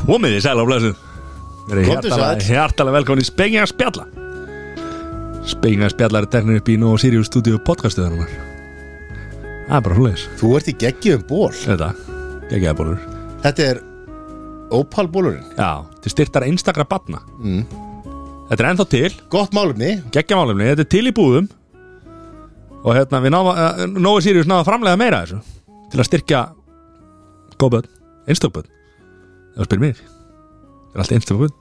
Komið í sæla og blessuð Verið Komdu hjartalega- sæll. Hjartalega velkomin í Spengja spjalla Spengja spjallar er teknir upp í Nú og Sirius stúdíu podcastuðanunar Það er bara húleis Þú ert í geggjum ból Þetta, geggjaði bólur Þetta er Opal bólurinn Já, til styrtar einstakra batna mm. Þetta er ennþá til Gott málumni geggjamálumni, þetta er til í búðum og hérna við náðum Nói Sirius náðu að framlega meira af þessu til að styrkja góð börn, einstök börn það spyr mér, það er allt einstök börn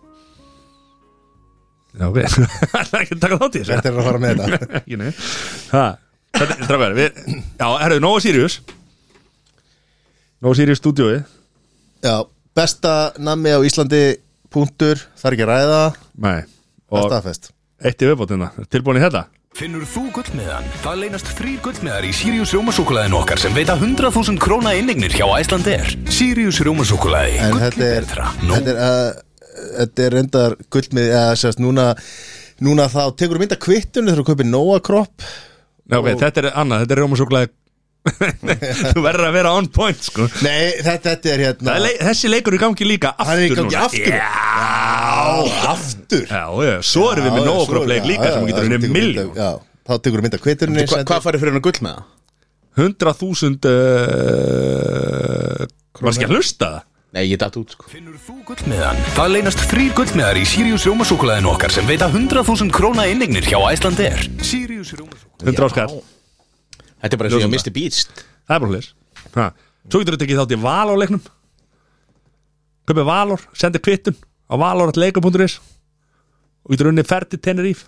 já ok það er ekki að taka þátt í þessu Þetta er að fara með þetta ekki nei Ha, þetta er strafgar við, já, herruðu, Nói Sirius Nói Sirius stúdíói Já, besta nammi á Íslandi Punktur, þarf ekki að ræða nei, og Staðfest eitt í viðbótina, tilbúin í þetta Finnur þú gullmiðan? Það leynast þrýr gullmiðar í Sirius Rjómasúkulaðin okkar sem veita 100.000 króna innignir hjá Æslander. Sirius Rjómasúkulaði, En gullið þetta er, betra. Nú, þetta er uh, Þetta er reyndar gullmið eða sérst núna Núna þá tekur mynda kvittunni þegar þú kaupir Nóa kropp Já, ok, þetta er annað, þetta er rjómasúklaði Þú verður að vera on point sko. Nei, þetta, þetta er hérna Það er leik, Þessi leikur er í gangi líka aftur Hann er í gangi núna. aftur. Já, Á, aftur já, já, svo erum við Já, með já, nóg svo okkur er- leik já, líka já, sem já, getur svo henni tekur miljón mynda- Já, þá tekur mynda kvittunni Hva, hvað farið fyrir hennar gull með það? 100.000 uh, Var ekki að hlusta það? Nei, ég datt út sko finnur þú gullmiðan? Það leynast þrýr gullmiðar í Sirius Rjómasúkulaðin okkar sem veita 100.000 króna innignir hjá Æslander. Sirius Rjómasúkulaði. 100 áskall, Þetta er bara eins og ég á Ljósum Mr. Beast það er bara hlis Svo getur þetta ekki þátt í Valor leiknum Kaupið Valor, sendir kvittun á valor.leikum.is og getur unni ferð til Tenerife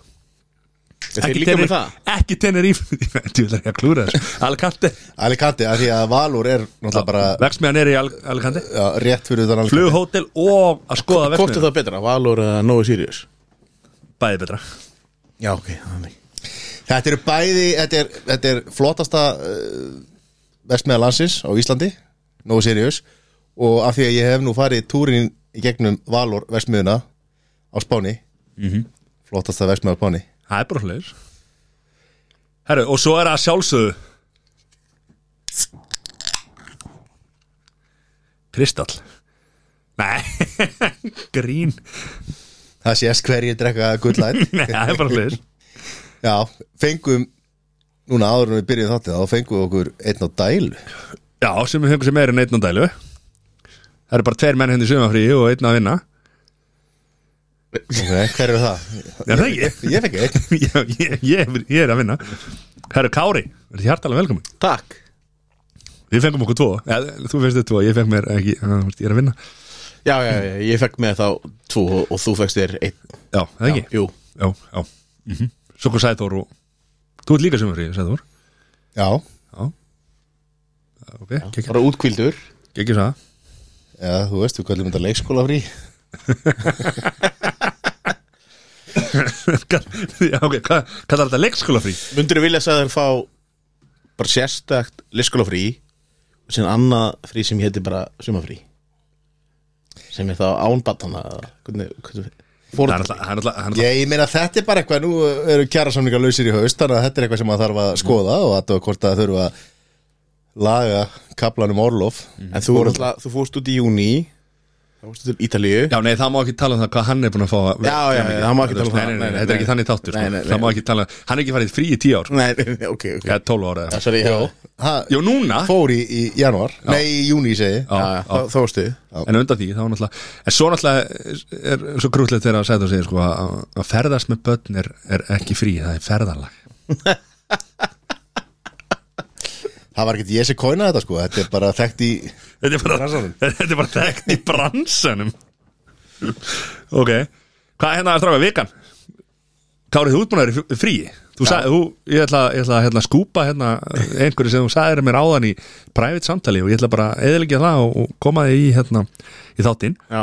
Þeir líka með það Ekki Tenerife Þú ætlar ekki að klúra þessu Alicante Alicante, af því að Valur er náttúrulega bara Veksmiðan er í Al- Alicante já, rétt fyrir utan Alicante Flughótel og að skoða Hvort er veksmiðan það betra, Valor eða Noah Sirius? Bæði betra Já, ok, þannig Þetta eru bæði, þetta er, þetta er flottasta uh, vestmeða landsins á Íslandi, nógu seriós og af því að ég hef nú farið túrin í gegnum Valor vestmiðuna á Spáni flottasta vestmiða á Spáni Það er bara hlugur Herru, og svo er það að sjálfsögðu Kristall Nei Grín Það sést hverjir drekka gullæn Nei, það er bara hlugur Já, fengum núna áður en við byrjuðum þáttið þá fengum við okkur einn á dælu Já, sem við fengum sem er en einn á dælu Það eru bara tveir menn henni sumafrí og einn að vinna okay, Hver er það? Já, það ekki Ég fengi einn Já, ég, ég, ég er að vinna Herru Kári, verður hjartalega velkomin Takk Við fengum okkur tvo ja, Þú fengst þér tvo, ég feng mér ekki já, þú veist, Ég er að vinna Já, já, já, ég fekk með þá tvo og, og þú fekkst þér einn Já, það ekki Jú, já, já. Mm Mhm. -hmm. Svo hvað Sæþór og Þú ert líka sumafrí, Sæþór Já, Já Já, Ok, kekja bara útkvildur Kekja sá já, þú veist, við kallum þetta leikskóla frí Já, ok, hvað hvað er þetta leikskólafrí? Mundur vilja að þær fá bara sérstakt leyskóla frí og síðan annað frí sem héti bara sumafrí sem er þá ánbattana hvernig, hvernig, Það er fórhaldar alltaf, það er alltaf, það er alltaf Ég, ég meina þetta er bara eitthvað, nú eru kjara samlingar lausir í haust, þannig að þetta er eitthvað sem maður þarf að skoða og að það hvort að þurfa að laga kaplanum um Orlof En þú, náttúrulega- Mhm. þú fórst út í júni Þá fórst út til Ítalíu Já, nei, það má ekki tala um það hvað hann er búin að fá að- Já, já, já, það má ekki tala um Nei, það. nei, nei, Nei, nei, þetta er nei. ekki þannig þáttur sko. Nei, nei, nei. Það má ekki tala Hann er ekki farið í frí í tíu ár sko. Nei, nei, nei, ok, ok Eða 12 ára Já, eða Sorry, já, Það Jó, núna fór í, í janúar, nei í júni segi ég. Já, já, já, þá- þá fórstu en undan því þá var náttúrulega en svo náttúrulega er er svo krútlegt þegar að segja það segir sko að að ferðast með börn er, er ekki frí, það er ferðalag Það var ekkert ég sem kóinaði þetta sko, þetta er bara þekkt í þetta er bara, Bransanum. þetta er bara þekkt í bransanum ok hvað er hérna að stráka vikan? Kárið þú útbúnaður í frí þú sagði, þú, ég ætla, ég ætla að hérna, skúpa hérna, einhverju sem þú sagðir mér áðan í private samtali og ég ætla bara að eðilegja það og, og koma þig í, hérna, í þáttinn Já,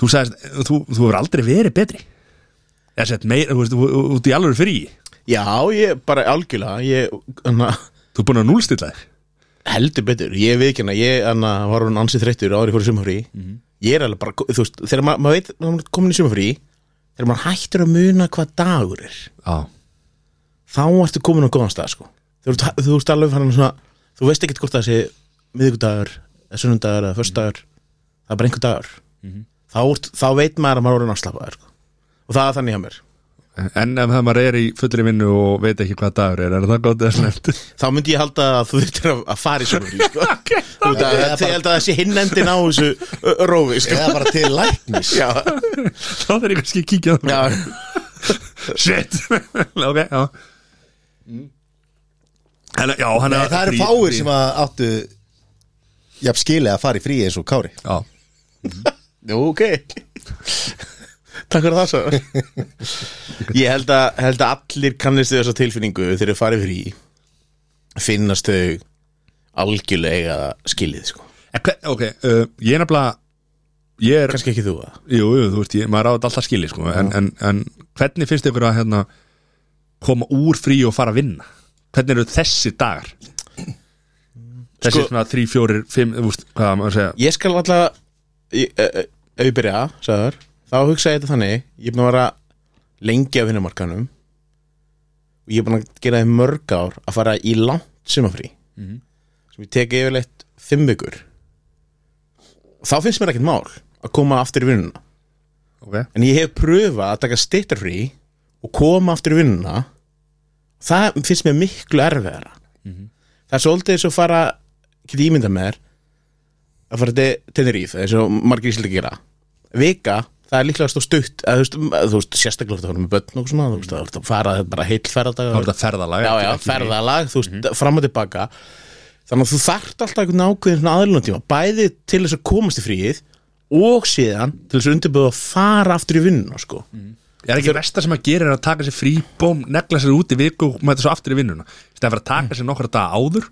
þú sagðist, þú, þú hefur aldrei verið betri eða sett meira, þú veist, þú- þú- út í alveg frí já ég bara algjörlega Ég, hana, þú er búin að núlstilla þig heldur betur Ég veit ekki hana, ég hana, var hún ansið þreyttur Árið fór í sumafrí Ég er alveg bara, þú veist, þegar ma- maður veit Þegar maður er komin í sumafrí Þegar maður hættur að muna hvað dagur er já, Þá ertu komin á góðan stað, sko Þú, ert- þú veist alveg fannig svona Þú veist ekkert hvort það sé miðvikudagur, eða sunnudagur eða föstudagur Það er bara einhver dagur þá, ert- þá veit maður að maður er orðin afslappaður sko. og það er þannig hjá mér En ef það maður er í fullri vinnu og veit ekki hvað dagur er, er það gott eða slemt? þá myndi ég halda að þú þurftir að, að fara í svona frí sko. Út af- Eða Ég held að það sé hinn endin á þessu ö, rófi sko. Eða bara til læknis Já, Þá þarf ég kannski að kíkja á það. já, Shit Ok, já Þannig, já, hann Nei, er það eru fáir sem að áttu jafn skilið að fara í frí eins og Kári Já, Jú, ok Takk fyrir það svo Ég held að, held að allir kannist þau þessa tilfinningu þegar þau farið frí finnast þau algjörlega skilið sko. En hver, ok, uh, ég er nefnilega Ég er, kannski ekki þú að jú, jú, þú veist, ég, maður á þetta alltaf skili sko, en, en, en hvernig finnst ykkur að hérna, koma úr frí og fara að vinna? Hvernig eru þessi dagar? Þessi Sko- svona 3, 4, 5, þú veist, hvað á maður að segja Ég skal alltaf ég, eh, eh, Ef ég byrja, sagður Þá hugsa ég þetta þannig Ég er búin að vera lengi á vinnumarkanum Og ég er búin að gera þið mörg ár Að fara í langt sumafrí Sem ég teki yfirleitt Fimm vikur Og Þá finnst mér ekkert mál Að koma aftur í vinnuna Ok, En ég hef pröfað að taka stittarfrí Og koma aftur í vinnuna Það finnst mér miklu erfiðara Það er svolítið eins og fara Getið ímynda með þér Að fara til Tenerife eins og margir íslut að gera Vika, það er líklega stóð stutt að, þú, veist, að, þú veist, sérstaklega þú erum með börn og svona Þú veist, það er að fara bara heill ferðardag þá er þetta ferðalag já, ekki- já, ekki- Mhm. ferðalag, þú veist, fram og tilbaka þannig að þú þarft alltaf einhvern ákveðin aðlunartíma, bæði til þess að komast í fríið og síðan til þess að undirbúða að fara aftur í vinnuna sko. Mhm. Er ekki versta sem að gera er að taka sér frí bóm, negla sér út í viku og mæta svo aftur í vinnuna Það er að taka sér nokkra daga áður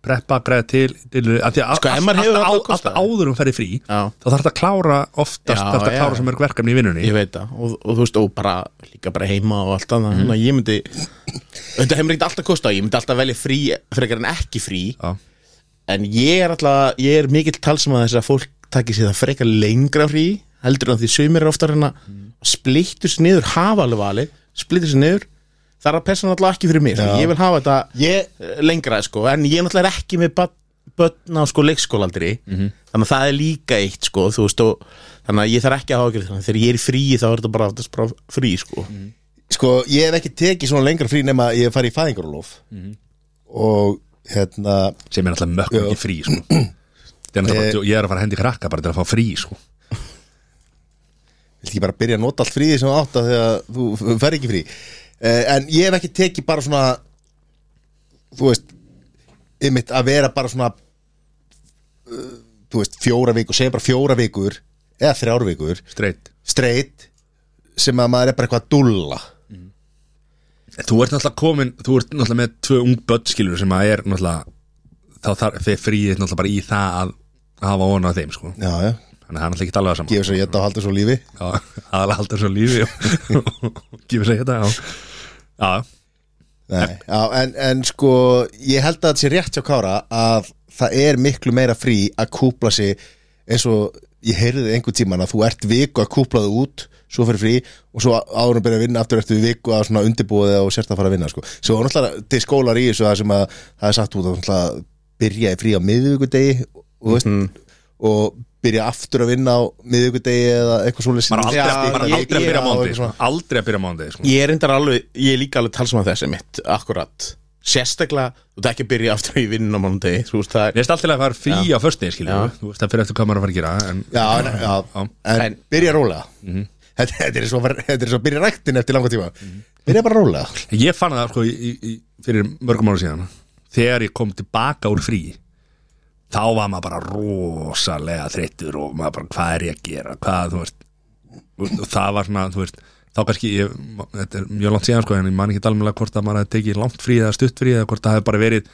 preppa, greiða til, til að því að Sko, ef allt- maður hefur allt- það allt- kostaði. allt áður um ferði frí Já. þá þarf þetta að klára oftast Já, þarf þetta að já. klára svo mörg verkefni í vinnunni ég veit það, og, og þú veist, og bara líka bara heima og allt Mhm. annað, þannig að ég myndi þetta hefur ekkert alltaf kosta, ég myndi alltaf velja frí frekar en ekki frí Já. en ég er alltaf, ég er mikill talsum að þess að fólk takir sér það frekar lengra frí, heldur en því sumir er oftar en að mm. splittu sér niður hafa alveg valið, splittu sér niður það er að persónu alltaf ekki fyrir mig sko. Já. ég vil hafa þetta Ég, eh, lengra sko, en ég náttúrulega er ekki með börn- börn á sko leikskólaldri Mhm. þannig að það er líka eitt sko þú veist og þannig að ég þarf ekki að hafa ekki þannig að þegar ég er í fríi þá er þetta bara, oftast bara frí sko sko, ég hef ekki tekið svona lengra frí nema ég hef farið í fæðingarólof Mhm. og hérna sem er alltaf mökk ekki frí sko. Það er náttúrulega bara- ég er að fara að hendi krakka bara til að fá frí sko. vilt ekki bara byrja að nota allt fríði sem þú átt af því að þú fer ekki frí eh, en ég hef ekki tekið bara svona þú veist ymmit að vera bara svona uh, þú veist fjóra vikur segja bara fjóra vikur eða þrjár vikur streitt straight sem að maður er bara eitthvað að dulla þú ert náttúrulega komin, þú ert náttúrulega með tvö ung börn skilur sem að er náttúrulega þá þarf þið fríið náttúrulega bara í það að hafa vona á þeim sko. já, já, þannig að það er náttúrulega ekki talað saman gefur sér ég þetta á haldur svo lífi aðalega halda þessu á lífi og gefur sér þetta já, já, Nei, já, en, en sko ég held að þetta sé rétt hjá Kára að það er miklu meira frí að kúpla sig eins og ég heyrði einhvern tíman að þú ert viku að kúpla þig út svo fyrir frí og svo árum byrja að vinna aftur ertu viku að svona undirbúið og sérst að fara að vinna sko. svo er náttúrulega til skólar í þessu það sem að það er sagt út að náttúrulega byrja í frí á miðvíkudegi og, veist, Mhm. og byrja aftur að vinna á miðvíkudegi eða eitthvað svoleiðis maður aldrei, Já, já, maður ég- aldrei að ég- byrja já, mándið eitthvað sko. aldrei að byrja mándið sko. ég er endar alveg, ég er líka alveg talsum að þessi mitt, akkurat sérstaklega, þú ert ekki að byrja aftur í vinnun á mánudegi, þú veist það er ég veist alltaf að fara frí á föstudegi Já. skilur þú veist það fyrir eftir hvað maður er að fara að gera en, Já, en, já, en, En- byrja rólega þetta, þetta er svo þetta er svo að byrja ræktin eftir langa tíma Mhm. Byrja bara rólega ég fann það sko, í, í, fyrir mörgum ára síðan þegar ég kom tilbaka úr frí þá var maður bara rosalega þreyttur og maður bara hvað er ég að gera hvað þú veist og og það var svona þú veist þá kannski, ég, þetta er mjög langt síðan sko en ég man ekki alveg hvort að maður hefði tekið langt frí eða stutt frí eða hvort það hefði bara verið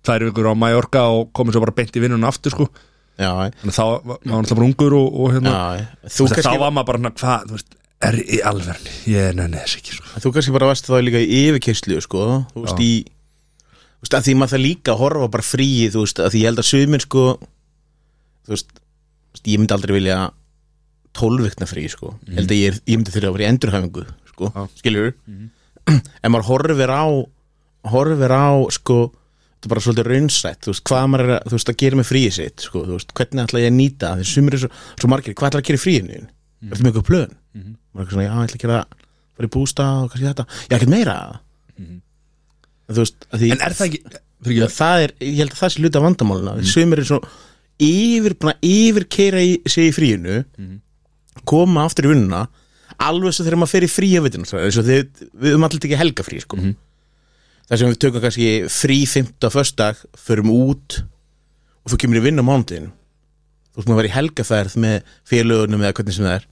tvær vikur á Mallorca og komið svo bara beint í vinnun aftur sko já, þannig að þá var maður alltaf bara ungur og, og hérna já, þú þú veist, kannski þá var maður bara svona hvað, þú veist, er í alverni ég nenni þess ekki, sko Þú kannski bara varst þá líka í yfirkeyslu sko, þú veist, í þú veist, að því maður það líka að horfa bara fríi þú veist, að því ég held að sömur sko þú veist, þú veist, ég myndi aldrei vilja 12 vikna frí sko ég held að ég, er, ég myndi þurfa að vera í endurhæfingu sko, Mhm. ah. skiljur en maður horfir á horfir á sko þetta er bara svolítið raunsætt þú veist, hvað maður er að, þú veist, að gera með fríið sitt sko, þú veist, hvernig ætla ég að nýta það? því sumir er svo, svo margir, hvað ætla að gera í fríinu mm. Mhm. eftir mjög plön mm -hmm. maður er eitthvað svona, já, ég ætla að gera bara í bústað og kannski þetta, já, ekkert meira mm en, þú veist, að því, Mhm. En er það ekki fyrir Já, það er, ég held að það sé hluti af vandamálina mm. sumir er svona yfir, búin að yfirkeira í, sig í fríinu Mm. koma aftur í vinnuna alveg svo þegar maður fer í frí að vitinu eins og þið, við höfum allir ekki helga frí sko. Mm-hmm. þar sem við tökum kannski frí 15. föstudag, förum út og þú kemur í vinna á mánudin þú veist maður að vera í helgaferð með félögunum eða hvernig sem það er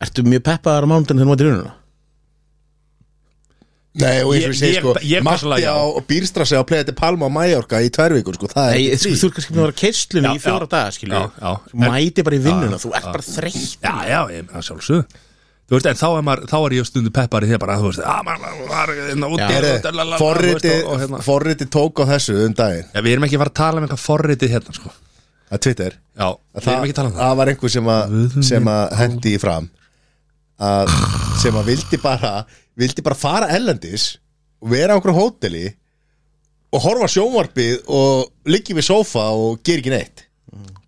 ertu mjög peppaðar á mánudin þegar maður er í vinnuna Nei, og Ég- eins og ég segi ég- sko ég- Matti persónulega, já. á Bírstrassi á Playa de Palma á Mallorca í tvær vikur sko Það Nei, er sko, þú er kannski búin að vera keistlunni Já, í fjóra já. daga skilju, Já, já. þú mæti bara í vinnuna þú ert já. bara þreytt Já, já, ég meina sjálfsög Þú veist, en þá er, maður, þá er ég stundu peppari þegar bara, þú veist, að maður var hérna úti Já. og dalalala, þú veist, Forriti, og- og hérna. forriti tók á þessu um daginn Já, við erum ekki að fara að tala um eitthvað forritið hérna, sko að Twitter Já, að við erum ekki að tala um það það var einhver sem að, sem að hendi í fram að, sem að vildi bara vildi bara fara ellendis og vera á einhverju hóteli og horfa á sjónvarpið og liggi við sófa og gera ekki neitt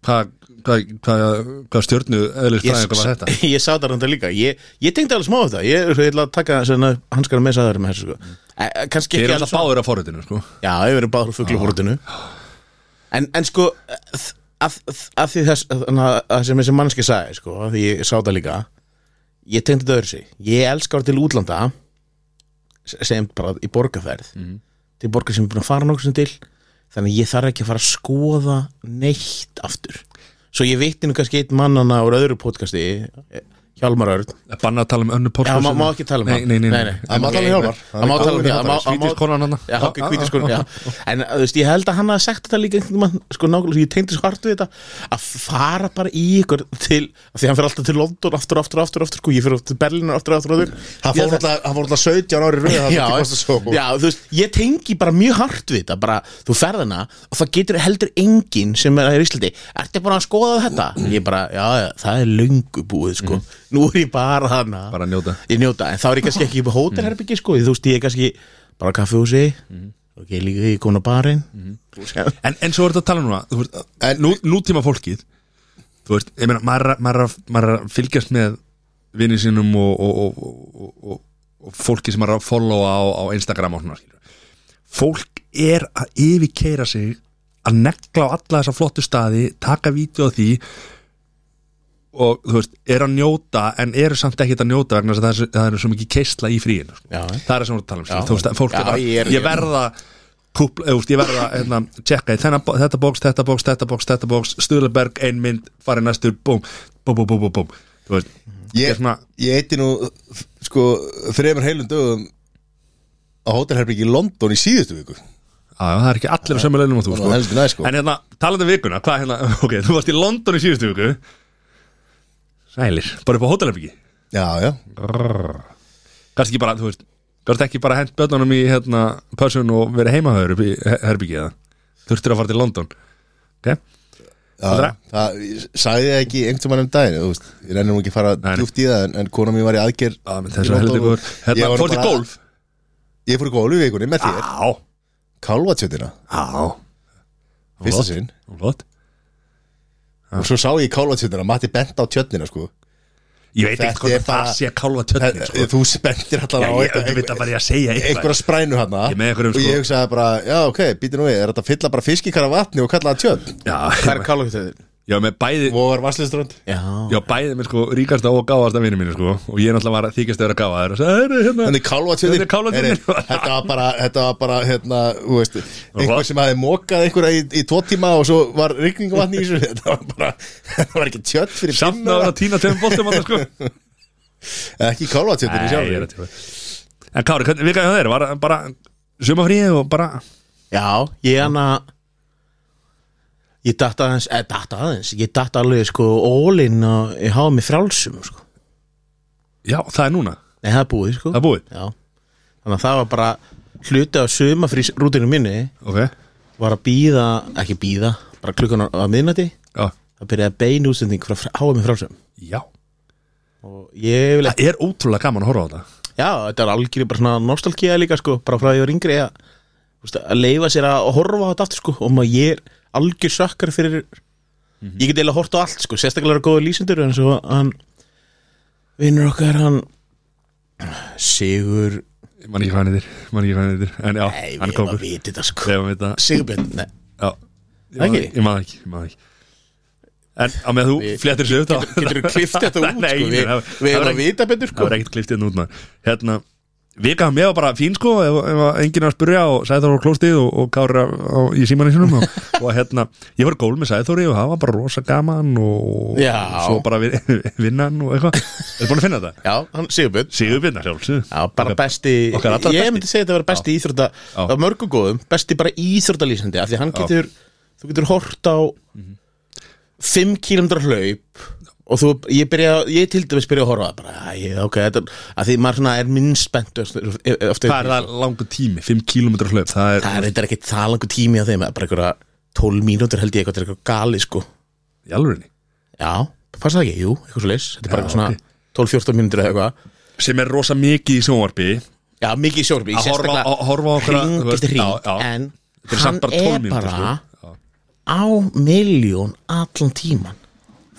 Hvað hva, hva, hva stjórnu eðlis fræðingur var þetta? ég sá það rönda líka ég, ég tengdi alveg smá af það ég, ég ætla að taka svona, hanskar með sæðar með þessu sko. e, e, kannski Þið ekki erum alveg alltaf svo- báður af forritinu, sko já, ég verið báður fuggluhortinu en, en sko þ- að, að, að því þess að, að, að sem þessi mannski sagði sko, að því ég sá það líka ég tengdi þetta öðru sig ég elskar til útlanda se- sem bara í borgarferð til borgar sem ég er búin að fara nokkuð sem til þannig að ég þarf ekki að fara að skoða neitt aftur svo ég veit nú kannski einn mannana úr öðru podcasti Hjálmar Örn Banna að tala um önnu Já, podcast má, má ekki tala um Nei, hann nei, nei, nei, nei. Það má tala um Hjálmar. Það má tala um Hjálmar það má- það má- Svítiskonan hana. Já, ok, sko. hvítiskonan, já En þú veist, ég held að hann hafa sagt þetta líka einhvern mann, sko nákvæmlega, svo ég tengdi svo hart við þetta að fara bara í ykkur til af því hann fyrir alltaf til London, aftur, aftur, aftur, aftur sko, ég fyrir til Berlín, aftur, aftur, aftur hann Ég fór held að- alltaf- hann fór alltaf 17 ári röð það Já, vildi kosta sófa. já, þú veist, ég tengi bara mjög hart við þetta bara, þú ferðina og það getur heldur enginn sem er í Íslandi Ertu bara að skoða þetta? Ég bara, já, já, það er löngu búið, sko Nú er ég bara hana Bara að njóta. Ég njóta, en þá er ég kannski ekki í hótelherbyggi, sko Þú veist, ég er kannski bara á kaffihúsi Mhm. Ok, líka ég komin á barinn En, en svo er þetta að tala um núna þú veist, En- nú, Nútíma fólkið Þú veist, ég meina, maður er að- maður er að- maður er að fylgjast með vinni sínum og, og, og, og, og, og fólki sem maður er að followa á, á Instagram og svona skilur. Fólk er að yfirkeira sig að negla á alla þessa flottu staði taka vídeo á því og þú veist, er að njóta en eru samt ekkert að njóta vegna þess að það er- það eru svo mikið keisla í fríinu sko. Já. það er sem voru að tala um sér Já. þú veist, að fólk Já, er bara, ég er- ég, verða kúpla, eða, þú veist, ég verða hérna, tjekka í þennan bo- þetta bóks, þetta bóks, þetta bóks, þetta bóks Sturleberg, ein mynd, farið næstur búm, búm, búm, búm, búm, búm þú veist, ég, er svona ég eitti nú sko fremur heilum dögum á hótelherbyggi í London í síðustu viku Já, já, það er ekki allir á sömu launum og þú Það var heldur næ, sko. En hérna, talandi um vikuna, hvað hérna Ok, þú varst í London í síðustu viku Sælir Bara upp á hótelherbyggi já, já, Gast ekki bara, þú veist Gast ekki bara hent börnunum í hérna Pössun og verið heimahöður upp í he- herbyggi eða Þurftir að fara til London Ok, já Aldrei? það ég sagði það ekki einhvern mann um daginn þú veist, ég rennir nú ekki að fara nei. djúpt í það en, en kona mér var í aðgerð það með í þessu London heldur og- ykkur Hérna, Ég var nú fór til bara- golf Ah. ég fór í golf í vikunni með þér Á, kálvatjöndina, á fyrsta sinn Lott Ah. og svo sá ég kálvatjöndina, Matti bent á tjöndina sko. Ég veit Þetta ekki hvort er að það bara- sé að kálfa tjötni sko. þú bentir alltaf Já, á ég veit að bara ég að segja einhverja eitthvað sprænu hann Ég með einhverjum, og sko. ég hugsaði bara, já ok, býti nú við er þetta að fylla bara fiskikara vatni og kalla það tjönd Hvað er Já, kálugtöðin? já, með bæði vogar varsliströnd Já, Já, bæðið mér sko ríkasta og gáðasta vinnu mínu sko og ég náttúrulega var að þykjast að vera gáðaður og sagði, "Heyrðu, hérna, Þannig kálvatjöðin Þetta er kálfatjöðin. Þetta var bara, þetta var bara, hérna, þú veist Einhver sem hafi mókað einhverja í, í tvo tíma og svo var rigningavatni í þessu Þetta var bara, þetta var ekki tjött fyrir samt pinna. náður að týna tveim boltum að það sko Ekki kálvatjöðin í Nei, ég er sjálfur að tjóka. En Kári, hvernig vikaði hjá þér? Var það bara sumafríð og bara já ég hann að Ég datt aðeins, eða datt aðeins, ég datt alveg sko ólinn og ég hafa mig frálsum sko. Já, það er núna, Nei, það er búið sko það er búið Já, þannig að það var bara hluti af sumafrís rútinu minni Ok, var að býða, ekki býða bara klukkan á, á miðnætti já, það byrjaði bein útsending frá háa mig frásum já. og ég vil ekki, Það er ótrúlega gaman að horfa á þetta já þetta er algjörði bara svona nostalgía líka sko, bara frá því að ég var yngri að veist, að leifa sér að horfa á þetta aftur sko, og maður ég er algjör sökkar fyrir Mhm. ég get eiginlega hort á allt sko, sérstaklega er góða lýsindur en svo hann vinnur okkar hann Sigur Man ekki hvað hann heitir, man ekki hvað hann heitir En já, Nei, hann við er erum að kókur vita þetta sko Þegar við þetta Sigurbjörn, nei Já, ég maður Ekki? ekki, ég maður ekki, ég maður ekki En á með að þú Við- flettir sér upp þá- Getur þú klift þetta út Nei, sko Við það- við það erum var að ekki- vita betur Það sko var ekkert klift hérna út maður Hérna, vika hann með var bara fín sko Ef, ef að enginn er að spurja og Sæþór var klóstið og, og Kári á- á- í símanni sinum og, og hérna, ég var í gól með Sæþóri og það var bara rosa gaman og Já. svo bara vi, vinnan og eitthvað Er búin að finna þetta? Já, hann Sigurbjörn Sigur vinna sjálfsög Já, bara besti okkar allra Ég besti. myndi segja þetta var besti íþrótta Já. Það var mörgum góðum, besti bara íþróttalýsandi Af því hann getur, þú getur hort á 5 km hlaup Og þú, ég byrja, ég til dæmis byrja að horfa bara, æ, ok, þetta, að því maður svona er minnst spennt Hvað er það langur tími? 5 km hlaup Það er, Það er eitthvað ekki það langur tími á þeim, bara einhverja 12 mínútur held ég eitthvað, þetta er eitthvað gali sko í alvörinni Já, passa það ekki, jú, eitthvað svo leys Þetta er bara Já, eitthvað svona 12-14 mínútur eða eitthvað sem er rosa mikið í sjónvarpi Já, mikið sjórbi, Að horfa- að horfa á okkur að- þú Hring veist, eftir hring, já, já. en Þetta er samt bara 12 hann er mínútur bara sko. Já. á miljón allan tíman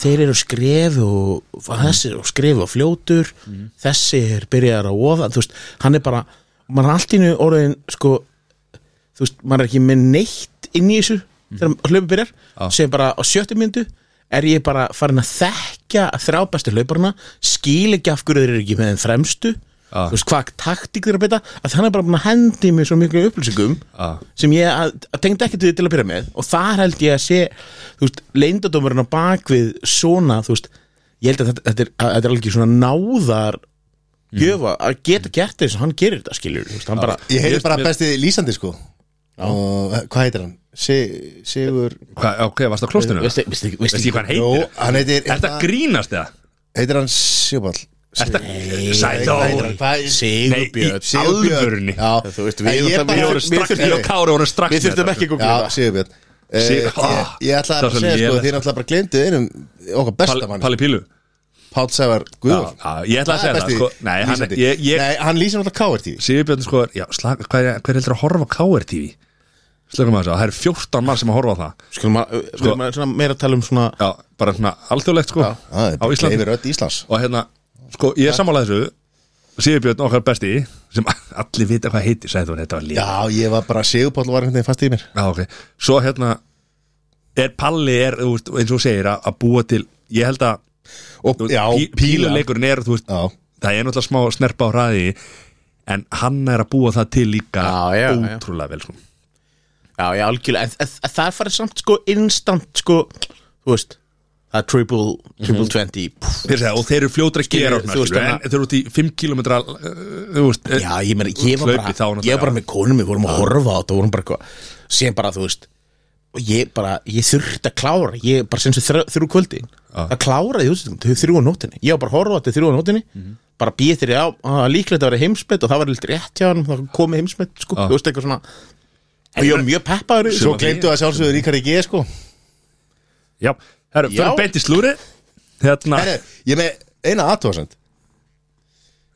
Þeir eru skref og Mhm. þessi er skref og fljótur þessi er byrjar að ofa þú veist, hann er bara, maður er allt í nú orðin sko, þú veist, maður er ekki með neitt inn í þessu þegar hlaupið byrjar, sem bara á sjöttu myndu er ég bara farin að þekkja þrjá bestu hlauparna, skil ekki af hverju þeir eru ekki með þeim fremstu Já. þú veist, hvað taktík þeir eru að beita að þannig er bara búin að hendi í mig svo miklu upplýsingum Já. sem ég að, að tengd ekki til til að byrja með og þar held ég að sé þú veist, leindadómurinn á bakvið svona, þú veist, ég held að þetta, þetta, er, að, þetta er alveg svona náðar gjöfa að geta gert þess að hann gerir þetta skilur, þú veist, hann bara Ég Ég- hefði bara mér- besti lýsandi sko og eh, hvað heitir hann? Si- Sigur Hvað, ok, varst á klóstinu? veist Veist ekki- veist ekki- veist ekki ekki- hvað hann Jú, heitir? hann heitir Er þetta grínast eða? heitir hann Sigurball Er þetta Sæþór? Sigurbjörn Nei, í alvörunni. Já, Þú veist, En við- ég við- Við bara- vorum við strax, þurftum- ég hérna. og Kári vorum strax Við þurftum ekki að googla Já, Sigurbjörn Eh, Sigur- ég, Ah, ég ætlaði það bara var að svo segja sko, lélegt. þið náttúrulega bara glemdu einum eh, okkar besta Pall- mann Palli Pílu Páll Sævar Guðvald Já, já, ég ætlaði að segja það, sko. Nei, hann- ég- ég- Nei, hann lýsir náttúrulega káir tífi Sigurbjörn sko, já, slag, hver, hver heldur að horfa á KR TV? Slökum að þessu, það er 14 mann sem að horfa á það Skulum að, sko, svona meira að tala um svona Já, bara svona alþjóðlegt sko Það Á er bara Íslandi gleifir öll Íslands Og hérna, sko, ég er sammála þessu Sigurbjörn okkar besti sem allir vita hvað heitir, sagði þú þetta var líka Já, ég var bara, Sigurpáll var einhvern veginn fast í mér Já, ok. Svo hérna er Palli er, þú veist, eins og þú segir að, að búa til, ég held að Og, þú veist, já, pí- píluleikurinn er, þú veist, Já, það er náttúrulega smá snerpa á hraði en hann er að búa það til líka Já, já, já. ótrúlega vel, sko. Já, já, algjörlega, en, en, en það farið samt sko instant sko, þú veist það er triple, triple 20 pff, Fyrir segja, og þeir eru fljótri að Skilur, gera þú þú veist, veist, en þannig að- þeir eru út í 5 km þú veist, eh, Já, ég meina, ég var Hlaupið þá bara náttúrulega, ég var bara já. með konum, við vorum að horfa á þetta vorum bara eitthvað, sem bara, þú veist og ég bara, ég þurfti að klára ég bara sem sem þrjú, þrjú kvöldi að klára því, þú veist, þau þrjú á nótinni ég var bara að horfa á þetta þrjú á nótinni bara býð þeirri á, að líklegt að vera heimsmet og það var litt rétt hjá hann, það komið heimsmet sko, Já. þú veist, eitthvað svona og ég var mjög peppaður í þessu. svo glemdu að sjálfsögðu Ríkari G, sko já, herru, Já. fyrir beint í slúri hérna, Herre, ég er með eina aðtöðasend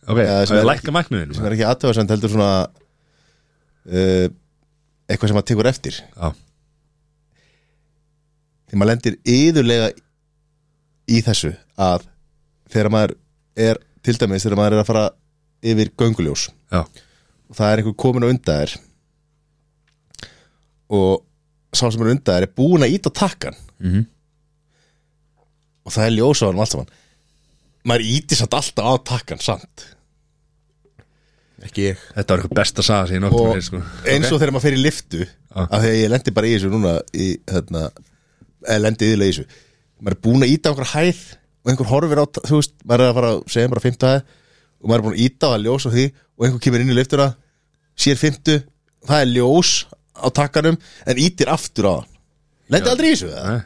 ok, Já, það sem er er ekki- lækka mæknuðin sem er ekki aðtöðasend heldur svona uh, eitthvað sem maður tekur eftir já, því maður lendir yðurlega í þessu að þegar maður er til dæmis þegar maður er að fara yfir gönguljós já, og það er einhver komin á undar og sá sem er undar er búin að íta takkan Mhm. og það er ljós á hann allt saman maður íti satt alltaf á takkan samt ekki ég þetta var eitthvað best að saga sig í og nóttum sko. eins og þegar maður fer í liftu af því að ég lendi bara í þessu núna í, hérna, eða lendi yðurlega í þessu maður er búin að íta á einhver hæð og einhver horfir á, þú veist, maður er að fara að segja bara 50 hæð og maður er búin að íta á að ljós á því og einhver kemur inn í liftuna sér 50, það er ljós á takkanum, en ítir aftur á hann lendi aldrei í þessu eða? Nei.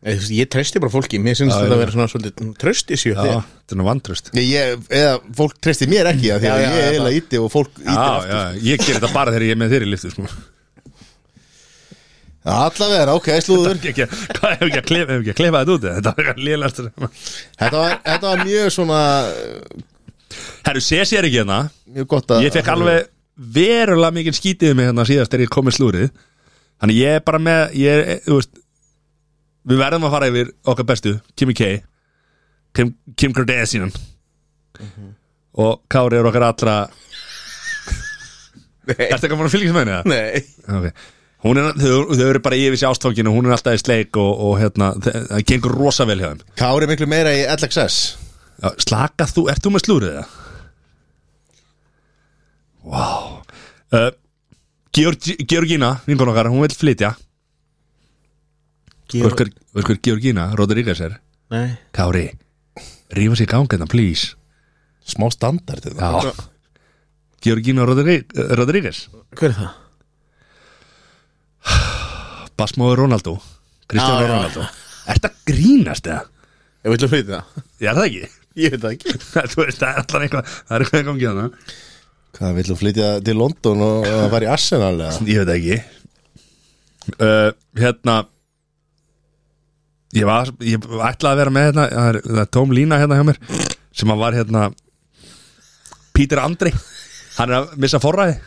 Ég, þú veist, ég treysti bara fólki, mér finnst þetta að vera svona svolítið "Mm, trösti sér já, þetta er nú vantröst Ég- ég, eða fólk treysti mér ekki af því að Já, já, ég er já, eiginlega bara- íti og fólk ítir já, aftur já, ég ger þetta bara þegar ég er með þeir í liftu, sko allavega, ok, slúður Ekki- ekki- hvað hefur ekki að klefa, hefur ekki að klefa þetta út eða? þetta var eitthvað lélast þetta var, þetta var mjög svona herru, sé sér ekki hérna mjög gott að ég fekk alveg verulega mikið skítið mig hérna síðast er ég komið slúrið Þannig ég er bara með ég er, þú veist, Við verðum að fara yfir okkar bestu Kimi K Kim, Kim Kardashian Og Kári er okkar allra Nei. Ertu ekki að fara að fylgjast með henni það? Nei okay. Hún er, þau, þau eru bara yfir sér ástókinu Hún er alltaf í sleik og, og hérna, þe- það gengur rosa vel hjá þeim Kári miklu meira í LXS Já, Slaka þú, ert þú með slúrið það? Vá wow. uh, Georg, Georgina, vinkon okkar, hún vil flytja Georg- Vörkur Georg... Georgina, Rodríguez er Nei Kári, rífa sér gangina, hérna, please Smá standard þetta. hérna. Já Georgina Rodri- Rodríguez Hver er það? Basmóður Ronaldo Kristján Já, já. Ronaldo Ert það grínast eða? Ég vil að flytja það Ég er það ekki Ég veit það ekki Þú veist, það er allan eitthvað Það er eitthvað í gangi hana Hvað vill þú flytja til London og og að fara í Arsenal eða? Ég veit það ekki uh, Hérna Ég var Ég ætlaði að vera með hérna Það er, það er tóm lína hérna hjá mér Sem að var hérna Pítur Andri Hann er að missa forræði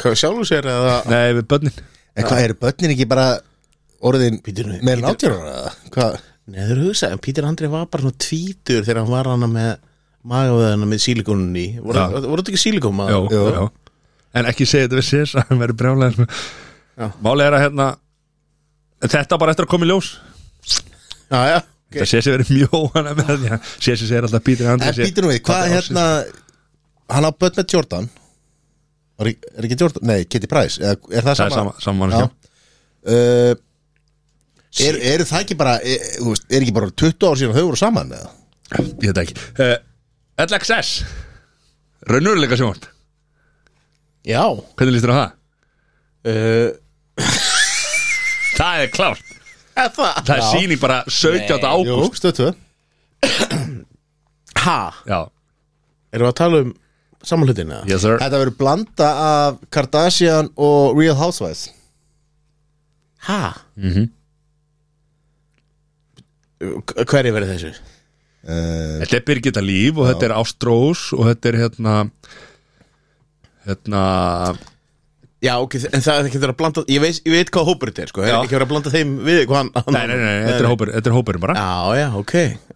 Hvað sjálfur sér eða Nei, við börnin En hvað eru börnin ekki bara orðin Bíddu nú, meira bíddu. náttjóra eða? Hvað? Nei, þú eru hugsað Pítur Andri var bara svona tvítur Þegar hann var hana með Magaveðana með sílikonunni Voru Já. voru þetta ekki sílikon Jó, maður? jó. En ekki segja þetta við sér Hann verður brjálega Já. Málið er að hérna Þetta á bara eftir að koma í ljós Já, já Þetta sé sér verið mjög óhana með því að Sé sér segir alltaf Pítur Andri En sé- býtur nú við, hvað Þetta hérna Hann á börn með Jordan Er er ekki Jordan? Nei, Kitty Price eða, Er það Það er sama? sama, sama mannskja uh, er, Eru það ekki bara er, þú veist, er ekki bara 20 ár síðan þau voru saman eða? ég veit það ekki uh, LXS raunurleika sjónvarp, Já hvernig líst þér á það? uh, Það er klárt, er Það það er síning bara 17. Jú, ágúst stöð 2 Ha? Já, Erum við að tala um samanlutin eða? yes sir Þetta verður blanda af Kardashian og Real Housewives Ha? Mhm Hverju verið þessu? uh, Þetta er Birgitta Líf og þetta er Ástrós og þetta er hérna hérna Já, ok, en það er ekki verið að blanda Ég veit, ég veit hvað hópur þetta er, sko Það Já. er ekki verið að blanda þeim við hvað hann nei, nei, nei, nei, þetta er hópur, þetta er hópur bara Já, já, ok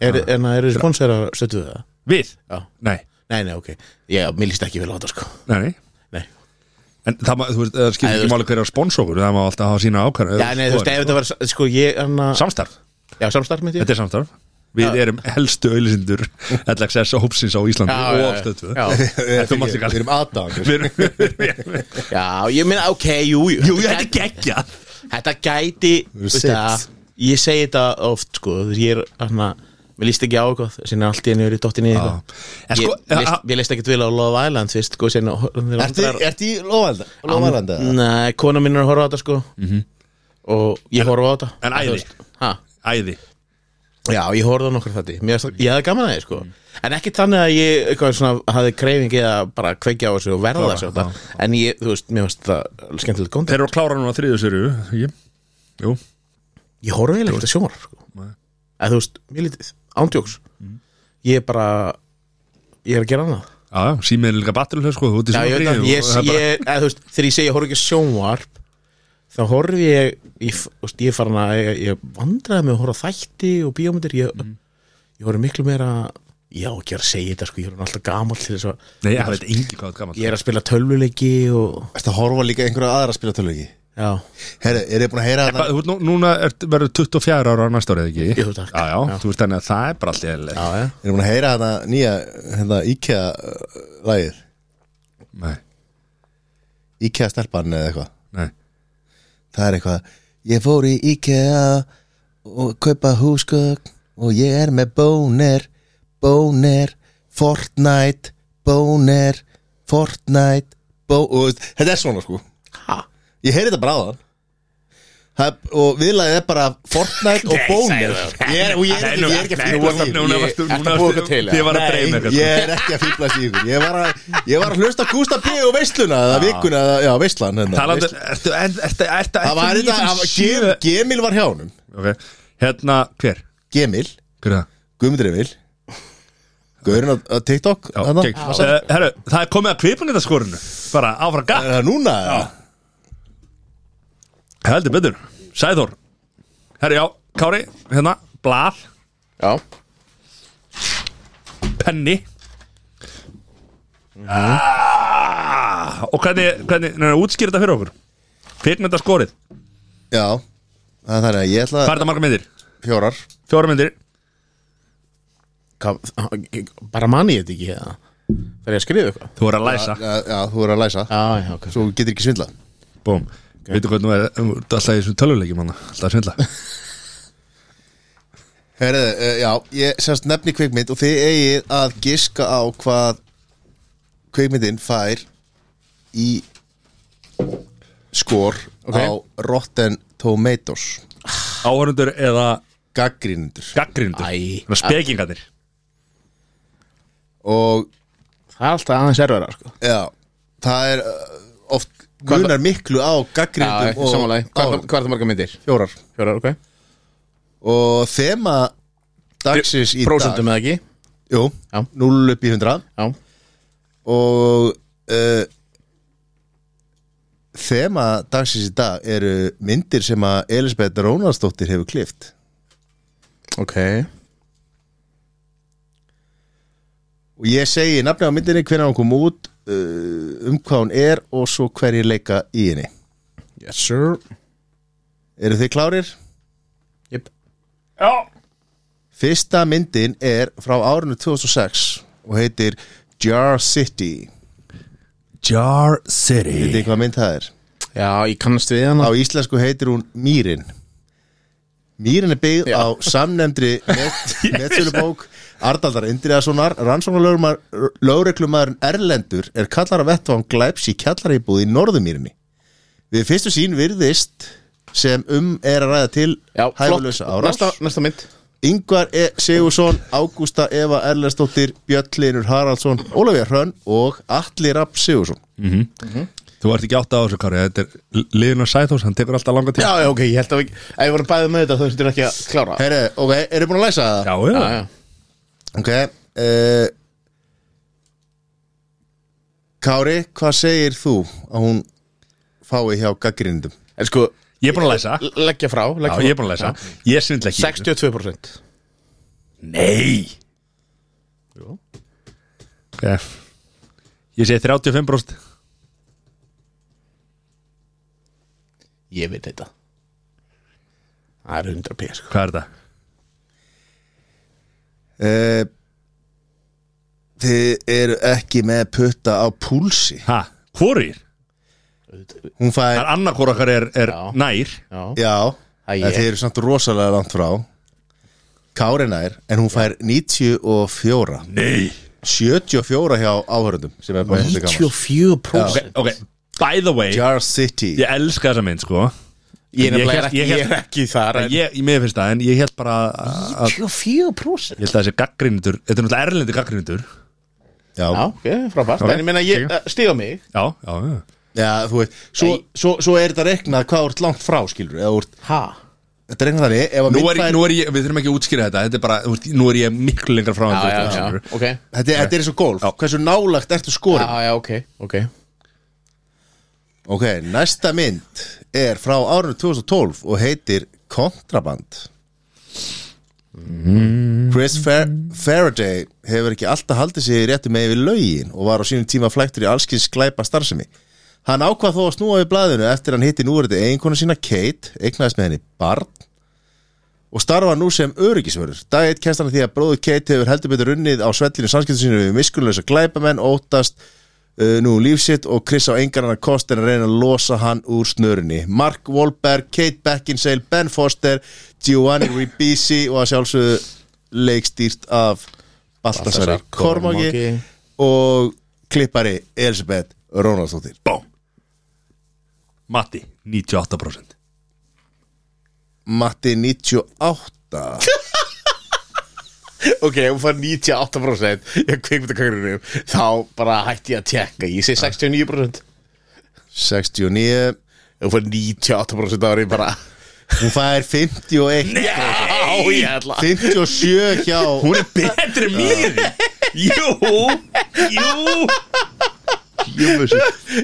er, En það eru sponsorar stöttuð það? Við? Já. Nei, Nei, nei, ok Já, mér líst ekki vel á þetta, sko nei, nei Nei En það, ma- þú veist, það Nei, skiptir þú ekki máli hverja spons okkur það má alltaf hafa sína ákvæða Já, nei, þú veist, ef þetta var, sko, ég anna, Samstarf, Já, samstarf mitt ég þetta er samstarf Við erum helstu auðlisindur LXS og hópsins á Íslandi Já, já, og já. afstöðtu Já. Þetta um mást ekki Við alveg erum aðdáðan Við erum- við erum- Já, ég meina, ok, jú, jú Jú, þetta er geggja Þetta gæti eru veist það, six. Ég segi þetta oft sko þú veist, Ég er hérna Mér líst ekki á eitthvað Sinna allt í henni verið dottinni í eitthvað En Ég sko, leist- Ég líst ekki til á Love Island Fyrst sko sinna Ertu í Lóvalanda? Lóvalanda? Nei, kona mín er að horfa á þetta sko Og ég horfa á þetta en æði. Þú veist, ha? Æði Já, ég horfði á nokkur þetta Ég hafði gaman að því sko En ekki þannig að ég eitthvað, svona, hafði kreifingi að bara kveikja á þessu og verða þessu á þetta. En ég, þú veist, mér varst það skemmtilegt Þeir kontent eru að klára núna þriðu sérju Jú, jú Ég horfði eiginlega ekki að sjónvarp sko. að þú veist, mér lítið, ándjóks ég er bara ég er að gera annað Já, já, símið er líka batterlöf sko Þú ert í Já, ég, veit sjónvarpinu og að, ég, það er bara- ég, að, þú veist, þegar ég segi ég horf ekki á sjónvarp þá horfi ég ég, f- þú veist, ég er farin að ég, ég vandraði með að horfa á þætti og bíómyndir ég, ég horfi miklu meira já, ekki að segja þetta sko, ég er orðinn alltaf gamall til þess að Nei, ég veit engi hvað þetta gaman ég er að spila tölvuleiki og Ertu að horfa líka einhverja aðra spilatölugi? já, Herra, er þið búin að heyra þarna? Hvað, þú ert nú- Núna ert- verður 24 ára á næsta árið ekki Jú, takk. Já, já, Já. þú veist þannig að það er bara alltaf eðlileg já, já. Erum búin að heyra þarna nýja hérna, IKEA-lægið Nei, IKEA-stelpan eða eitthvað nei Það er eitthvað Ég fór í IKEA og kaupa húsgögn og ég er með bónir bónir, Fortnite bónir, Fortnite bó og veist, þetta er svona sko Ha? Ég heyri þetta bara á þann Það, og viðlaðið er bara Fortnite og bónir ég er, og ég er, ég er ekki að Nei, fíblast í núna- núna Ég- varstu- ertu núna að búa eitthvað til, varstu- eða? Ég var að dreyma Nei, eitthvað sko. ég er ekki að fíblast í ykkur Ég var að, ég var að hlusta á Gústa B og veisluna eða vikuna, eða- já veislan hérna, Talandi, veislan. ertu, ertu, ertu, ertu Það var þetta, það var- Gem- Gemil var hjá honum Ok, hérna, hver? Gemil, Hver er það? Guðmundur Emil Gaurinn á á TikTok Já, þarna? gegn. Eh, Herru, það er komið að kvipun þetta skorinu Bara áfram Er gakk það núna? Heldur betur, Sæður Herru, já, Kári, hérna, blað Já, Penni Mhm. ah, Og hvernig, hvernig, hvernig útskýr þetta fyrir okkur Kvikmynda skorið, Já Það er þannig að ég ætla hvað er það marga myndir? fjórar Fjóra myndir, Hvað, bara manni ég þetta ekki eða Það er ég að skrifa eitthvað þú voru að læsa Já, já, þú er að læsa Já, já, ok Svo þú getur ekki svindla Búm, okay. veitu hvernig þú er þú ert alltaf í þessum töluleikjum hann Alltaf að svindla Herðu, uh, já, ég semst nefni kvikmynd og þið eigið að giska á hvað kvikmyndin fær í skor á Rotten Tomatoes Áhörundur eða gaggrínundur gaggrindur Æ. Þannig að spekingarnir og Það er alltaf aðeins erfara sko já, það er uh, oft munar miklu á gaggrínundum og Hvað áhorfendum. hvað er það marga myndir? fjórar Fjórar, ok og þema dagsins í Prósentum eða ekki dag jú, Já. 0 upp í 100 Já, og uh, þema dagsins í dag eru myndir sem að Elisabeth Rónarsdóttir hefur klift ok og ég segi nafni á myndinni hvernig hún kom út uh, um hvað hún er og svo hverjir leika í henni Yes sir eru þið klárir? Jep Fyrsta myndin er frá árinu 2006 og heitir Jar City Jar City Vitið þið hvað mynd það er? Já, ég kannast við Á hana íslensku heitir hún Mýrin Mýrin er byggð Já. á samnefndri net, netsölubók Ardaldar Indriðasonar Rannsóknarlögreglumæðurinn Erlendur er kallar af vettvang glæps í kjallarýbúð í Norðumýrinni Við fyrstu sín virðist sem um er að ræða til Já, flott hæfulösa árás Næsta, næsta mynd Ingvar e. Sigursson, Ágústa Eva Erlendsdóttir, Björn Linur Haraldsson, Ólafja Hrönn og Atli Rapp Sigursson. Þú ert ekki átt á þessu Kári, þetta er liðin að Sæþós, hann tekur alltaf langa tíma Já, já, ok, ég held að við Ef ég voru bæðið með þetta þú þurftur ekki að klára Herre, ok, eru búin að læsa það? Já, Já, já, já Ok, uh, Kári, hvað segir þú að hún fái hjá gaggrindum? En sko, ég er búin að læsa Já, l- leggja frá leggja frá. ég er búin að læsa Ég svindla ekki 62% Nei Jú. Ok Ég segi 35 bróst Ég veit þetta Það er 100 p sko Hvað er þetta? Uh, þið eru ekki með putta á púlsi. Ha? Hvorir? Hún Það fær, er annar hvora okkar er, er Já. nær Já já, Æ, en ég- þið eru samt rosalega langt frá. Kári nær, en hún fær 94. Nei 74 hjá áhörundum sem er bara svolítið gaman 94% Ok, by the way Jar City Ég elska þessa mynd sko Ég er nefnilega Ég- ekki, ég- ég er ekki þar en- Ég, ég mér finnst það en ég held bara að- að 24% Ég held að þessi gaggrindur, þetta er náttúrulega erlendi gaggrindur Já, Já, ok, frábært Ok, En ég meina, ég stíða mig Já, já, já já þú veit Svo, svo, svo er þetta reiknað hvað þú ert langt frá skilur eða þú ert, Ha? Þetta er reiknað þannig ef að Nú mynd er, fær- nú er ég, við þurfum ekki að útskýra þetta Þetta er bara, þú veist, nú er ég miklu lengra frá en Já, þú já, ert, já, skilurðu. ok þetta, er- þetta er eins og golf Hversu nálagt ertu skorin Já, já, ok, ok Ok, næsta mynd er frá árinu 2012 og heitir Kontraband Chris Fer Faraday hefur ekki alltaf haldið sig réttu með yfir lögin og var á sínum tíma flæktur í allskins glæpa starfsemi. Hann ákvað þó að snúa við blaðinu eftir hann hitti núverði eiginkonu sína Kate, eignaðist með henni barn og starfa nú sem öryggisvörður. Dag eitt kennst hann að því að bróður Kate hefur heldur betur runnið á svellinu samskiptum sínu við miskunnlösa glæpamenn, óttast uh, nú líf sitt og Chris á engan hann kost en að reyna að losa hann úr snörunni Mark Wahlberg, Kate Beckinsale, Ben Foster Giovanni Ribisi og að sjálfsögðu leikstýrt af Baltasari Baltasar Kormáki Kormáki. og klippari Elisabeth Rónaldsdóttir Bóm Matti, 98% Matti 98 Ok, ef hún fær 98% í kvikmyndakagrunum þá bara hætti ég að tjekka ég segi 69% 69 ef hún fær 98% þá er ég bara hún fær 51 Já, ég ætla 57 hjá Hún er betri en mér Jú, jú Jú,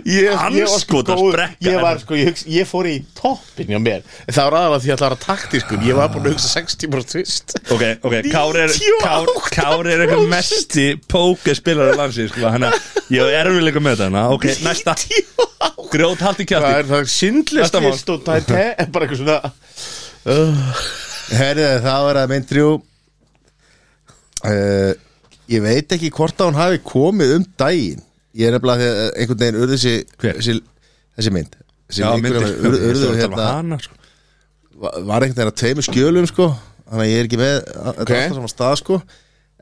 ég, ég var sko Andskotar góð- brekka. ég, var, sko, ég, hugsa- ég fór í toppin hjá mér En það var aðalega því að það var taktískun Ég var búin að hugsa 6 tímar tvist Ok, ok, Kár er, 98%. Kár, Kár er eitthvað mesti pókespilar á landsins sko, hann að, ég er erfilega með þetta hana Ok, næsta, grjót haldi Það kjátti er það sindlist Þetta var- og það er te- er bara eitthvað svona Herðu, það var að mynd þrjú uh, Ég veit ekki hvort að hún hafi komið um daginn Ég er nefnilega þegar einhvern veginn urðu þessi, Hver? þessi, þessi mynd þessi Já, einhvern myndir, veginn urðu, urðu, Ég þarf að tala um hérna, hana, sko. var var einhvern veginn að tveimur skjölum sko Þannig að ég er ekki með okay. Ok. alltaf saman stað sko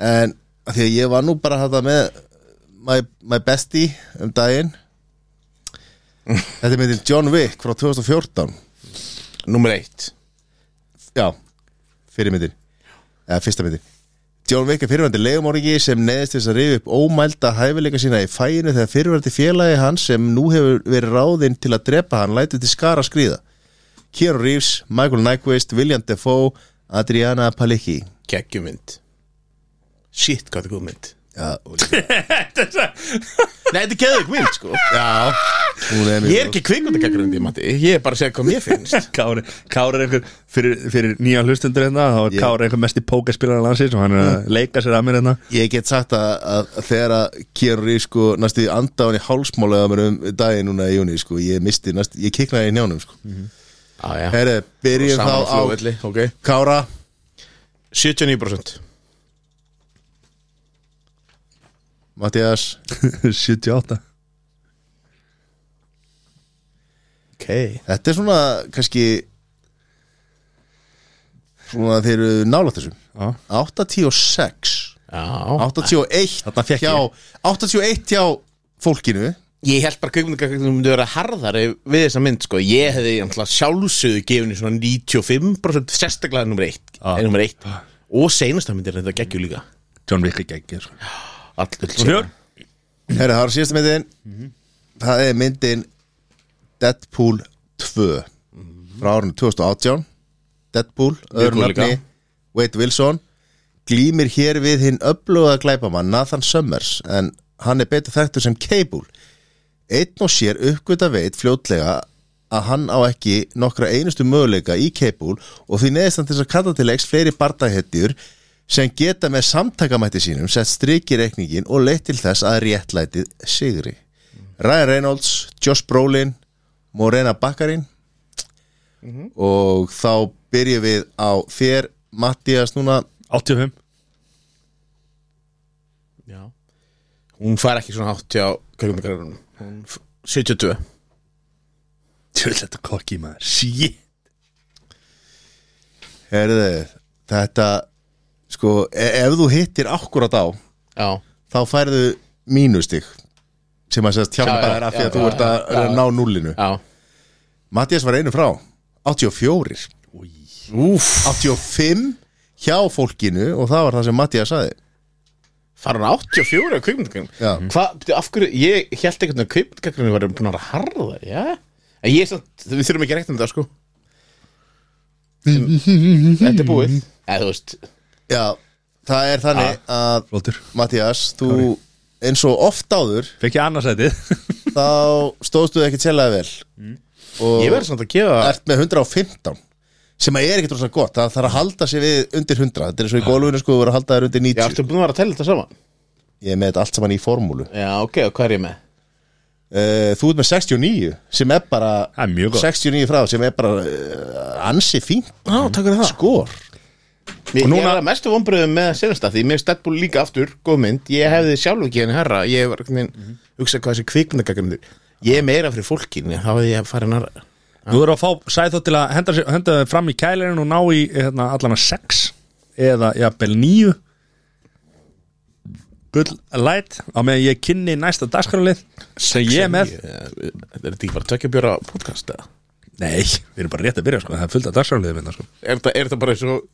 En af því að ég var nú bara þetta með my, my bestie um daginn Þetta er myndin John Wick frá 2014 Númer 1 Já, fyrirmyndin eða fyrsta myndin John Wick er fyrirvændi leigumorgi sem neðist til þess að rifi upp ómælda hæfileika sína í fæinu þegar fyrirvændi félagi hans sem nú hefur verið ráðinn til að drepa hann lætur til skara skrýða Keanu Reeves, Michael Nyquist, William Defoe Adriana Palicki Kekjumynd Shit, hvað er góð mynd Já, og- Nei, þetta er geðug mynd sko Já hún er mjög Ég er ekki kvikmyndagagrindi, Matti Ég er bara að segja hvað mér finnst Kári, Kári er einhver fyrir, fyrir nýja hlustundur hérna þá er Ég- Kári einhver mesti pókespilar á landsins og hann er að leika sér að mér hérna Ég get sagt að, að þegar að Keanu Reeves sko næstu andáin í hálsmála um daginn núna í júni sko ég misti næstu, ég kiknaði í njánum sko ah, ja. Herre, byrjum þá Saman á flugvelli, ok Kára 79% Mattias 78 Ok Þetta er svona kannski svona þeir eru nálægt þessu Já. 86 Já 81 Þarna fékk Mhm. hjá, 81 hjá fólkinu Ég held bara kvikmyndagagrindum myndi vera harðari við þessa mynd sko Ég hefði náttúrulega sjálfsögðu gefinu svona 95% sérstaklega nummer 1 Ah. ah. nummer 1 og seinasta myndir þetta geggju líka John Wick er geggir sko. Allur Fjör, Herra, það er síðasta myndin Mhm. Það er myndin Deadpool 2 Mhm. frá árunni 2018 Deadpool, öðru Deadpool líka. nafni Wade Wilson glýmir hér við hinn öfluga glæpamann Nathan Summers en hann er betur þekktur sem Cable einn og sér uppgöta veit fljótlega að hann á ekki nokkra einustu möguleika í Cable og því neðist hann til þess að kalla til leiks fleiri bardahettjur sem geta með samtakamætti sínum sett striki reikningin og leitt til þess að réttlætið sigri Ryan Reynolds, Josh Brolin Morena Bakkarin og þá byrjum við á þér Mattias núna 85 Já Hún fær ekki svona hátt hjá kvikmyndagagrindum Hún f- 72 Tjöld þetta kokki maður Shit Herðu, þetta sko, e- ef þú hittir akkurat á Já þá færðu mínustig sem að segja Já, já, hjálpaðir af því já, að þú já, ert að já, já. ná núllinu Já Mattias var einu frá 84, Úf 85 hjá fólkinu og það var það sem Mattias saði Það er hann 84 á Já. kvikmyndagagrindum Hvað, byrju, af hverju, ég held ekkert að kvikmyndagagrindum var búin að vera harðar, já En ég er samt, við þurfum ekki að reikna um þetta sko Þetta er búið Eða þú veist Já, það er þannig að Flóttur Mattias, þú eins og oft áður Fekk ég annarsætið þá stóðstu þig ekki tjelaði vel og Mm. Ég verður samt að gefa ert með 115 sem að er ekkert rosa gott, það þarf að halda sig við undir 100, þetta er eins og í gólfinu sko þú verður að halda þér undir Ah. 90 Já, ertu búin að vera að tella þetta saman? ég er með þetta allt saman í formúlu Já, ok, og hvað er ég með? Eh, Þú ert með 69 sem er bara Það er mjög gott. 69 frá sem er bara uh, ansi fínt Já, takk fyrir það Sko, skor Ég, núna- ég er að mestu vonbröðum með senast að því Mér er stedbúl líka aftur, góð mynd Ég hefði sjálf ekki henni herra Ég var mm -hmm. hugsað hvað þessi kvikmyndagagrindur Ég er meira fyrir fólkinu, þá hefði ég farin að Þú verður að fá sæþó til að henda, sér- henda þeim fram í kælirinn og ná í hérna, allan að 6 eða jafnvel 9 Gull light á meðan ég kynni næsta dagskrálið sem ég er með Er þetta ekki bara tökja bjóra podcast eða? Nei, við erum bara rétt að byrja sko, það er fullt af dagskrálið minna sko Er þetta, er þetta bara eins og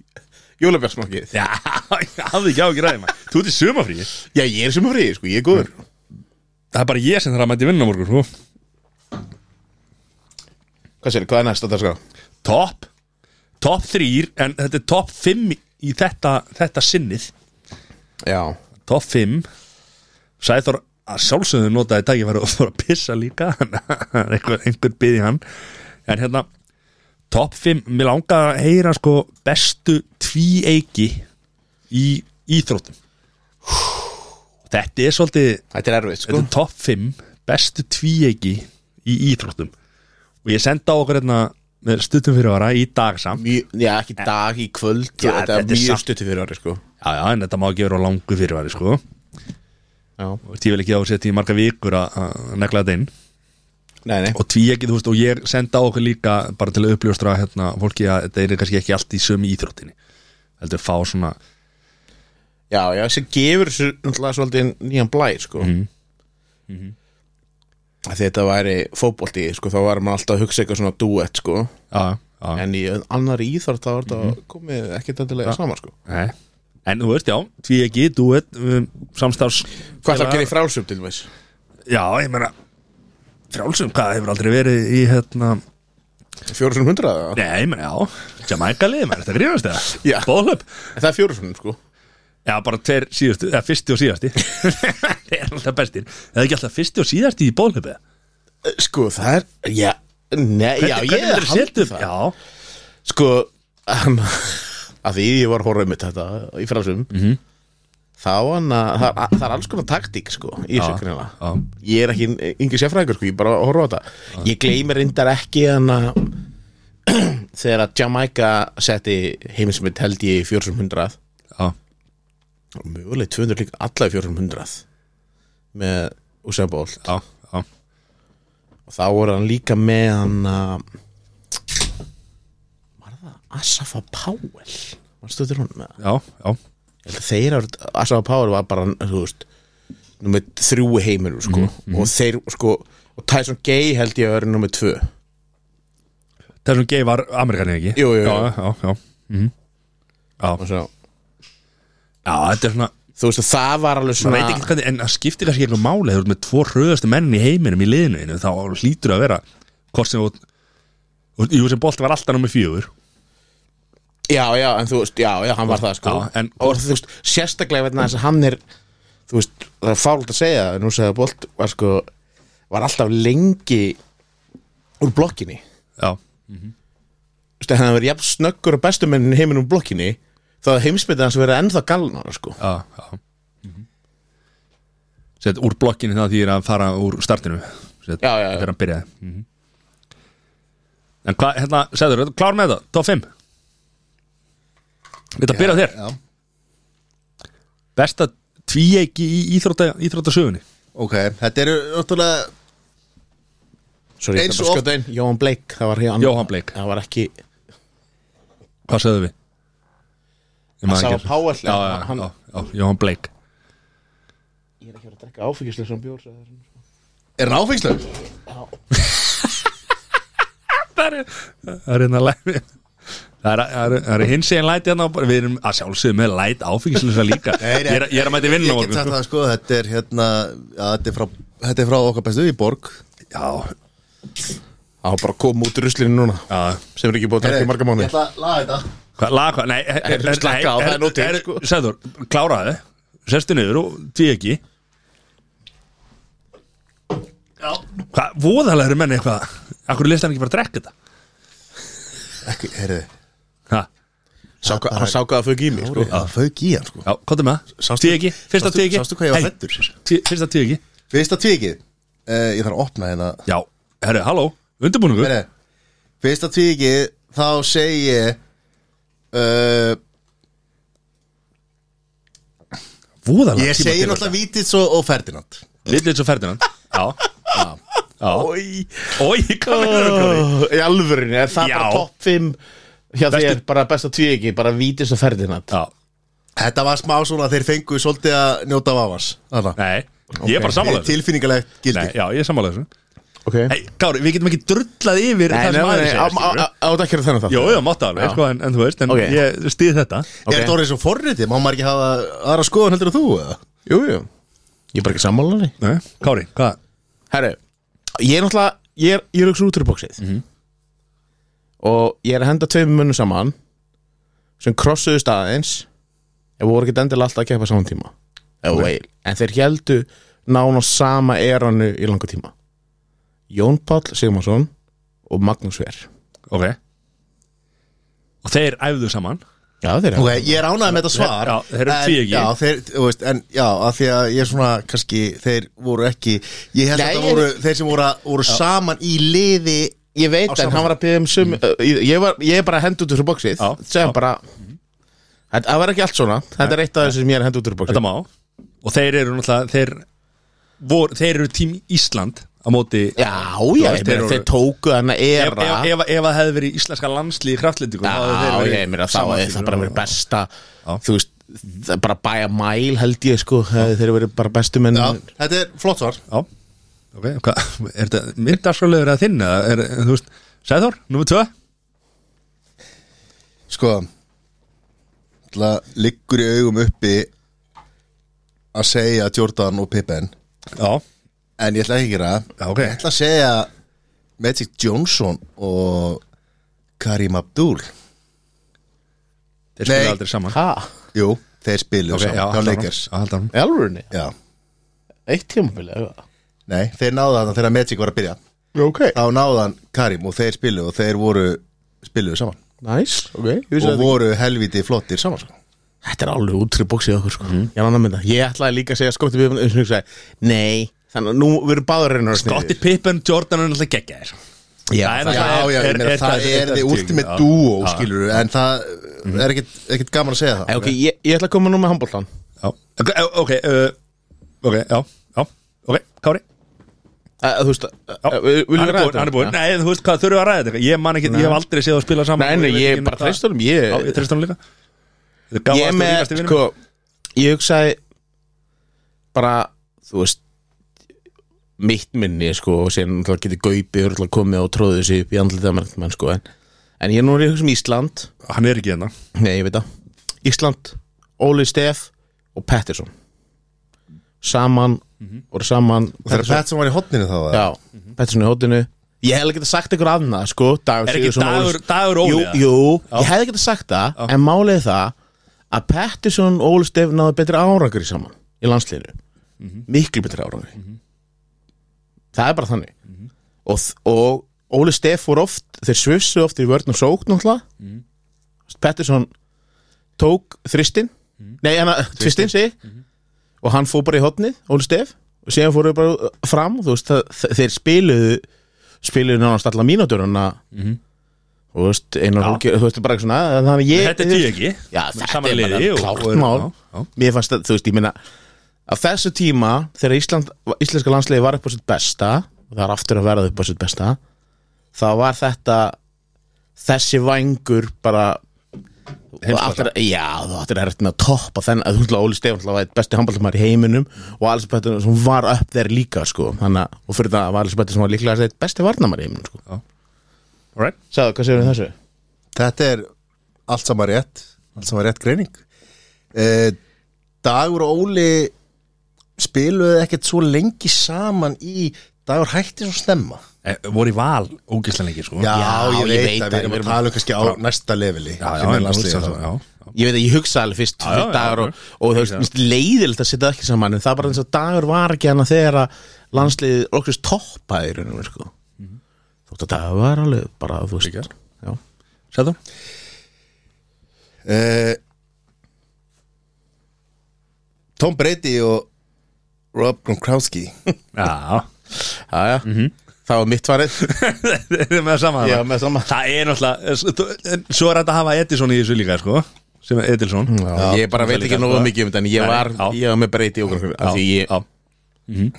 jólabjarsmakið? Já, hafði ekki á ekki ræði maður Þú ert í sumafríi Það Já, ég er sem að friði, sko, ég er góður er bara ég sem þarf að mæti vinna á morgun sko Hvað sér, hvað er næsta dagskrá? Topp Topp 3, en þetta er topp 5 í þetta, þetta sinnið Já, top 5 Sæþór að sjálfsögðu notaði tækifæri og fór að pissa líka einhver, einhver byði hann en hérna top 5, mér langar að heyra sko bestu tvíeiki í íþróttum þetta er svolítið Þetta er erfitt sko. þetta er top 5 bestu tvíeiki í íþróttum og ég senda á okkur hérna með stuttum fyrirvara í dag samt Mjö, já, ekki dag, í kvöld sko, Já, Þetta þetta er er mjög samt- stuttu fyrir ári sko já, já, en þetta má ekki vera á langu fyrirværi sko Já. og ég vil ekki á að setja í marga vikur að að negla þetta inn Nei, nei og tví ekki, þú veist, og ég senda á okkur líka bara til að uppljóstra hérna fólki að þetta er kannski ekki allt í sömu íþróttinni heldur fá svona Já, já, sem gefur þessu náttúrulega svolítið nýjan blæ sko Mhm. mm Þetta væri fótbolti sko, þá var maður alltaf að hugsa eitthvað svona duett sko já, já, En í annari íþort þá var þetta komið ekkert endilega saman sko nei. en þú veist, já, tví ekki, þú veit um, samstafs Hvað það gerir frálsum til þess? já, ég meina frjálsum, hvað hefur aldrei verið í hérna, 400 eða? nei, ég meina, já Jamaica liðum, er þetta grífast Já. eða? bólöp, Það er 400 sko já, bara tver síðustu eða fyrsti og síðasti það er alltaf bestir, eða ekki alltaf fyrsti og síðasti í bólöp eða? Sko, það er, já Nei, já, Hvernig ég myndirðu setja haldi upp- það já, Sko hann, að því ég var að horfa um þetta í frásum mm Mhm. -hmm. þá hann að það, það er alls konar taktík sko í þessu Já, greinlega já. ég er ekki yngi sérfræðingur sko, ég bara horfa á þetta ég gleymi reyndar ekki hann að þegar að Jamaica setti heimsmynd held ég í 400 já, og möguleg 200 líka alla í 400 með Usain Bolt já, já og þá voru hann líka með hann að var það Asafa Powell varstu þetta hún með það? já, já, Ég held að þeir eru, Asafa Powell var bara þú veist, nummer þrjú heiminu sko, Mhm, og þeir sko og Tyson Gay held ég að vera nummer tvö þessum gei var Amerikanin ekki Jú, jú, jú. já, já, já. Mhm. og svo, já, þetta er svona þú veist að það var alveg maður svona veit ekki hvernig, en það skiptir kannski einhver máli þegar þú ert með tvo röðastu menn í heiminum í liðinu þínu, þá hlýtur að vera hvort sem þú og Jú sem Bolt var alltaf nummer fjögur já, já, en þú veist, já, já, hann var það sko Já, en- og þú veist, sérstaklega vegna þess að hann er þú veist, það er fált að segja það, en nú segja Bolt var sko var alltaf lengi úr blokkinni Já, Þú veist, ef hann hefði verið jafn snöggur og bestu mennin í heiminum úr blokkinni þá hefði heimsmyndið hans verið ennþá galnar sko. já, já Sett úr blokkinni það því að fara úr startinu Sett, Já, Mhm. já, já. Þegar hann byrjaði mm En hvað, hérna, segður, klár með það, top 5 Þetta byrja á þér Já, Besta tvíeiki í íþrótta, íþróttasögunni ok, þetta eru náttúrulega Sorry, Eins og ég ætla bara að skjóta inn. Jóhann Blake, það var hann Jóhann Blake. það var ekki Hvað sögðu við? Ég maður Sá ekki. Powell, Já, já, hann- já, já, Jóhann Blake ég er ekki verið að drekka áfengislega sem bjór Er hann áfengslöf? Það er- það er hérna læmi Það er, það er, það er hins einn læti hérna á- Við erum að sjálfsögðu með læt áfengislega líka Nei, nei, ég, er, ég er að mæti vinna á Ég get morgun, sagt það sko, þetta er hérna já, þetta, er frá, þetta er frá okkar bestu í borg sko. Já, það var bara að koma út í ruslinu núna já sem er ekki búið að drekka í marga Ég mánu ætla að laga þetta Hvað, laga hvað? Nei, er, er, slaka á, það er nótið, sko. Sæður, kláraði Sestu niður og því ekki Já Hvað, voðalega eru menn eitthvað Akkur list hann ekki bara að drekka þetta Ekki, heyrðu, Ha, hann sá hvað að fög í mig sko. það fauk í hann sko Já, hvað er með það? Því ekki, fyrsta sástu- því ekki sástu hvað ég var hræddur? Fyrsta því ekki Fyrsta tvikið uh, Ég þarf að opna hérna Já, herru, halló, undirbúningur Heyrðu, Fyrsta tvikið þá segi ég uh, Voðalega Ég segi náttúrulega Vítits og, og Ferdinand Lillið svo Ferdinand Já, já Ói, hvað með það? Ó, í alvörinu, er það Já. bara topp 5 hjá Bestu- þér, bara besta tvið ekki bara vítis og ferdinand Já, Þetta var smá svona þeir fengu svolítið að njóta vafans Þarna. nei, ég er bara sammála þessu Tilfinningalegt Nei, gildi já, ég er sammála þessu okay. Hei, Kári, við getum ekki drullað yfir nei, það sem nei, nei, aðeins nei, á- á- á- á- á- á- ekki að þennan það Jó, já, mátta alveg, Já. sko, en, en þú veist En Ok. ég stið þetta Er þetta orðið svo forritið? Má maður ekki hafa aðra skoðan heldur að þú? eða? jú, jú, ég er bara ekki sammála henni nei, Kári, hvað? Herru, ég er náttúrulega Ég er, ég er hugsa út úr bóksið Mhm. Og ég er að henda tveim munum saman Sem krossuðu staðins Ef voru ekki endilega alltaf að keppa saman tíma okay. en þeir heldu nána sama eranu í langa tíma Jón Páll Sigmarsson og Magnús Ver ok og þeir æfðu saman Já, þeir Ok, ég er ánægð með þetta svar Já, þeir eru en- tví ekki. Já, þeir, þú veist, en já, að því að ég er svona, kannski, þeir voru ekki Ég held Nei, að þetta ég- voru, þeir sem voru, voru saman í liði Ég veit Á en sama hann var að byggja um sum mm. ég, var, ég er bara að henda út úr bóksið Já, Segja bara Þetta- Það var ekki allt svona Þetta er eitt af þessu sem ég er að henda út úr bóksið þetta má og þeir eru náttúrulega þeir, vor, þeir eru tím Ísland á móti Já, Þú já, veist, þeir ég meina voru- þeir tóku hann að ef, era ef, ef, ef að hefði verið íslenska landslið í kraftlendingum Já, ég meina þá er það bara verið besta Þú veist, það er bara bæja mæl held ég sko hefði Þeir eru verið bara bestu menn Já, þetta er flott svar Já, ok, hvað, er þetta myndarskólegur að þinn eða er, þú veist, Sæður, nummer 2 Sko Það liggur í augum uppi að segja Jordan og Pippen Já, En ég ætla ekki að gera það. Já, ok. Ég ætla að segja Magic Johnson og Karim Abdul þeir Nei. spila aldrei saman Hæ? Jú, þeir spilu Ok, já, saman hjá halda Lakers áfram, halda áfram. Elrunni? Já, Eitt tímabili eða? nei, þeir náðu þannig þegar Magic var að byrja Ok Þá náðu hann Karim og þeir spilu og þeir voru spiluðu saman Nice, ok Ég vissi og þetta ekki. voru helviti flottir saman sko. Þetta er alveg útri bóksið okkur sko Mhm. Ég er annað mynda Ég ætlaði líka að segja skótti við um snugsa Nei Þannig að nú verður báður reynur Gotti Pippen, Jordan er alltaf geggjaðir Já, það er Já, náttúrulega- já, ég meina það er þið ultimate duo skilur en það er ekkit, ekkit gaman að segja það Æ, ok, ég, ég ætla að koma nú með handbóltan Já, ok, ok, uh, ok, já, já, ok, Kári Þú veist Já, uh, vil- viljum hann er við búinn, ræða þetta? hann er búinn Nei, þú veist hvað, þurfum við að ræða þetta Ég man ekki, ég hef aldrei séð að spila saman Nei, nei, ég bara treyst honum Já, ég Ég treyst honum líka Þetta er Eh, gáfaðasti ég er og með, ríkasti vinur sko Ég hugsaði bara, þú veist mitt minni, sko og sér náttúrulega getið gaupi og náttúrulega komið og tróðið sér upp í andlitað margmenn, sko en, en ég nú er ég að hugsa um Ísland sko Hann er ekki hérna Nei, ég veit það Ísland, Óli Steff og Pettersson Saman Mhm. voru saman Þegar Petson var í hotninu þá eða? Já, Pettersson í hótinu Ég hefði geta sagt ykkur annað, sko dagur, Er ekki Sigurðsson, Óli- Dagur- Dagur Óli, Jú, eða? jú ég hefði geta sagt það En málið er það að Pettersson og Óli Steff náðu betri árangur í saman Í landsliðinu Mhm. Miklu betri árangur Það er bara þannig Mhm. og, þ- og Óli Steff voru oft Þeir svifsu oft í vörn og sókn náttúrulega Pettersson tók þristinn Mhm. Nei, hann tvistinn segi Og hann fór bara í hotnið, Óli Stef Og síðan fóru bara uh, fram Þú veist, það, þe- þeir spiluðu Spiluðu nánast alla mínúturuna mm Þú veist, einar Mhm. Já. hólki Þú veist, bara svona Þannig að ég Þetta er tíu ekki Já, Með þetta sama er bara liði og- og- klárt mál já, já. Mér fannst að, þú veist, ég meina Á þessu tíma, þegar Ísland, íslenska landsliði var upp á sitt besta og það er aftur að verða upp á sitt besta þá var þetta þessi vangur bara aftur, Já, þú áttir að hérna að toppa þenn að þú ætla Óli Stefán ætla að væri besti handballtumar í heiminum og Alice Pettersson sem var upp þeir líka sko, þannig að, og fyrir það var Alice Pettersson var líklega eitt besti varnamar í heiminum sko. All right. Sæðu, hvað segir við þessu? Þetta er allt saman rétt allt saman rétt greining eh, Dagur og Óli spiluðu ekkert svo lengi saman í Dagur hætti svo snemma Eh, Voru í val ógislega lengi sko ég veit að það, við erum að við erum tala um kannski á næsta leveli já, já, sem er en þú landsliðið veist það þá. svo- já, já. Ég veit að ég hugsa alveg fyrst Já, já, fyrir dagur já, og, og þú veist, mér finnst leiðilegt að setja það ekki saman en það er bara eins og dagur var ekki hana þegar að landsliðið okkur toppaði í raunum sko. Mhm. þótt að dagur var alveg bara þú veist já. Sæður? Eh, Tom Brady og Rob Gronkowski Já Já, já. það var mitt farið Þeir eru Mhm. með það sama Já, þarna. með sama. Það er náttúrulega s- þú- en Svo er þetta að hafa Edison í þessu líka sko Sem er Edilson ég bara veit ekki líka, nógu sko. mikið um þetta en ég Nei, var, já. ég var með breyti okkur af því ég, já. Mhm.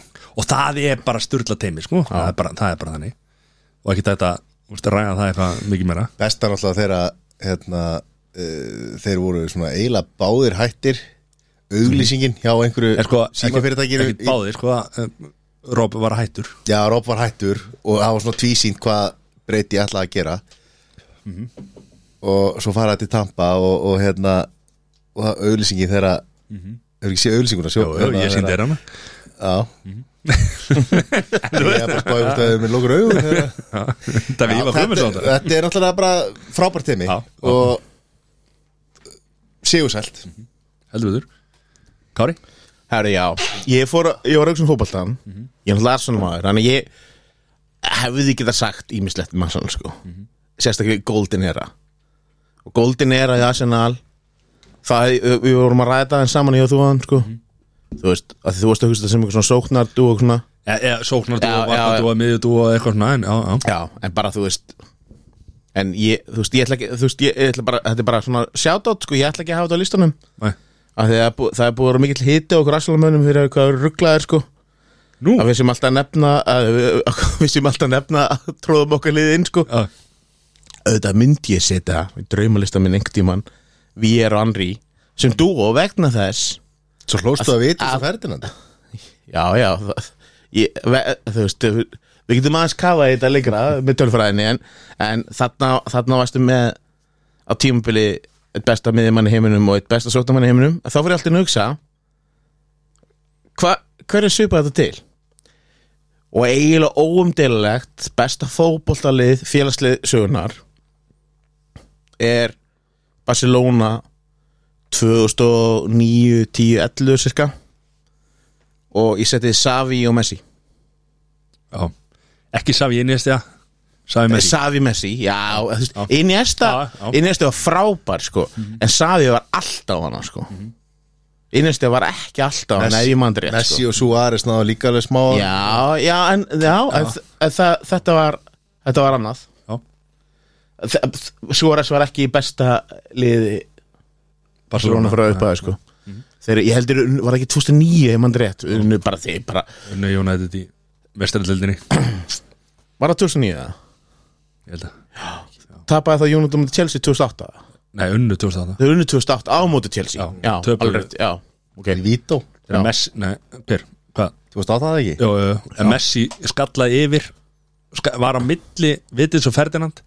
Og það er bara styrla teimi sko það er, bara, það er bara þannig Og ekki þetta, þú veist, ræða það eitthvað mikið meira Bestar alltaf þeirra hérna, uh, þeir voru svona eiginlega báðir hættir auglýsingin hjá einhverju En sko, símafyrirtækinu ekki, ekki báðir sko að, um, Rob var hættur Já, Rob var hættur og það var svona tvísýnt hvað Brady ætlaði að gera og svo fara þetta í Tampa og, og hérna og það auglýsingin þeirra mm hefur ekki séð auglýsinguna sjó, Jó, jó, ég sýndi þér hana Já Ég er bara spáði hvort að það er með lókur augun þeirra. Það við ég var komið svo á þetta, þetta þetta er náttúrulega bara frábært teimi Já, já. og sigursælt Heldur við þur Kári? Herri, já Ég, fór, að- ég var auksum fótboltan mm -hmm. Ég er náttúrulega Arsenal maður Þannig að ég hefði geta sagt ímislegt um Arsenal sko. Sérstaklega í Golden Era Og Golden Era í Arsenal Það, við vorum að ræða það en saman ég og þú aðan sko. Þú veist, að því þú veist að hugsa þetta sem eitthvað svona sóknardú og svona e, e, Sóknardúa, Já, já, varnardúa, miðjudúa eitthvað svona, en já, já Já, en bara þú veist En ég, þú veist, ég ætla ekki Þú veist, ég, ég ætla bara, þetta er bara svona Shoutout, sko, ég ætla ekki að hafa þetta á listanum Nei. að það, er bú, það er búið að vera mikill hiti okkur aðslalmönnum fyrir hvað eru rugglaðir sko Nú? að við sem alltaf nefna að við, að við sem alltaf nefna að tróðum okkar liðið inn sko Já. auðvitað myndi ég setja í draumalista minn einhvern tíman við erum Andri sem dúo vegna þess Svo hlóstu að vita að- þessu Ferdinand já já það, ég, ve, þú veist við, við getum aðeins kafað í þetta lengra með tölfræðinni en, en þarna, þarna varstu með á tímabili eitt besta miðjumann í heiminum og eitt besta sóttamann í heiminum þá fyrir alltaf að hugsa hva, hver er svipað þetta til og eiginlega óumdeililegt besta fótboltalið félagslið sögunar er Barcelona 2009, 10, 11 cirka og ég seti Savi og Messi Eh, já Ekki Savi Iniesta, Savi Messi Savi Messi, já, þú veist, Iniesta Já, Mhm. já. Iniesta var frábær sko en Savi var alltaf hana sko Mhm. Iniesta var ekki alltaf hana ef ég mann rétt Messi sko. og Suárez náðu líka alveg smá já, já, en, já, en, en það, þetta var þetta var annað Já, Suárez var ekki í besta liði Barcelona Barcelona Mhm. frá uppaði sko Þeir, ég heldur, var ekki 2009 ef mann rétt, unnu bara þeir bara, Unni United í Vestarlöldinni Ég var það 2009 það? held að Tapaði það United mútið Chelsea 2008 Nei, unnu 2008 Þau unnu 2008 á mútið Chelsea Já, já töpuðu. alveg rétt, já okay. Vító, Já. Þegar Messi, nei, hver, hvað? þú veist á það ekki? Jó, jó, jó. En Messi skallaði yfir ska, var á milli Vittis og Ferdinand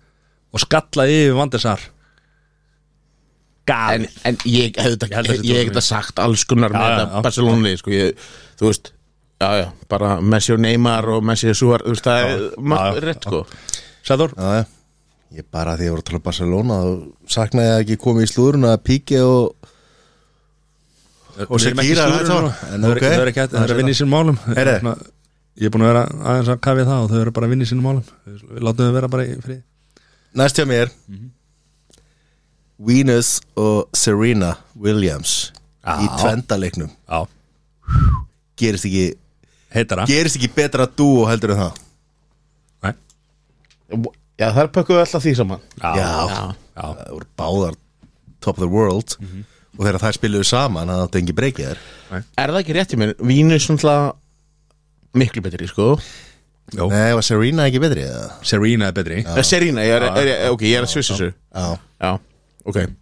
og skallaði yfir Vandesar en, Gali en ég hefði Ég held þetta að ég, þetta ég tók hef þetta sagt alls kunnar með já, þetta já. Barcelona lið, sko, ég, þú veist já, já, bara Messi og Neymar og Messi og Suar, þú veist, það er já, margt rétt, sko Sæður, Já, já. Ég bara því að ég voru að tala um Barcelona þá saknaði ég að ekki komið í slúðurinn að Píke og og Shakira, þetta var- en Það er ok. það er ekki hægt, það er að vinna í sínum málum Heyrðu. Svona, Ég er búin að vera aðeins að kafja það og þau eru bara að vinna í sínum málum Við við látum þau vera bara í frið Næst hjá mér Venus og Serena Williams í tvendaleiknum Já, gerist ekki, heitar það gerist ekki betra dúo heldur en það Nei. já, það er pökkuð alltaf því saman Já, Já, það voru báðar top of the world og þegar þær spiluðu saman það átti engi breykið þær er það ekki rétt í mér, Vínu er svona miklu betri, sko Jó. Nei, var Serena ekki betri? eða? Serena er betri Eh, Serena, ég er, er, er, ok, ég er að svissa þessu Já, já, ok Mm.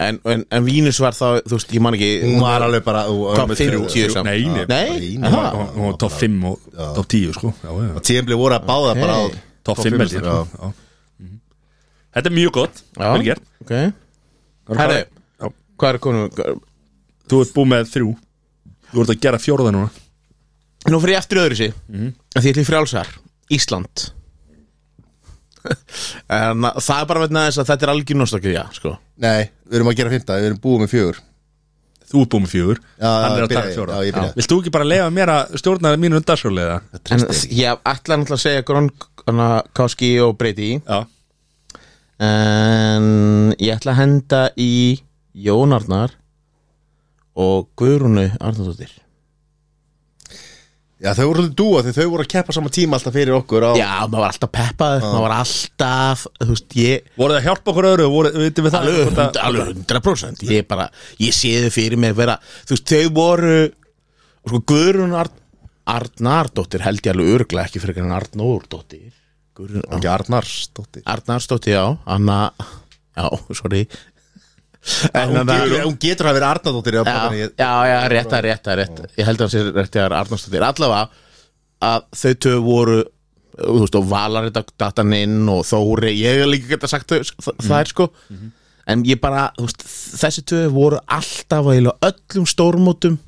En, en, en Vínus var þá, þú veist, ég man ekki hún var alveg bara hún var Top með 50 þrjú- samt. Nei, nei. Nei, Nei, Aha. Hún- Hún var top 5 og top 10 sko Já, já, já. Tíðanbli voru að báða bara á Ok. Top 5 held ég já. sko. Já. Mhm. Þetta er mjög gott Já, Vel gert ok Herri, Já. hvað er konum Þú ert búið með þrjú Þú ert að gera fjórða núna Nú fyrir ég eftir öðru sig mm. Því ég til frjálsar, Ísland en, Það er bara vegna þess að þetta er algjör nostalgið Já, sko Nei, við erum að gera fymta, við erum búið með fjögur Þú ert búið með fjör Já, Hann er já, að taka byrja, fjórða já, ég byrja. Vilt þú ekki bara leifa mér að stjórna mínu undarsjóliða? en, Ég ætla náttúrulega að segja Grón, hana, Káski og Breyti Já En ég ætla að henda í Jón Arnar Og Guðrúnu Arnardóttir Já, þau voru svolítið dúa því þau voru að keppa saman tíma alltaf fyrir okkur á Já, maður var alltaf peppaður Maður var alltaf, þú veist, ég Voru það að hjálpa okkur öðru? Voru, veitum við það? alveg, Hvort að- hund, alveg 100% ég bara, ég sé þau fyrir mig vera þú veist, þau voru sko, Guðrún Arn, Arnardóttir held ég alveg örglega ekki fyrir en Arnórdóttir Guðrún Ekki Arnarsdóttir Arnardsdóttir, já, Anna já, sorry en, Hún hana- getur, hún getur að vera Arnardóttir eða já, Bjarni, ég- já, já, rétt, rétt, rétt, rétt ég held að það sé rétt að Arnarsdóttir allavega að þau tvö voru þú veist, og valar þetta datan inn og Þóri, ég hef líka geta sagt þau, þ- Mhm. þær sko en ég bara, þú veist, þessi tvö voru alltaf að eiginlega öllum stórmótum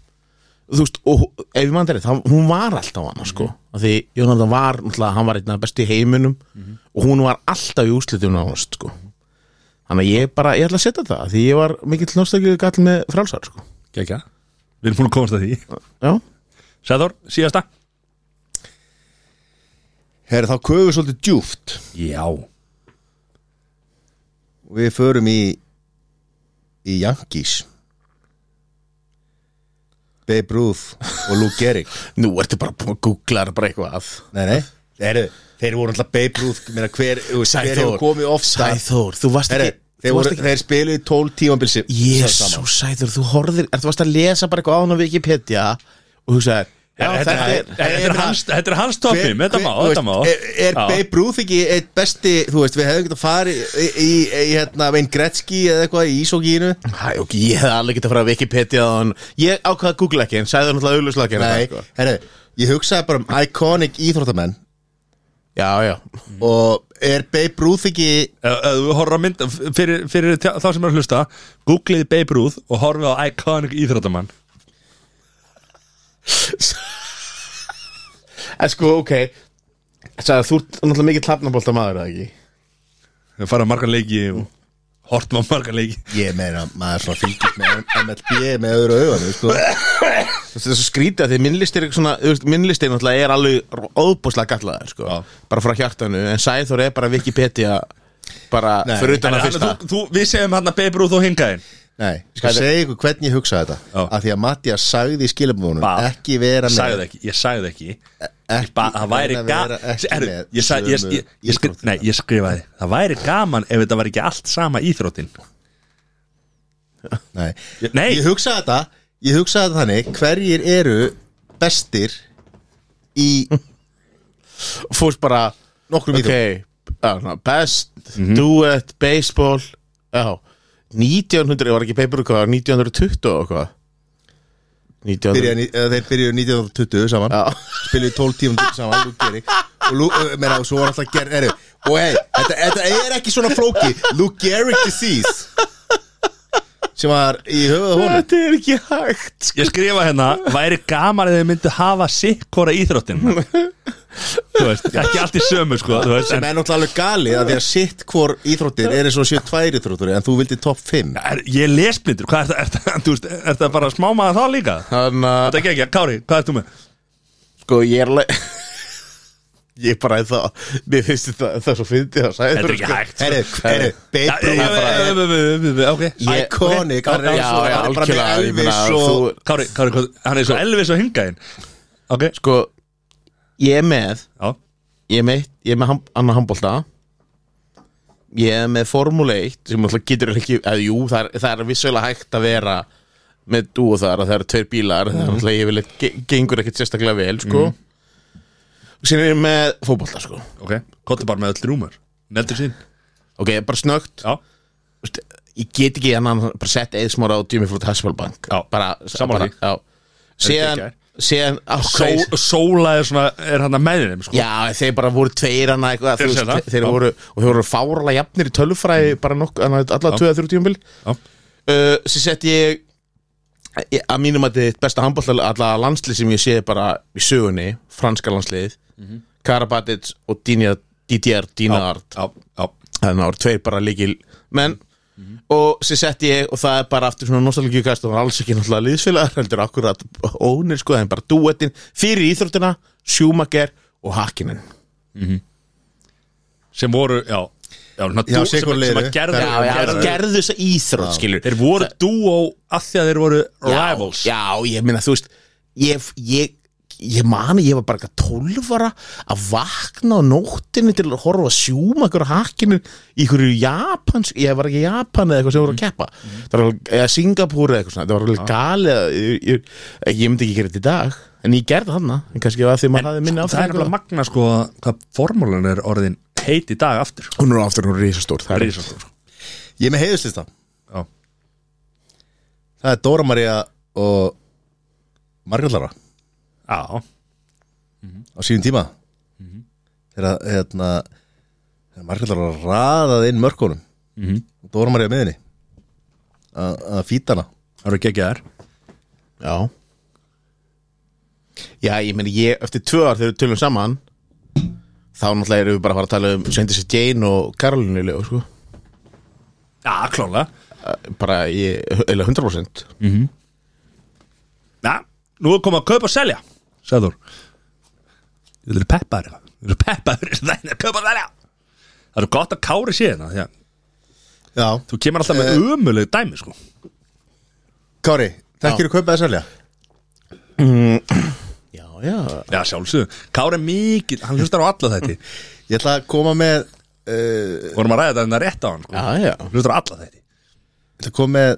þú veist, og hú- ef ég mann þetta hún var alltaf hana Mhm. sko af því Jónandan var, náttúrulega, hann var einna besti í heiminum Mhm. og hún var alltaf í úslitum nánast sko Þannig að ég bara, ég ætla að setja það af Því ég var mikill náttúrulega gall með frálsar sko. Gekja Við erum búin að komast að því Já, Sæður, síðasta Herra, þá köfum við svolítið djúft Já og við förum í í Yankees Babe Ruth og Lou Gehrig nú ertu bara búin að googla þér bara eitthvað að Nei, nei, Heru, þeir voru alltaf Babe Ruth meina, hver, þú veist, hver hefur komið ofta Sæþór, þú varst Heru, ekki þeir, þú varst voru, ekki- þeir spiluðu 12 tímabilsi Jésús, Sæþór, þú horfðir er, Þú varst að lesa bara eitthvað án á Wikipedia og hugsaðir Já, Þetta þetta er- er þetta er hans- þetta er hans toppim Þetta má, þetta má er, er Já. Babe Ruth ekki eitt besti þú veist, við hefum getað farið í, í, í, í hérna, Vein Gretzky eða eitthvað í Ísókínu Hæ, ok, ég hefði alveg getað að fara að Wikipedia á hann Ég ákvaða að googla ekki en Sæþór náttúrulega auðvitað ekki nei, herru, ég hugsaði bara um iconic íþróttamenn Já, já og er Babe Ruth ekki Ef ef þú horfður að mynda fyrir, fyrir tjá- þá sem er að hlusta Googlið Babe Ruth og horfið á Iconic Íþróttamann En sko, ok Sæþór, þú ert náttúrulega mikið hlapnabólta maður, eða ekki? Við farið á margar leiki og hortum á margar leiki ég meina, maður svona fylgist með MLB með öðru auðan sko. Þetta er svo skrítið að því minnlist er eitthvað svona þú veist, minnlist er náttúrulega er alveg óbúslega gallaður sko. bara frá hjartanu en Sæþór er bara Wikipedia bara Nei. fyrir utan Þannig að að fyrsta þú, þú, við segjum hann að Babe Ruth og hingaðin nei, ég skal segja ykkur hvernig ég hugsaði þetta Já. að því að Mattias sagði í skilabónum Bað. ekki vera með Sagði það ekki, ég sagði það ekki ekki, Ba- það væri reyna að gaman vera ekki með ég, sa- ég, ég, ég, skri, íþróttina. nei, ég skrifaði það væri gaman ef þetta var ekki allt sama íþróttin Nei. Ég- nei. Ég hugsaði þetta Ég hugsaði þetta þannig Hverjir eru bestir Í fórst bara nokkrum Mhm. ok, íþróttum já, ná, best, duet, baseball já, 1900 var ekki paper og hvað, 1920 og hvað Byrja, 1900 ní- eða Þeir byrjuðu 1920 saman Já. Spiluðu 12 tíum saman Lú Gehrig Og Lú, ö, meina, og svo var alltaf ger, eru, Og hei, þetta, þetta er ekki svona flóki Lou Gehrig disease Sem var í höfuða honum þetta er ekki hægt ég skrifaði hérna, væri gaman ef þið myndu hafa sikkora íþróttin þú veist, ekki allt í sömu sko, þú veist, Sem en er náttúrulega alveg galið að Því að sitt hvor íþróttir er eins og séu tvær íþróttir En þú vildi topp 5 er, ég er lesblindur hvað er það, er það, veist, er það bara smámaða þá líka þannig að þetta er ekki, Kári, hvað ert þú með? Sko ég er alveg Ég bara er það Mér finnst þetta það er svo fyndið að sæða þetta er ekki hægt sko. Herru, herru, Já, Babe ég- Ruth ég- ég- ég- ég- ok Ég- Iconic, hann er Já, eins og- já, hann er bara algjörlega, með ég meina, Elvis og- þú- Kári, Kári, Kári, hann er svo Elvis og hingaðin ok, Sko Ég er með já, Ég er með, ég er með ham, annar handbólta Ég er með Formule 1 sem alltaf getur ekki eða, Jú, það er, það er vissulega hægt að vera með dú og þar að það eru tveir bílar Mm. það er alltaf yfirleitt ge- gengur ekkert sérstaklega vel sko og síðan er ég með fótbolta sko ok, kottu bara með öll rúmur neldur sín, ok, bara snögt já Þú veist, ég get ekki annan bara sett eða smára á djumi frá Hasselbank Já, bara, sammála bara, því. já. síðan, geggjað. síðan á, Só, Sóla er svona, er hann að með þeim sko. já, þeir bara voru tveir hana, eitthvað, Þeir þú segja það, þeir já. voru, og þeir voru fárala jafnir í tölfræði bara nokk, hana, alla tveið að þrjú tíumbil Já. uh, sem sett ég ég- að mínum að þið besta handbóltal alla landslið sem ég sé bara í sögunni, franska landsliðið Mhm. Karabatic og Dínja DDR, Dínard já, já, Mhm. þannig að það voru tveir bara líkil menn og sér sett ég og það er bara aftur svona nostalgíu kast og það var alls ekki náttúrulega liðsfélagar heldur akkurat ónir sko, það er bara duettin fyrir íþróttina, Schumacher og Hakkinen sem voru, já, já, svona Já, dú- sikur sem, að- sem að liði. gerðu, Já, já, gerðu, gerðu, gerðu þessa íþrótt, skilur þeir voru dúó af því að þeir voru já, rivals já, ég meina, þú veist ég, ég, ég mani, ég var bara eitthvað 12 ára að vakna á nóttinni til að horfa Schumacher og Hakkinen í einhverju Japans, ég var ekki í Japan eða eitthvað sem voru að keppa það var alveg, eða Singapur eða eitthvað svona, það var alveg galið að- ég, ég, ég myndi ekki gera þetta í dag en ég gerði þarna, en kannski að því maður hafði minni það er aftur nefnilega magna sko að hvað formúlan er orðin heit í dag aftur sko. hún er aftur, hún er risastór það er Rísastór Ég er með heiðuslista Já. Það er Dóra Maria og Margrét Lára á já, sínum tíma Mhm. Þegar hérna þegar Margrét Lára raðaði inn mörkunum Mhm. og Dóra Maria meðinni að fýta hana það eru geggjaðar Já Já, ég meni ég, eftir tvö ár þegar við tölum saman þá náttúrulega erum við bara að fara að tala um Svendis Jane og Karolínu Ljó, sko já, klálega bara, ég, eiginlega 100% Na, nú er komið að kaupa og selja Sæður Þú eru peppaður eitthvað. Þú eru peppaður Það er að kaupa og selja Það eru gott að kári síðan Því að Já, þú kemur alltaf Eh, með uh, umuleg dæmi sko. Kári, þekkir þú kaupa að selja? Já, já Mm. Já, sjálfsögðu Kári er mikið, hann hlustar á alla þetta Ég ætla að koma með uh, Vorum að ræða þetta en það rétt á hann sko. Já, já Hlustar á alla þetta Ég ætla að koma með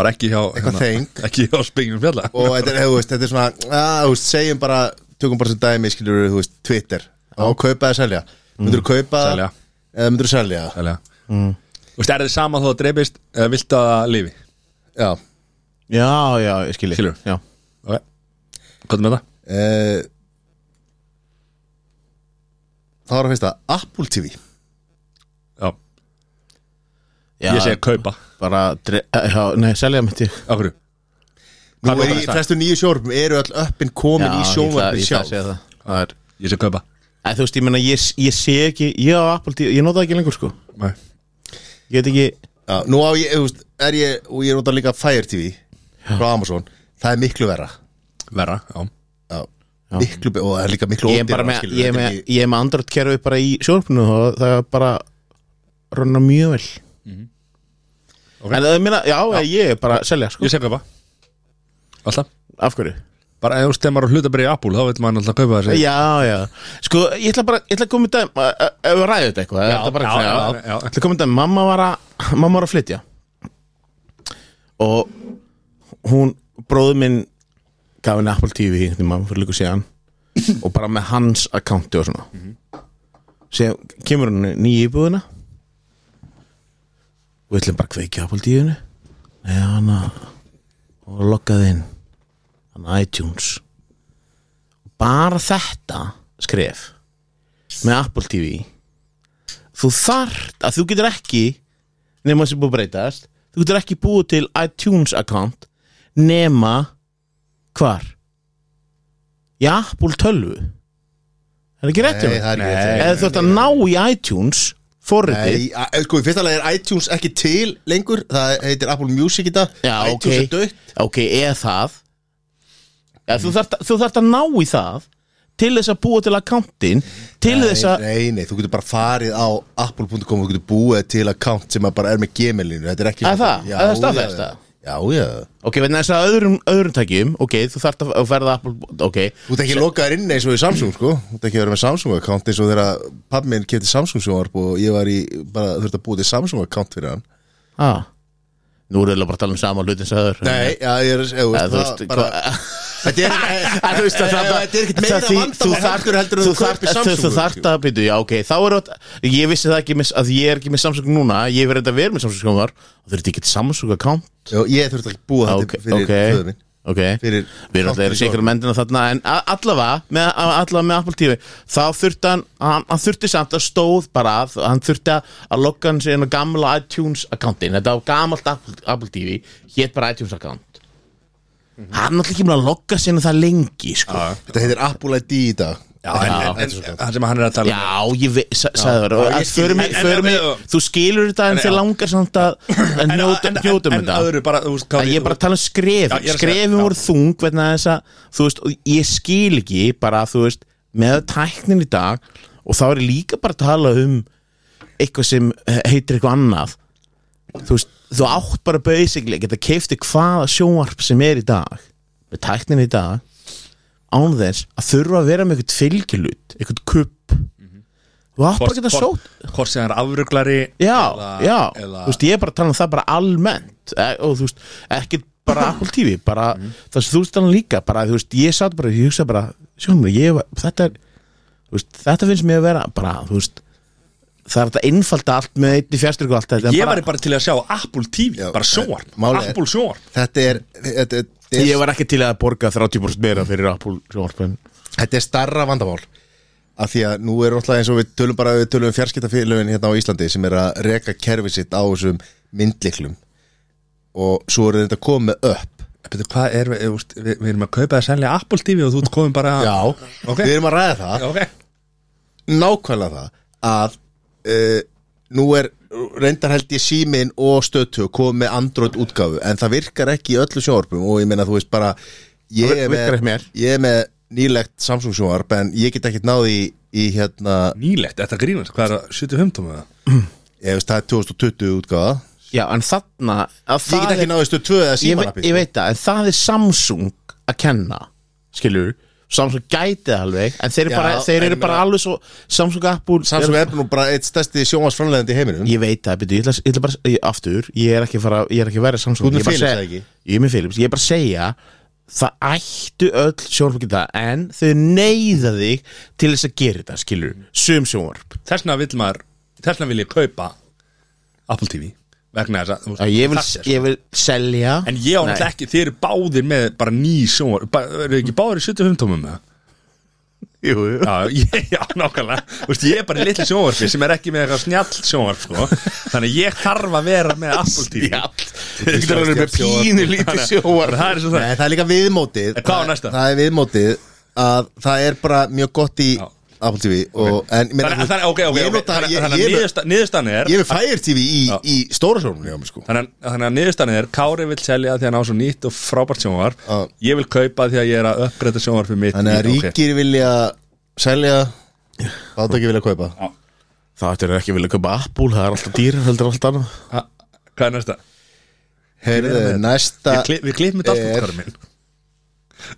Bara ekki hjá hérna, Eitthvað þeng. Ekki hjá spenginu fjalla og þetta er, þú veist, þetta er svona að, þú veist, segjum bara, tökum bara sem dæmi skilur, þú veist, Twitter á kaupa eða selja, Mm. myndur þú kaupa Selja. eða myndur þú selja, Sælega mm. Þú veist, er þið sama þó að dreipist eða vilt að það lifi já Já, já, ég skilji Skilur. Já Ok, hvað er með það? uh, þá er að finnst það Apple TV, Já, Já, ég segi kaupa bara dre- eh, Já, nei, selja mitt ég Af hverju? nú Hvað er notar í það? flestu nýju sjórum eru öll öppin komin í sjónvarpin sjálf Já, ég ætla- ég ætla að segja það Það er Ég segi kaupa Æ, þú veist, ég meina, ég, ég sé ekki Ég á Apple TV, ég nota það ekki lengur, sko Nei. Ég veit ekki já, nú á ég, þú veist, er ég og ég nota líka Fire TV frá Amazon, það er miklu verra Verra, já já, miklu, be- og það er líka miklu Ég er bara ódýrara, með, skilur, ég þetta er er með, ekki- ég er með Android kerfi bara í sjórfnu og það er bara runna mjög vel Ok. En það er minna, já, ég er bara að selja, sko Ég segi kaupa Alltaf Af hverju? Bara ef þú stemmar á hlutabrið í Apple þá veit maður alltaf kaupa þessi Já, já Sko, ég ætla bara, ég ætla að koma í dag Ef við ræðum þetta eitthvað þetta er bara já, eitthvað, já, já. Ég ætla að koma í dag, mamma var að Mamma var að flytja Og hún, bróður minn Gaf henni Apple TV Þannig maður fyrir líku síðan Og bara með hans accounti og svona mm kemur henni nýja íbúðina Og við ætlum bara að kveikja Apple TV-inu Nei, hann að Og loggaði inn Hann að iTunes bara þetta skref með Apple TV þú þart að þú getur ekki nema sem búið að breytast þú getur ekki búið til iTunes account nema hvar í Apple 12 er það ekki rétt hjá Nei, mér? það er ekki rétt hjá mér. eða þú ert að ná í iTunes forritið Nei, a- sko, í fyrsta lagi er iTunes ekki til lengur Það heitir Apple Music í dag Já, iTunes ok. er dött ok, eða það ja, þú, þarft, að- þú þarft að ná í það til þess að búa til accountin til þess að nei, nei, þú getur bara farið á apple.com og þú getur búið til account sem að bara er með gmailinu Þetta er ekki Að það? Já, Að það staðfest já, það? Já, já Ok, vegna þess að öðrum, öðrum tækjum Ok, þú þarft að verða Apple Ok, Þú ert ekki lokaður inn eins og í Samsung, sko Þú ert ekki verið með Samsung account eins og þegar pabbi minn kefti Samsung sjónvarp og ég var í, bara þurfti að búið til Samsung account fyrir hann ah. Nú erum við bara að tala um sama hlutin sem öður Nei, já, ég er, ég, veist, Eða, þú það veist, bara hvað- Þetta er, Að þú veist að það- þetta er ekkert það meira því- vandamál heldur heldur en þú þú þarft kaupir að þú- Samsung sko. þú þarft að byrja, já ok þá er þetta, ég vissi það ekki með, að ég er ekki með Samsung núna, ég verið að vera með Samsung sjónvar og þurfti ekki til Samsung account Jú, Ég þurfti að búa Ah, þetta ok, fyrir ok, föður minn ok Fyrir við erum þáttinn alltaf í erum sikra sjónvarpi. mendina þarna en a- allavega með, a- allavega með Apple TV þá þurfti hann, hann, hann þurfti samt að stóð bara að, hann þurfti að, að logga hann sig inn á gamla iTunes accountin þetta á gamalt Apple, Apple TV hétt bara iTunes account Mhm. hann er alltaf ekki búin að logga sig inn á það lengi sko. Ah, Þetta heitir Apple ID í dag Já, en, en, en, það sem hann er að tala um. já, ég vei, sa, sagði Já, ég skil- en- en- það en- þú skilur þetta en en- þið já. langar samt að að En- njóta en- njóta um en- þetta En öðru bara, þú veist að ég er bara að tala Já, um skrefin ég er að segja- skrefin já. voru þung vegna þess að þú veist, og ég skil ekki bara þú veist, með tæknin í dag og þá er ég líka bara að tala um eitthvað sem eh, heitir eitthvað annað þú veist, þú átt bara basically að geta keifti hvaða sjónvarp sem er í dag með tæknin í dag án þess að þurfa að vera með eitthvað fylgjulut, eitthvað kupp þú átt bara að geta sótt Hvort sem hann er afruglari Já, já, eða, þú veist, ég er bara að tala um það bara almennt e og þú veist, ekkert bara Apple TV, bara það sem þú veist þannig líka, bara þú veist, ég satt bara ég hugsa bara, sjónum, ég var, þetta er þú veist, þetta finnst mér að vera bara, þú veist það er þetta einfalda allt með einni fjárstyrku og allt þetta en Ég væri bara til að sjá Apple TV, Já, bara en- sjónvarp málið er- Apple sjónvarp Þetta er, þetta, þetta, ég er, var ekki til að borga 30% meira fyrir Apple sjónvarpin þetta er starra vandamál af því að nú er alltaf eins og við tölum bara við tölum fjarskiptafélögin hérna á Íslandi sem er að reka kerfi sitt á þessum myndliklum og svo eru þetta komið upp Betur, hvað er, við, við, við, við erum að kaupa það sennlega Apple TV og þú ert komin bara ok. við erum að ræða það ok nákvæmlega það að uh, nú er reyndar held ég símin og stötu komið með Android útgáfu en það virkar ekki í öllu sjórpum og ég meina þú veist bara ég Það er virkar ekki með, mér. ég er með nýlegt Samsung sjónvarp en ég get ekkert náði í, í hérna, Nýlegt, þetta grínast, hvað er það, 75 tómið það? ég veist það er 2020 útgáða Já, en þarna ég að get það ekki er- náði stu 2 eða ég, ve- símanappi ég veit það, en það er Samsung að kenna skilur, Samsung gæti það alveg en þeir, eru Já, bara, þeir en eru ég bara meina- alveg svo Samsung Apple Samsung er nú bara eitt stærsti sjónvarsframlegandi í heiminum ég veit það, byrju, ég ætla, ég ætla bara ég, aftur, ég er ekki að fara, ég er ekki að vera Samsung Þú ert með Ég er bara að Philips, segja- eða ekki? ég er með Philips, ég er bara að segja það ættu öll sjónvarp að geta það, en þau neyða þig til þess að gera þetta, skilur sum sjónvarp, Þessna vil maður, þessna vil ég kaupa Apple TV vegna þess að, þú veist, Já, ég vil, þetta er- sko. ég vil selja En ég á Nei. náttúrulega ekki, þið eru báðir með bara ný sjónvar, ba- eru ekki báðir í 75 tómum með það? jú, jú. Já, ég, já, nákvæmlega Þú veist, ég er bara í litlu sjónvarpi sem er ekki með eitthvað snjall sjónvarp sko. Þannig að ég þarf að vera með Apple TV Þú getur alveg með pínu lítið sjóar Það er svo það Nei, það er líka viðmótið En hvað á næsta? Það er viðmótið að það er bara mjög gott í Já. Apple TV og, en, meina, Þannig þannig- ok, ok, ég ok. nota Þannig- ég, þannig ég, að ég, niðursta- niðurstaðan er ég er með Fire TV í, Já. í stóra sjónum hjá mér sko Þannig að- þannig að niðurstaðan er Kári vil selja því að hann á svo nýtt og frábært sjónvarp Já. Ég vil kaupa því að ég er að uppgreita sjónvarpi mitt Þannig að í- ok. ríkir vilja selja Bátaki vilja kaupa Það ættir ekki að vilja köpa Apple, það er alltaf dýrar heldur en allt annað Ha, Hvað er næsta? Heyrðu, næsta Ég kli, við klippum þetta allt er- út, Kári minn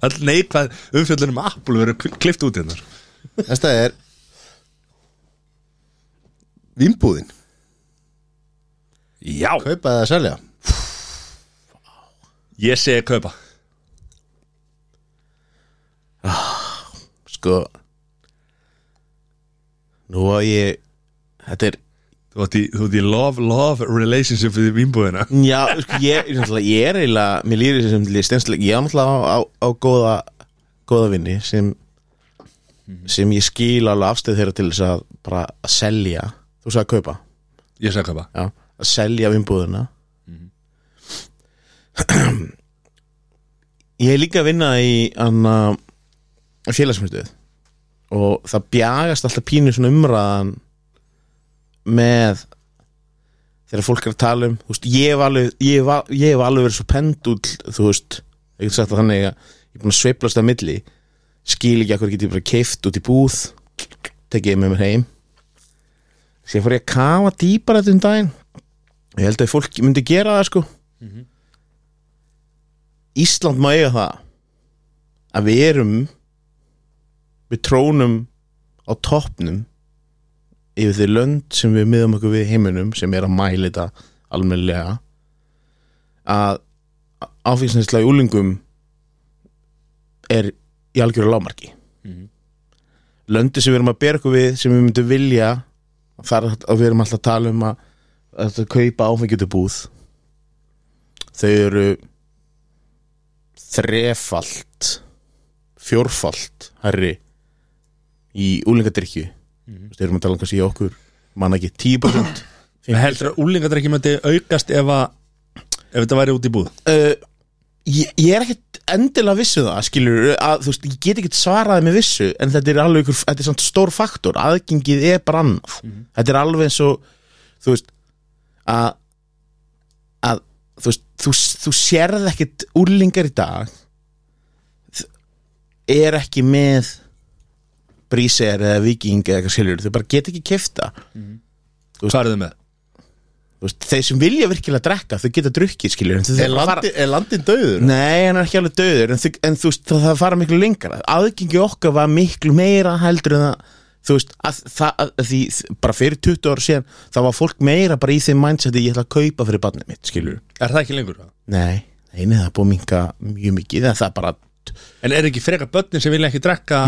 All neikvæð umfjöldunum Apple verður kli- klippt út hérna Næsta er Vimbúðin Já, Kaupa eða selja ég segi kaupa Sko Nú að ég Þetta er Þú átt í, þú átt í love, love relationship við vinnbúðina Já, sko, ég, ég, náttúrulega- ég er eiginlega Mér líður þessum til ég stenslega Ég er náttúrulega á, á, á góða Góða vinni sem Sem ég skil alveg afstöð þeirra til þess að Bara að selja Þú sagði að kaupa Ég segi kaupa já, að selja vinnbúðuna ég er líka að vinna í anna, félagsmynduð og það bjagast alltaf pínu svona umræðan með þegar fólk er að tala um þú veist, ég hef alveg, ég hef al- ég hef alveg verið svo pendull þú veist, ég get sagt það þannig að ég er búin að sveiflast að milli skil ekki akkur get ég bara keift út í búð tekið ég með mér heim Sér fór ég að kafa dýpar þetta um daginn Ég held að fólk myndi gera það sko Ísland má eiga það að við erum við trónum á toppnum yfir því lönd sem við miðum okkur við í heiminum sem er að mæla þetta almennilega að áfélsinslega í úlingum er í algjöru lámarki löndi sem við erum að bera okkur við sem við myndum vilja þar að við erum alltaf að tala um að, að kaupa áfengjöndu búð þau eru þrefalt fjórfalt herri í úlingadrykju mm -hmm. þau erum að tala um kannski í okkur manna ekki 10% Heldur að úlingadrekki myndi aukast ef að Ef þetta væri út í búð uh, ég, ég er ekkert endilega vissu það skilur, að, þú veist, ég get ekkert svaraði með vissu en þetta er alveg ykkur, þetta er samt stór faktor aðgengið er bara annað þetta er alveg eins og þú veist að, að þú, veist, þú, þú sérð ekkert úrlingar í dag þ- er ekki með bríser eða viking eða eitthvað skilur, þau bara get ekki kefta Hvað er þið með? veist, þeir sem vilja virkilega drekka þau geta drukkið skilur en þau Er, þurfa að fara- landi, er landin döður? Nei, hann er ekki alveg döður En, þi- en þú veist, það, það fara miklu lengra Aðgengi okkar var miklu meira heldur en það Þú veist, að, það, að því Bara fyrir 20 ára síðan Það var fólk meira bara í þeim mindseti Ég ætla að kaupa fyrir barnið mitt, skilur Er það ekki lengur? Nei, einu það er búið að minka mjög mikið En það er bara, En er ekki frekar börnin sem vilja ekki drekka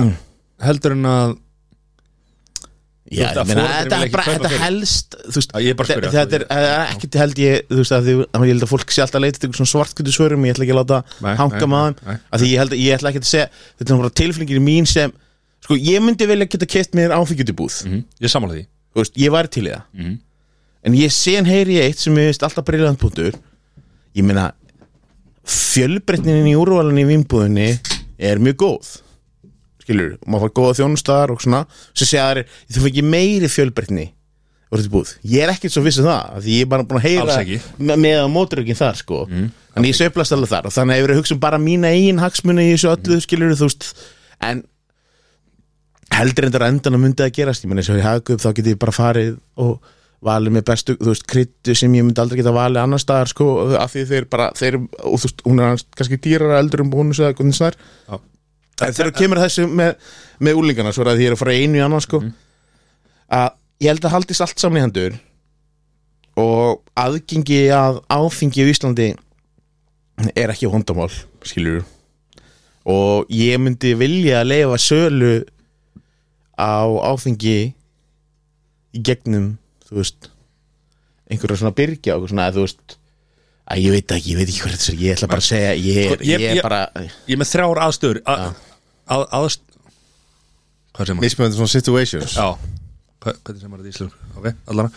Heldur en að já, veist, að ég meina foreldrar vilja Þetta er ekki bara, kaupa þetta fyrir. helst Þú veist, Já, ég er bara að þetta spyrja. þetta er- það er ekkit held ég Þú veist, að því, að ég held að fólk sé alltaf að leita til einhver svona svartkvöldu svörum Ég ætla ekki að láta Nei, hanga nei, með nei, nei. þeim að því ég, held, ég ætla ekki að segja þetta er bara tilflingin mín sem sko, ég myndi velja að geta keft mér áfengjutibúð mm. Ég samála því veist, ég væri til í það Mhm. mm. en ég sen heyri ég eitt sem ég veist alltaf briljant punktur ég meina fjölbreytnin í úrvalinni í vinnbúðinni er mjög góð skilur, maður fær góða þjónustar og svona, svo segja það er þú fengi meiri fjölbreytni og þetta er búið ég er ekkert svo viss um það af því ég er bara búin að Alls heyra ekki. Mhm. me- með að mótrökin þar sko en ég sveiflast alveg þar og þannig að ég verið að hugsa um bara mína eigin hagsmuni í þessu öllu skilur þú veist en heldur endur endan að myndi að gerast ég meni eins og ég hagu upp þá geti ég bara farið og valið með bestu, þú veist, kryttu sem ég myndi aldrei geta valið annar staðar sko, af því þeir bara, þeir, og þú veist, hún er annars kannski dýrara eldur um bónus eða hvernig snar Já. en þegar kemur þessu með, með úlingana, svo er að því ég er að fara í einu í annan sko, að ég held að haldist allt saman í hendur og aðgengi að áfengi í Íslandi er ekki hóndamál, skilur og ég myndi vilja að leifa sölu á áfengi í gegnum, þú veist einhverja svona byrgja og eitthvað svona, þú veist að ég veit ekki, ég veit ekki hvað þetta er ég ætla bara að segja, ég er, Sko, ég- ég, er ég- bara Ég er með þrjár aðstöður að, að, aðst... Hvað sem maður? mismjöndi svona situations Já, Hva- hvernig sem maður þetta í Íslandur? Ok, allan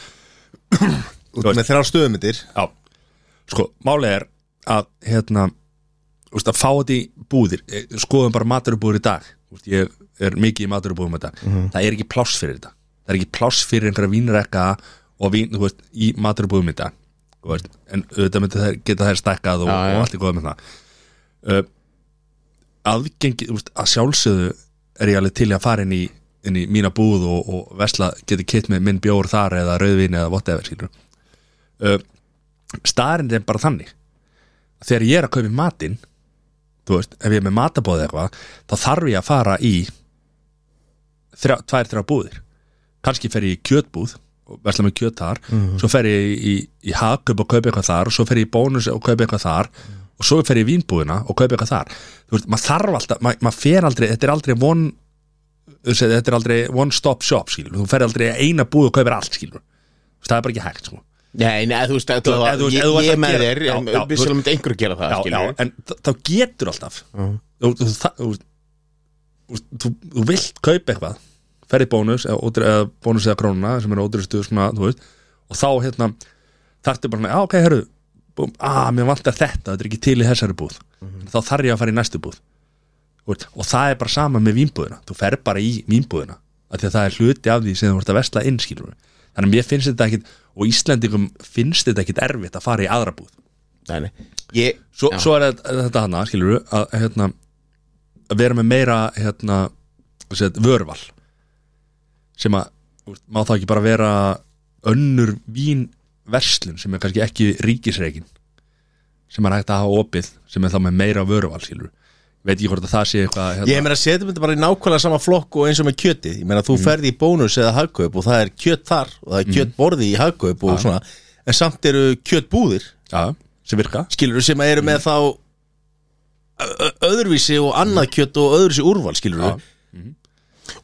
Út með þrjá stöðumyndir Já, sko, málið er að hérna, þú veist, að fá þetta í búðir Eh, skoðum bara maturubúður í dag Þú veist, ég er mikið í maturubúðum í dag Mhm. það er ekki pláss fyrir þetta það er ekki pláss fyrir einhverja vínrekka og vín, þú veist, í maturubúðum í dag Þú veist, en auðvitað myndi þær, geta þær stækkað og, Já, já. og allt í góða með það uh, aðgengi, þú veist, að sjálfsögðu er ég alveg til í að fara inn í, inn í mína búð og, og vesla geti kitt með minn bjór þar eða rauðvín eða whatever, skilur uh, staðarind er bara þannig þegar ég er að kaupi matinn þú veist, ef ég er með matabóð eitthvað þá þarf ég að fara í þrjá, tvær, þrjá búðir kannski fer ég í kjötbúð og versla með kjöt þar svo fer ég í, í, í hagkaup og kaupi eitthvað þar og svo fer ég í bónus og kaupi eitthvað þar og svo fer ég í vínbúðina og kaupi eitthvað þar þú veist, maður þarf alltaf, maður, maður fer aldrei þetta er aldrei one þú veist, þetta er aldrei one stop shop, skilur þú fer aldrei í eina búð og kaupir allt, skilur Þú veist, það er bara ekki hægt, sko nei, nei, þú veist, Þú- þú, eða þú veist, ég, eða þú ætlar ég er með að gera- þér já, en já, þú- vissulega myndi einhver gera það, já, já, skilur en þ- þá getur alltaf þú, þú, þú, þú, þú, þú, þú vilt kaupa eitthvað ferði bónus eða, ódýr, eða bónus eða krónuna sem er ódýrstu svona, þú veist, og þá hérna þarftu bara, svona, já ok, herru búm, að, mér vantar þetta, þetta er ekki til í þessari búð þá þarf ég að fara í næstu búð Þú veist, og það er bara sama með vínbúðina þú fer bara í vínbúðina af því að það er hluti af því sem þú ert að vesla inn skilur þannig að mér finnst þetta ekkit og Íslendingum finnst þetta ekkit erfitt að fara í aðra búð nei, nei. Ég, svo, Já. svo er þetta- þetta hana, skilur við að, hérna, að vera með meira hérna, set, vörval sem að þú veist, má það ekki bara vera önnur vínverslun sem er kannski ekki ríkisreikin sem er hægt að hafa opið sem er þá með meira vörval, skilur við veit ekki hvort að það sé eitthvað hérna, Ég meina að setja þetta bara í nákvæmlega sama flokk og eins og með kjötið, ég meina þú Mm. ferði í bónus eða hagkaup og það er kjöt þar og það er kjöt borði í hagkaup og svona en samt eru kjötbúðir já, sem virka skilur sem eru með þá ö- ö- öðruvísi og annað kjöt og öðruvísi úrval skilur Já.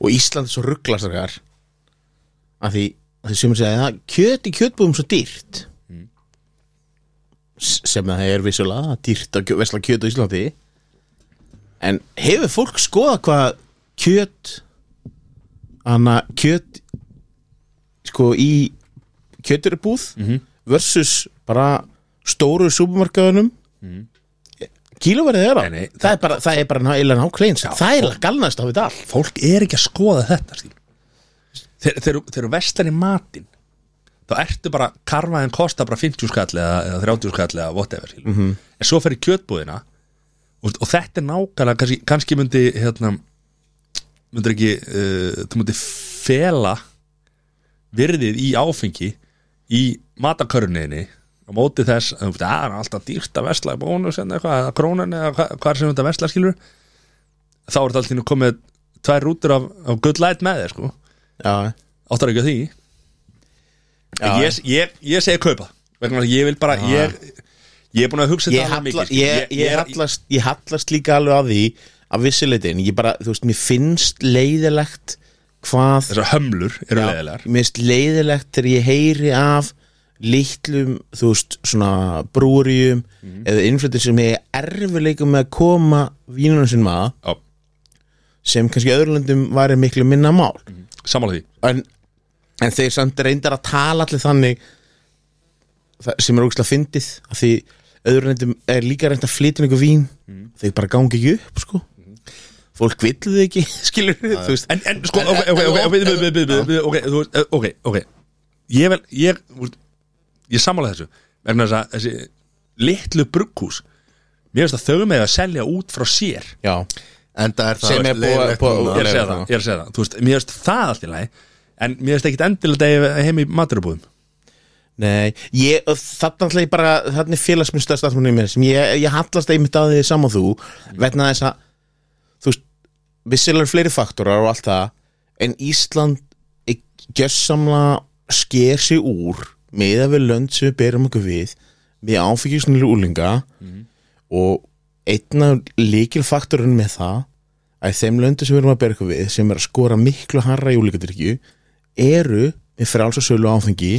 og Ísland er svo rugglastakar að því að því sem segja að kjöt í kjötbúðum er svo dýrt S- sem að það er vissulega dýrt að kjö- vesla kjöt á Íslandi en hefur fólk skoða hvað kjöt anna kjöt sko í kjöturubúð versus bara stóru súpumarkaðunum mm. kílóverðið er á Nei, nei, það, er bara, það er bara náðilega nákvæmst það er galnast á við allt fólk er ekki að skoða þetta skilur. þegar þegar- þegar þú vestar í matinn þá ertu bara, karfaðin kostar bara 50 skall eða, eða 30 skall eða whatever mm -hmm. en svo fer í kjötbúðina og, og þetta er nákvæmlega kannski, kannski myndi hérna, myndir ekki uh, þú myndir fela virðið í áfengi í matakörniðinni á móti þess að þú veist, að það er alltaf dýrt að vesla í bónus eða eitthvað, eða krónan eða hva, hvað er sem þetta vesla skilur þá er þetta alltaf komið tvær rútur af, af good light með þér sko Já, áttar ekki að því Já. ég, ég, ég segi kaupa vegna þess að ég vil bara ég, ég er búin að hugsa ég, þetta alveg halla, mikið sko. ég, ég, hallast, ég hallast líka alveg að því að vissileitin, ég bara, þú veist, mér finnst leiðilegt hvað þessar hömlur eru leðilegar Já, mér finnst leiðilegt þegar ég heyri af litlum, þú veist, svona brúrium eða innflutur sem ég erfileikum með að koma vínunum sinum að Já, sem kannski í öðrum löndum væri miklu minna mál sammála því en, en þeir samt reyndar að tala allir þannig það, sem er ógæslega fyndið af því öðru reyndum er líka reynd að flytja inn ykkur vín þeir bara gangi ekki upp sko fólk vill þau ekki skilur þú veist en, en sko, ok, ok, ok, ok, ok, ok, ok, ok, ok, ok, ok, ok ég vel, ég úr, ég sammála þessu vegna þess að þessi litlu brugghús mér finnst að þau með að selja út frá sér já, En það er það Sem er búið- leiðilegt búið- núna. Já, ég er að segja leiðilegt, það, já. ég er að segja það, þú veist, mér finnst það allt í lagi en mér finnst ekkit endilega degi heim í maturubúðum nei ég, þannig ætla ég bara, þannig félags minn stærsta atmunni mér sem ég, ég hallast einmitt að því saman þú, vegna þess að þú veist, vissilega fleiri faktorar og allt það, en Ísland ég- gjörsamlega sker sig úr með að við lönd sem við berum okkur við við áfengjusnilu úlinga og einn af líkilfaktorinn með það að í þeim löndu sem við erum að berga við sem er að skora miklu harra í úlíkadrykju eru með frjáls og sölu áfengi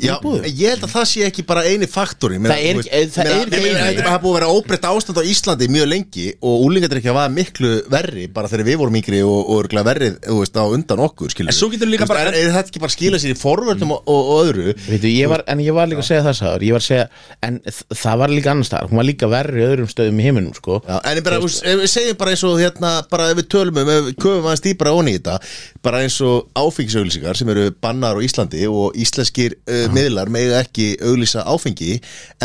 Já, ég held að það sé ekki bara eini faktori Meina, Það er þú ekki- veist, það er meina, ekki ég meina, eini. Þetta er bara búið að vera óbreytt ástand á Íslandi mjög lengi og úlingadrykja var miklu verri bara þegar við vorum yngri og, og örugglega verri þú veist, á undan okkur skilur En svo getur líka bara- er, er þetta ekki bara að skila sér í Mm. forvörnum og, og, og öðru Veitu, ég var, en ég var líka að segja það sáður ég var að segja, en þ- það var líka annars staðar hún var líka verri í öðrum stöðum í heiminum sko. Já, en ég bara, þú veist, ef við segjum bara eins og hérna, bara ef við tölum um, ef við köfum aðeins dýpra onni í þetta, bara eins og áfengisauglýsingar sem eru bannar á Íslandi og íslenskir uh, miðlar mega ekki auglýsa áfengi,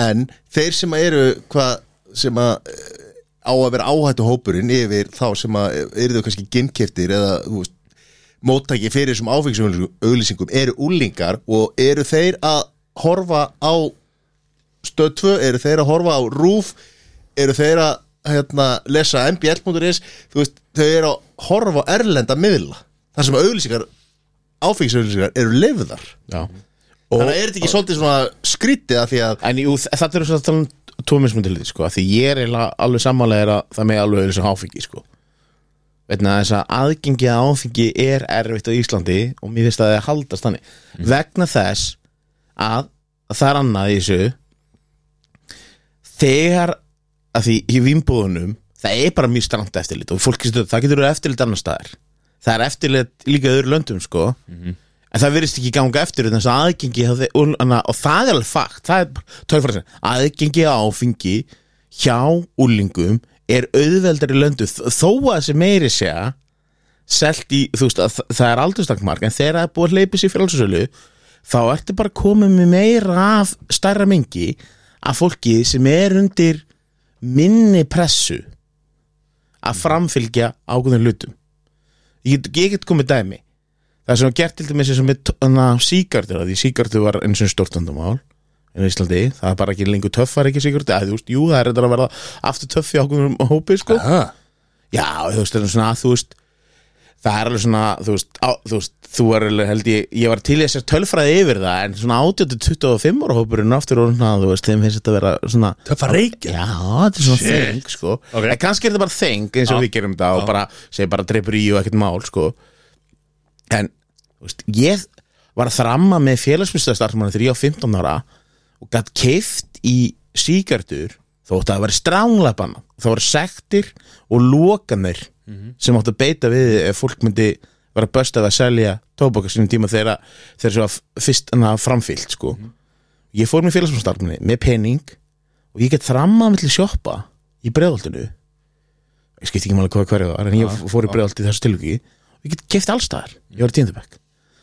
en þeir sem eru, hvað, sem að uh, á að vera áhættu hópurinn yfir þá sem að eru þau kannski ginnkeftir eða, þú veist, móttæki fyrir þessum áfengisauglýsingum eru úlingar og eru þeir að horfa á stöð 2, eru þeir að horfa á rúf eru þeir að hérna, lesa mbl.is þú veist, þau eru að horfa á erlenda miðla þar sem auðlýsingar áfengisauðlýsingar eru lefðar Já. þannig að er þetta ekki svolítið svona skrítið að því að en jú, þ- þetta eru svo að tala um tómismundiliti sko, af því ég er eiginlega alveg sammálega að það með alveg auðvitað áfengi sko. vegna þess að aðgengi að áfengi er erfitt á Íslandi og mér finnst að það haldast þannig vegna þess að, að það er annað í þessu þegar að því í vinnbúðunum það er bara mjög strangt eftirlit og fólk stöðu, það getur verið eftirlit annar staðar það er eftirlit líka í öðru löndum sko en það virðist ekki ganga eftir þess að aðgengi hjá þeim- og, anna, og það er alveg fakt það er tölfræðin aðgengi að áfengi hjá úlingum er auðveldari í löndu þ- þó að þessi meiri segja selt í, þú veist, að þa- það er aldurstakmark en þegar það er búið að hleypa sér frálsölu þá ertu bara komið með meira af stærra mengi af fólki sem er undir minni pressu að framfylgja ákveðin hlutum ég get, ég get komið dæmi það er svona gert til dæmis eins og með síkartur, því síkartur var eins og stortandumál en Íslandi, það er bara ekki lengur töff var ekki síkartur, að þú veist, jú, það er reyndar að verða aftur töff í ákveðum hópi, sko ah. Já, þú veist, það er svona að þú veist Það er alveg svona, þú veist, á, þú veist, þú er alveg held ég, ég var til í þessar tölfræði yfir það, en svona 18-25 ára hópurinn er aftur orðin að, þú veist, þeim finnst þetta vera svona, töffa reykja já, þetta er svona þeng, sko, Ok. en kannski er þetta bara þeng eins og Já. við gerum þetta og bara, segi bara dreipur í og ekkert mál, sko, en, þú veist, ég var að þramma með félagsmyndstastarfmann þegar ég á 15 ára og gætt keift í síkartur þótt að það væri stránglega banna það voru sektir og lokanir Mhm. sem áttu að beita við ef fólk myndi vera böstað að selja tóbaka sinni tíma þegar þegar svo að fyrst hana framfyllt sko. Mhm. ég fór með félagsmanstarfni með pening og ég get þrammað mittli sjoppa í breðoltinu ég skipti ekki máli hvað hverju það var en ég fór í breðolti í þessu tilviki og ég get keift allstaðar, ég var í tíndabæk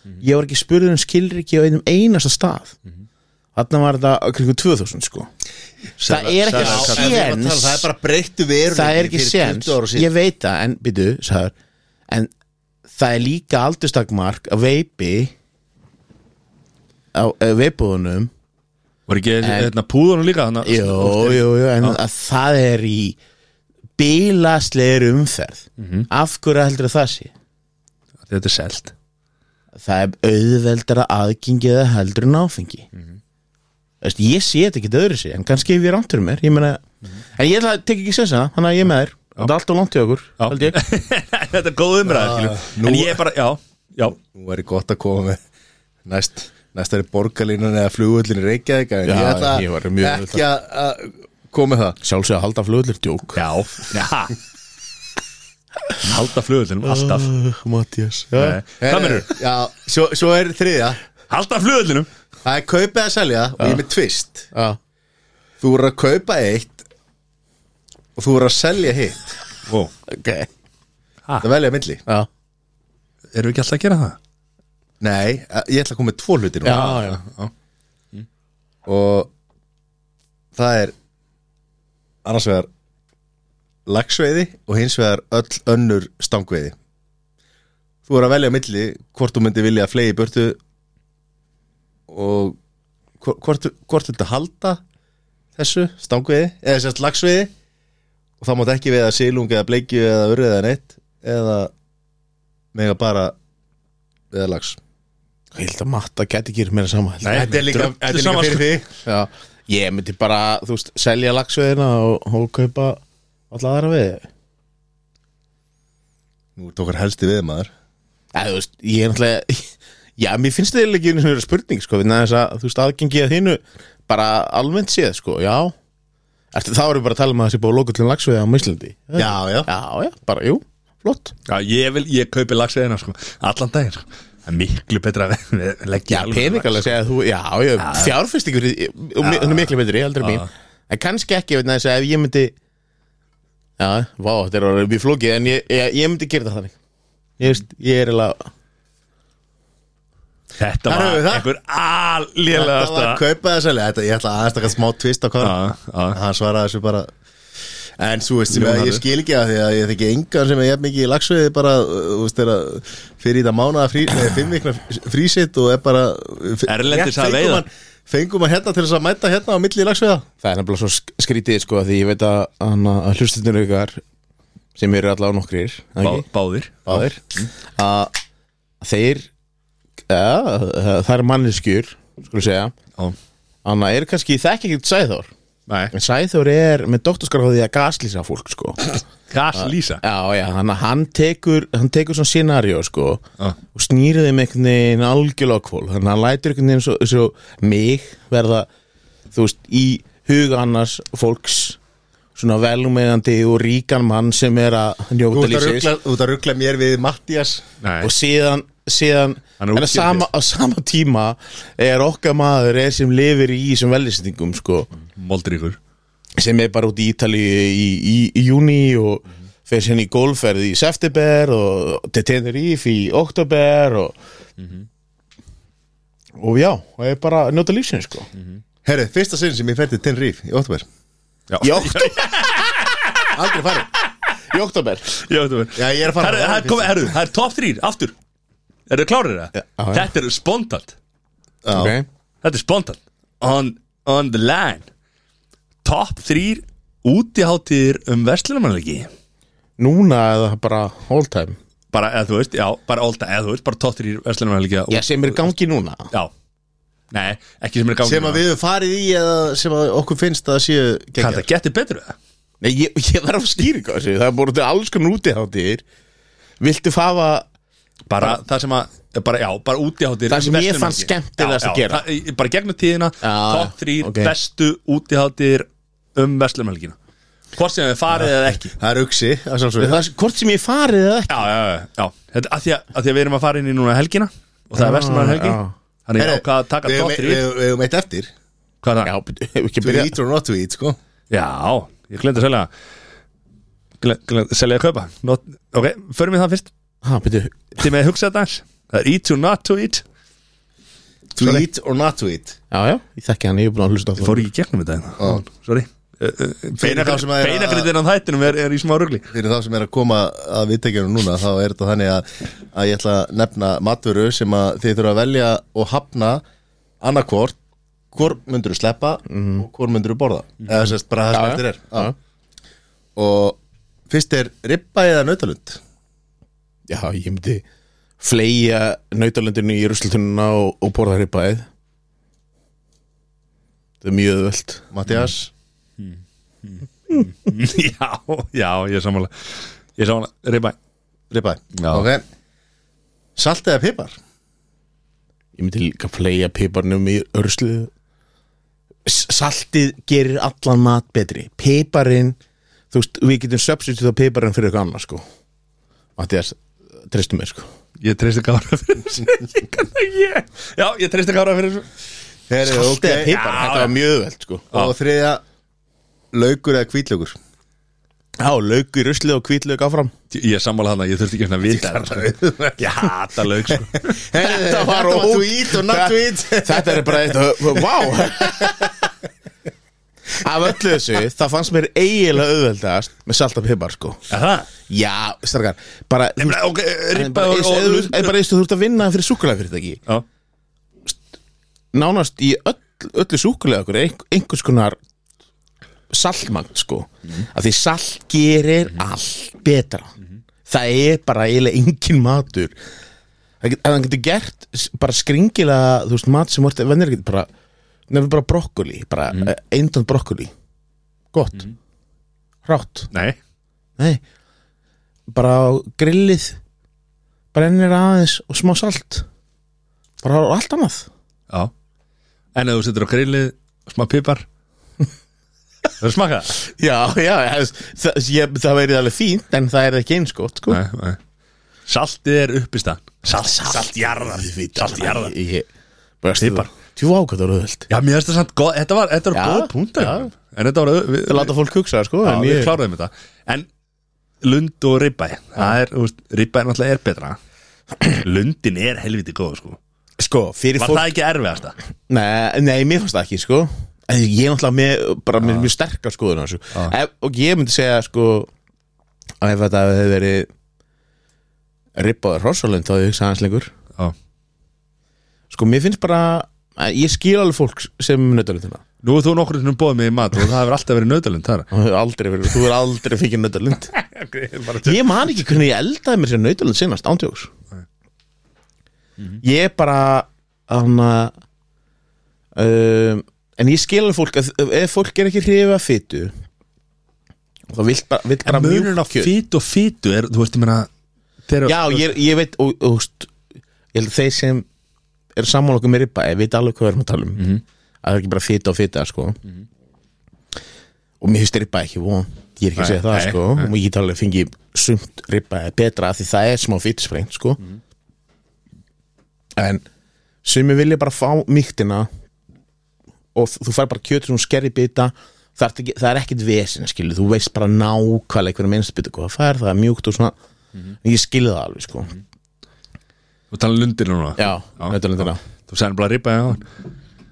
Mhm. ég var ekki spurður um skilriki á einum einasta stað Þarna var þetta kringu 2000 sko Það er ekki Já, en við erum að tala, um séns það er bara breyttu veruleiki Það er ekki fyrir 20 ára séns síðan. Ég veit það, en býtu, sagður En það er líka aldurstakmark að veipi á eh, veipbúðunum var ekki hérna púðunum líka þannig að- Jó, jó, jó, en að það er í bilaslegir umferð Af hverju heldur það sé? þetta er selt það er auðveldara aðgengið að heldur en áfengi mm ég sé þetta ekki öðru sig en kannski ef ég er ántur mér ég meina, en ég ætla að tekja ekki sessana þannig að ég er með þér, þetta er allt og langt í okkur Já. held ég, þetta er góð umræð ah, nú- en ég er bara, já, já Nú er ég gott að koma með næst næst er borgarlínan eða flugullin í Reykjavík en Já, ég ætla ég var mjög- ekki að að koma með það sjálfsög að halda flugullir djók Já, já Halda flugullinum alltaf Mattias Nei. Hvað mennur? Eh, Já, svo, svo er þriðja Halda flugullinum Það er kaupið að selja og ég er með tvist Já. Þú voru að kaupa eitt og þú voru að selja hitt Ó, ok, Það velja milli já erum við ekki alltaf að gera það? Nei, eh, ég ætla að koma með tvo hluti nú já, já. Og það er annars vegar lagsveiði og hins vegar öll önnur stangveiði Þú er að velja á milli hvort þú myndi vilja að flegi í burtu og hvort, hvort, hvort þú ert að halda þessu stangveiði eða sérst lagsveiði og þá mátt ekki veiða silung eða bleikju eða urrið eða neitt eða mega bara veiða lags Ég held að matta geti ekki meira sama Nei, Þetta er líka, drullu þetta er líka sama, fyrir sko. því Já, ég myndi bara, þú veist, selja lagsveðina og, og kaupa alla aðra við Nú er tókar helsti við maður Já, þú veist, ég er náttúrulega Já, mér finnst það eiginlega ekki einu sinni vera spurning, sko vegna þess að, þú veist, aðgengi að hinu bara almennt séð, sko, já Ertu, þá erum við bara að tala um að það sé búið að loka til lagsveði á Íslandi Já, já já, já, bara, jú, flott Já, ég, vil, ég kaupi lagsiðina sko, allan daginn sko. Það er miklu betra að við- leggja Já, peningalega segja að þú, já, já, fjárfestingur í- og mi- Hún er miklu betri, heldur en mín En kannski ekki, vegna þess að ef ég myndi Já, vá, þetta er orðið mjög flókið En ég, ég, ég myndi gera það þannig Ég veist, ég er eiginlega Þetta Þar var höfum við einhver það. Þetta var að allélegasta kaupa þess að þetta, ég ætla aðeins taka smá tvist á hvað Já, já. hann svaraði þessu bara en svo veist sem að Leonardo. ég skil ekki að því að ég þekki engan sem er jafn mikið í lagsveði bara, uh, þú veist, er að fyrir í það mánaða frí, nei, fimm vikna frísitt og er bara f- Erlendis rétt að fengum veiða. hann- fengum hann hérna til þess að mæta hérna á milli í lagsveða Það er nefnilega svo sk- skrítið sko því ég veit að, hana, að hlustundur ykkar sem eru allavega nokkrir er það Bá, ekki? Báðir Báðir að þeir ja, það er manneskjur skulum segja Já. Þannig að er kannski þekki ekkert Sæþór Nei, en Sæþór er með doktorskráði að gaslýsa fólk sko Gas Lísa Já, já, hann, hann tekur hann tekur svona scenario sko Já. og snýrið þeim einhvern veginn algjörlega á kvól þannig að hann lætur einhvern veginn svo, svo mig verða, þú veist, í huga annars fólks svona velumegandi og ríkan mann sem er að Þú njóta ert að lífsins rugla- þú ert að ruggla mér við Mattias Nei, og síðan, síðan Hann er en að útgerðis. sama, á sama tíma er okkar maður er sem lifir í þessum vellisendingum sko Moldríkur sem er bara út í Ítali í, í, í júni og fer sérna í golfferð í september og til Tenerife í oktober og og já, það er bara að njóta lífsins sko Herru, fyrsta sinn sem ég fætti til Ríf í óttúber í oktober, Aldrei farið í oktober. Já, þetta var- Já, ég er að fara Herru, það er komið- herru, það er top 3, aftur Er þið klárir það? já, já. Þetta er spontant Já. Okay. Þetta er spontant On, on the line Top 3 útiháttir um vestlunumannleiki núna er það bara all time Bara, eða þú veist, já, bara alltaf Eða þú veist, bara top 3 vestlunumannleiki já, sem er í gangi núna Já Nei, ekki sem er gangi sem að við höfum farið í eða sem að okkur finnst að séu Kann það geggjað. getið betur við það? Nei, ég, ég þarf að skýra ykkur þessu það er búin til alls konar útiháttir viltu fafa bara það sem að bara, já, bara útiháttir Það sem um ég verslunarmannahelgi. fannst skemmtilegast Já, að já, gera. það, bara gegnum tíðina, já, top 3 ok. bestu útiháttir um vestlumhelgina hvort sem við farið eða ekki já, Það er uksi, að sjálfsögðu það, hvort sem ég farið eða ekki já, já, já. Þetta, að, því að, að því að við erum að fara inn í núna helgina og það er Já, vestlumhelgi já. þannig Herru, ég ákvað að taka við top eigum- 3 Við við eigum eitt eftir hvað er já, það? byrju, hefur ekki To byrjað eat or not to eat, sko já, ég glemdi að selja gle- gle- selja að kaupa not, ok, förum við það fyrst ha, byrju, til með að hugsa þetta aðeins. það er eat to not to eat To Sorry. eat or not to eat já, já, ég þekki hann, ég er búin að hlusta á Ég það fór ekki í gegnum þetta Já. hérna. Sorry Uh, uh, þá sem að- Beinagriðin á þættinum er, er í smá rugli Fyrir þá sem er að koma að viðtækjunum núna þá er þetta þannig að, að ég ætla að nefna matvöru sem að þið þurfa að velja og hafna annarkvort hvort myndur þú sleppa og hvort myndur þú borða eða sérst bara það sem Já, eftir já. er já. og fyrst er ribba eða nautalund Já, ég myndi fleia nautalendinu í ruslutununa og, og borða ripaðið Það er mjög öðvöld Mattias, Já, já, ég er sammála Ég er sammála, reypa ribba Já. ok salt eða pipar Ég myndi líka fleia piparnum í ruslu Saltið gerir allan mat betri Piparinn, þú veist, við getum substitutað piparinn fyrir eitthvað annað, sko Mattias, treystu mér, sko Ég treysti Kára fyrir þessu Ég kann það ég Já, ég treysti Kára fyrir þessu Heri, Saltið eða piparinn, já, þetta var mjög öðvöld, sko og þriðja laukur eða hvítlaukur Já, lauk í rusli og hvítlauk áfram Ég er sammála þannig að ég þurfti ekki svona að vita þetta. Ég hata laug sko. Þetta var ó- to eat og not to eat. Þetta er bara eitt Vá Af öllu þessu, það fannst mér eiginlega auðveldast með salt og pipar sko Er það? Já, starkar, bara Ég meina, ok, En ribba bara og, eins- og, eða- eða bara eins og þú ert að vinna fyrir súkulega fyrir þetta ekki Já, nánast í öll, öllu súkulega okkur ein, einhvers konar saltmagn sko af því salt gerir allt betra það er bara eiginlega engin matur Það get- ef hann getur gert s- bara skringilega þú veist mat sem orðið vennir getur bara nefnir bara brokkoli bara mm eindan brokkoli gott hrátt nei nei bara á grillið brennir aðeins og smá salt bara á allt annað Já En ef þú setur á grillið, smá pipar Það er smaka það? já, já, það, það, ég, það væri alveg fínt en það er ekki eins gott sko. Nei, nei Saltið er uppistan Salt, salt, salt jarðar Salt jarðar ég, ég, bara stipar Pipar. tjú ákvæður auðvöld Já, mér finnst það samt góð Þetta var, þetta var Já, góð punkt já. En þetta var við, það láta fólk hugsa sko, Já, en við ég, kláraðum þetta En lund og ribbæ Það er, þú veist, ribbæ náttúrulega er betra Lundin er helviti góð, sko sko fyrir Var fólk það ekki erfiðasta? nei, nei, mér fannst það ekki sko. En ég er náttúrulega með, bara með mjög sterkar skoðun á þessu. Ef- og ég myndi segja sko, að ef þetta hefði verið ribbaður hrossalund þá hefði ég hugsað hans lengur Já sko, mér finnst bara að ég skil alveg fólk sem um nöttalundina Nú er þú nokkur sem bóðið mig í mat og það hefur alltaf verið nöðalund þar þú hefur aldrei, verið- þú hefur aldrei fikið nöttalund ég man ekki hvernig ég eldaði mér sér nautilegt senast ándjóks Mhm. ég bara hana, um, en ég skil alveg fólk að, ef fólk er ekki hrifa fytu þá vill bara, vill bara En munurinn á mjúkt kjöt. fýtu og fýtu er, þú veist, ég meina þeir, já ég, ég veit og, og, úst, ég held að þeir sem eru sammála okkur með ripa ég veit alveg hvað við erum að tala um Mhm. að það er ekki bara fyta og fyta sko. og mér finnst ripa ekki von ég er ekki að Nei, segja það nei, sko nei. og ég get alveg fengið sumt ripa er betra af því það er smá fytisprengt sko en sem ég vilja bara fá mýktina og þú fær bara kjötur sem skerri bita það er, ekki, það er ekkit vesin skilu þú veist bara nákvæmlega hvernig minnst bita hvað það fær, það er mjúkt og svona Mhm. ég skilði það alveg sko þú tala um lundin núna Já, nautalundina. Þú sagði bara ribbæ á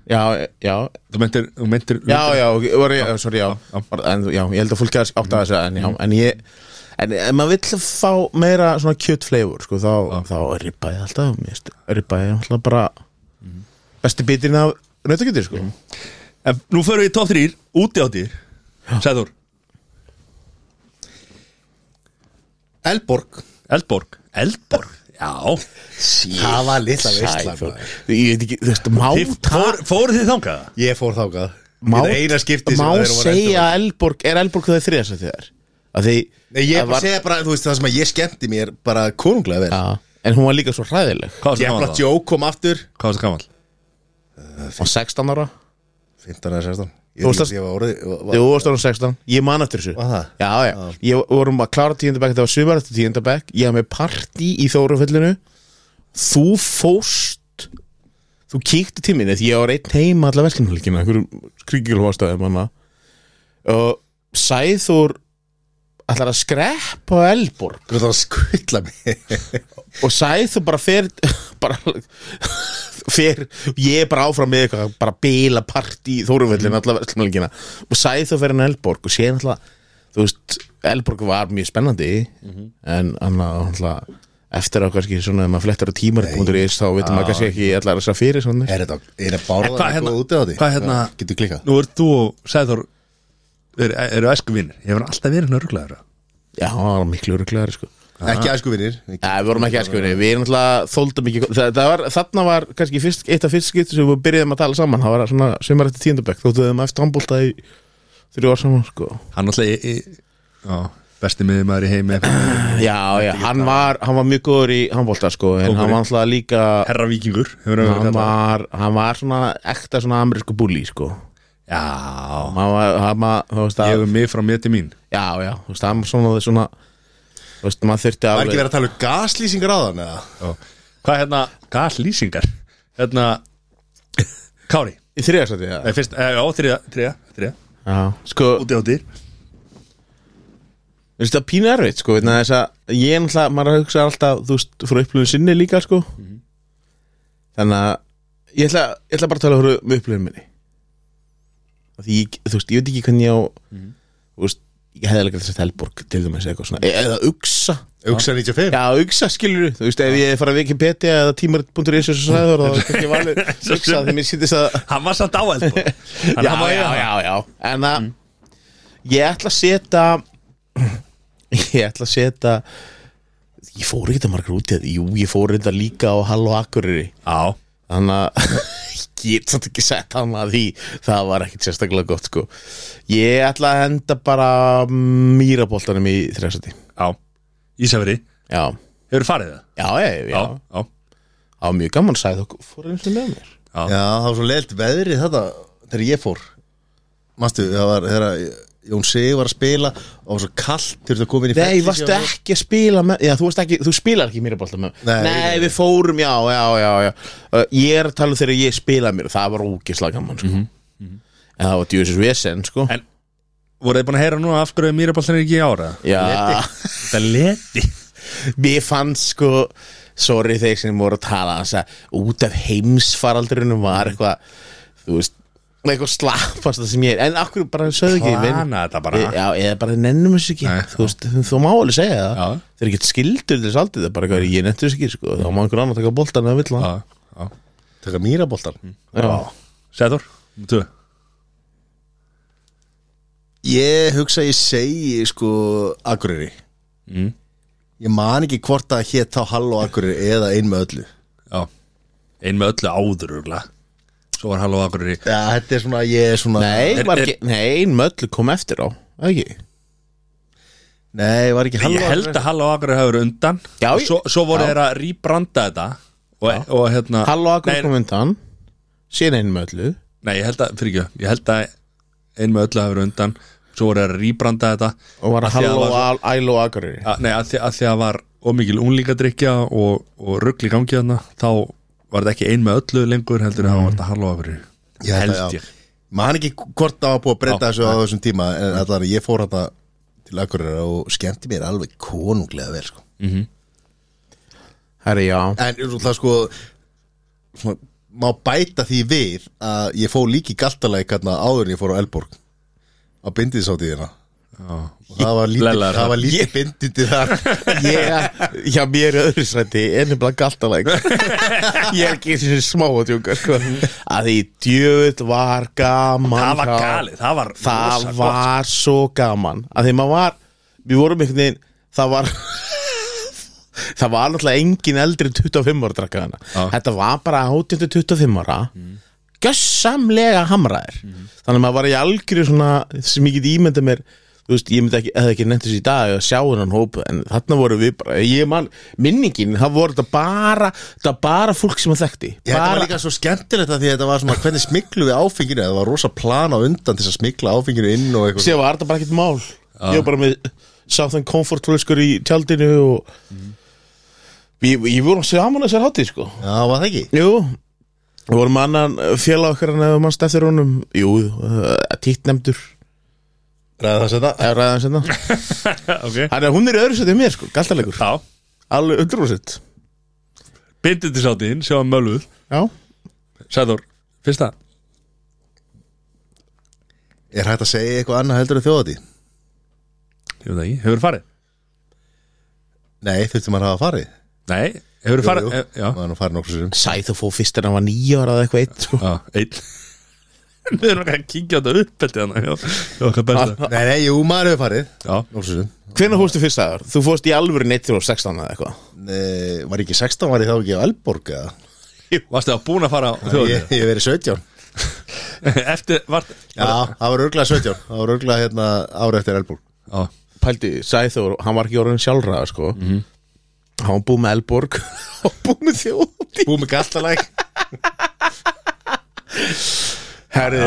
já, já, Þú meintir, þú meintir já, já, ok, var ég, sorry, já, en, já ég held að fólk átt að þessu en, já, Mm. en ég en ef maður vill fá meira svona kjöt flavor sko, þá, þá er ribbaði alltaf mér finnst ribbaði alltaf bara Mhm. besti bitirinn af nautakjötir sko. Mm. En nú förum við í top 3 úti á dýr Sæður, Elborg Eldborg Eldborg, já Það var litla veistla maður. Sæfur. sko. ég veit ekki, þú veist, má Þið ta- fór, Fóruð þið þangað? Ég fór þákað má, Þetta eina skipti sem má þeir voru segja að Elborg er Elborg það þriðasætti þar að því Nei, ég það var... segja bara, þú veist, það sem að ég skemmti mér bara konunglega vel já, en hún var líka svo hræðileg Hvað var Ég efla það gammal? Joe kom aftur Hvað var það gammal? og 16 ára 15 eða 16 Ég Þú veit varst ekki ég að- var orðið var- Jú, varst orðin 16, ég man eftir þessu Var það? Já, já, ég við vorum að klára tíundabæk Þetta var sumar eftir tíundabæk Ég hafði með partí í Þórufellinu Þú fóst Þú kíkti til minni Því ég var einn heima alla verkefnulíkina Einhverjum skrýkjulum ástæðum hana Og Sæþór Ætlar að skreppa á Elborg Þú veist að skvilla mig og Sæþór bara fer bara fer, ég er bara áfram með eitthvað bara bila partí í Þórufellin mm. allavega verslumlingina og Sæþór fer hann Elborg og sé náttúrulega þú veist, Elborg var mjög spennandi en annað náttúrulega eftir á kannski svona ef maður flettar á tímarit.is þá veitum maður kannski ekki allar þess að fyrir svona Er þetta, er þetta En hvað bárðan hérna- eitthvað úti á því? hvað hérna- Já, Getur klikkað Nú ert þú og Sæður eru er æsku vinnir Ég hefur alltaf verið nörglaður já, það var miklu öruglegar sko Ekki æsku vinnir Já, við vorum ekki æskuvinni, við erum alltaf þóldum ekki, það, það var, þarna var kannski fyrst, eitt af fyrst skipti sem við byrjuðum að tala saman, það var svona sumar eftir tíundabæk, þóttu við hefum eftir handbólta í þrjú ár saman, sko. Hann alltaf í, í, á, Besti miðumæður í heimi Já, já, hann var, hann var mjög góður í handbólta, sko, en hann var alltaf líka, Herra vikingur hefur verið hann kallað. var, hann var svona ekta svona amerísku búli, sko. Já Hann var, hann var, þú veist Ég að, hefur mig frá mér til mín já, já, þú veist, hann var svona, svona, þú veist, maður þurfti Var ekki alveg, verið að tala um gaslýsingar á þann eða? Já. Hvað hérna, hvað lýsingar? Hérna Kári, í þriðarsæti, já. Nei, fyrst, eh, já, þriða, þriða, þriða Já, sko, Úti á dýr Þú veist það er pínu erfitt sko vegna þess að ég er náttúrulega, maður hugsa alltaf þú veist, frá upplifun sinni líka sko þannig að ég ætla, ég ætla bara að tala frá um upplifun minni Af því ég, þú veist, ég veit ekki hvernig ég á þú veist, ég hefði alveg þess að Telborg til dæmis eitthvað svona, e- eða Uxa Uxa 95 Já, Uxa skilur þú veist, ef ég fara að Wikipedia eða tímarit.is og svo sæður þá kannski valið Uxa því mér sýttist að Hann var samt sko. áhæld já, já, já, já En að Ég ætla að setja Ég ætla að setja Ég fór ekki það margar út í það Jú, ég fór þetta líka á Halló Akureyri Já, Þannig að Ég get samt ekki sett hann að því Það var ekkit sérstaklega gott sko Ég ætla að henda bara Mýraboltanum í þrjafsæti já Ísafri, Já, hefur farið það? já, já, já já, Það var mjög gaman sæð okkur Fór einu sinni með mér Já, það var svo leilt veðrið þetta þegar ég fór Manstu, það var þegar Jón Sig var að spila og það var svo kallt þegar þú komin í Nei, ferli- varstu ekki að spila með Já, þú, varst ekki, þú spilar ekki mér bólta með Nei, Nei, ég- við fórum, já, já, já, já. Uh, Ég er að tala um þegar ég spilaði mér Það var ógislega gaman, sko En það var djúsis vesen, sko Mhm, En- Voruð þið búin að heyra núna af hverju Mýraboltan er ekki í ára? Já, Þetta er leti mér fannst, sko Sorry þeir sem voru að tala þess að Út af heimsfaraldurinu var eitthvað Þú veist eitthvað slappast það sem ég er en akkur bara sögðu ekki við- Plana þetta bara. já, eða bara nennum þessu ekki Nei, þú veist, þú má alveg segja það Já. þeir eru ekkert skildur til þess aldrei það er bara eitthvað, ég nettu þessu ekki sko. þá má einhver annar taka boltan eða vill hann Já, já Taka mýraboltan Já. Sæður, þú Ég hugsa að ég segi sko Akureyri Mm. Ég man ekki hvort að hétt þá Halló Akureyri eða ein með öllu Já, ein með öllu áður örgulega Svo var Halló Akureyri Já, þetta er svona, ég er svona nei, Er- var er- ekki, nei, möll kom eftir á eða ekki Nei, var ekki Halló Ég held að Halló Akureyri hafi verið undan Já, Og ég- Svo, svo voru þeir að rýbranda þetta og, og hérna Halló Akur Nei, kom undan síðan einn möllu Nei, ég held að, fyrir ekki, ég held að ein með öllu hafi verið undan Svo voru þeir að rýbranda þetta og var Af því að Halló það var Al- Æló Akur já, að, Nei, að því að, því að var ómikil unlingadrykja og, og ruggli gangi þarna Þá var þetta ekki ein með öllu lengur heldur en þá Mm. var þetta Halló Akureyri Ég held að, já. Held ég Man ekki hvort það var búið að breyta Já, þessu á þessum tíma En allan, ég fór þetta til Akureyri og skemmti mér alveg konunglega vel sko. herri, já. En það sko svona, Má bæta því við að ég fór líki galtalæk hérna áður en ég fór á Elborg á bindiðsáttíðina Og það var lítið, Lellaður, það var lítið bindindi þar ég, já, mér er öðru sæti ennum bara galtalæk ég er ekki eins og smá að tjóka sko. að því djöð var gaman Það var hjá- galið, það var það rosa gott. var svo gaman að því maður var, við vorum einhvern veginn það var það var náttúrulega engin eldri en 25 ára drakka hana, Já. þetta var bara 18-25 ára mm. gjössamlega hamraðir þannig að maður var í algjöru svona sem ég get ímynda mér þú veist, ég myndi ekki, eða ekki nefnt þessi í dag að sjá hennan hóp, en þarna voru við bara, ég man, minningin, það voru þetta bara, þetta var bara fólk sem að þekkti Já, þetta var bara, líka svo skemmtilegt að því að þetta var svona hvernig smiklu við áfenginu eða það var rosa plan á undan til þess að smikla áfenginu inn og eitthvað síðan var þetta bara ekkert mál ég var bara með Southern Comfort hlöskur í tjaldinu og við, ég vorum saman að sér hátíð sko Já, var það ekki? jú við vorum með annan félag okkar en ef mannst eftir honum jú, uh, títtnefndur Ræða þess að það eða ræðan senna Ok hann er hún er í öðru setið mér sko, galtalegur Já, alveg undrúrsett bindið til sáttiðin, sjá mölvuð já Sæður, fyrsta Er hægt að segja eitthvað annað heldur en þjóðati? Ég veit það ekki, hefur farið? Nei, þurfti maður að hafa farið Nei, hefur farið? jú, eh, Já, maður er nú farið nokkur sérum sæð og fó fyrst en hann var nýja ára eða eitthvað eitt sko já, einn Við erum ekki að kíkja á þetta uppeldi hann Já, já, hvað besta Nei, nei, jú, maður hefur farið Já, Nokkur sérum hvernig fórstu fyrst aðar? þú fórst í alvöru neitt til 16 eða eitthvað Nei, var ekki 16, var ég þá ekki á Elborg eða? varstu það búin að fara á Ég, þjóðið? ég hef verið 17 Eftir, var Já, það var örglega 17 Það var örglega hérna ára eftir Elborg Já, pældi Sæþór, hann var ekki orðin sjálfraða sko Mhm. hann var búið með Elborg og búið með þjóði Búið með galtalæk herri,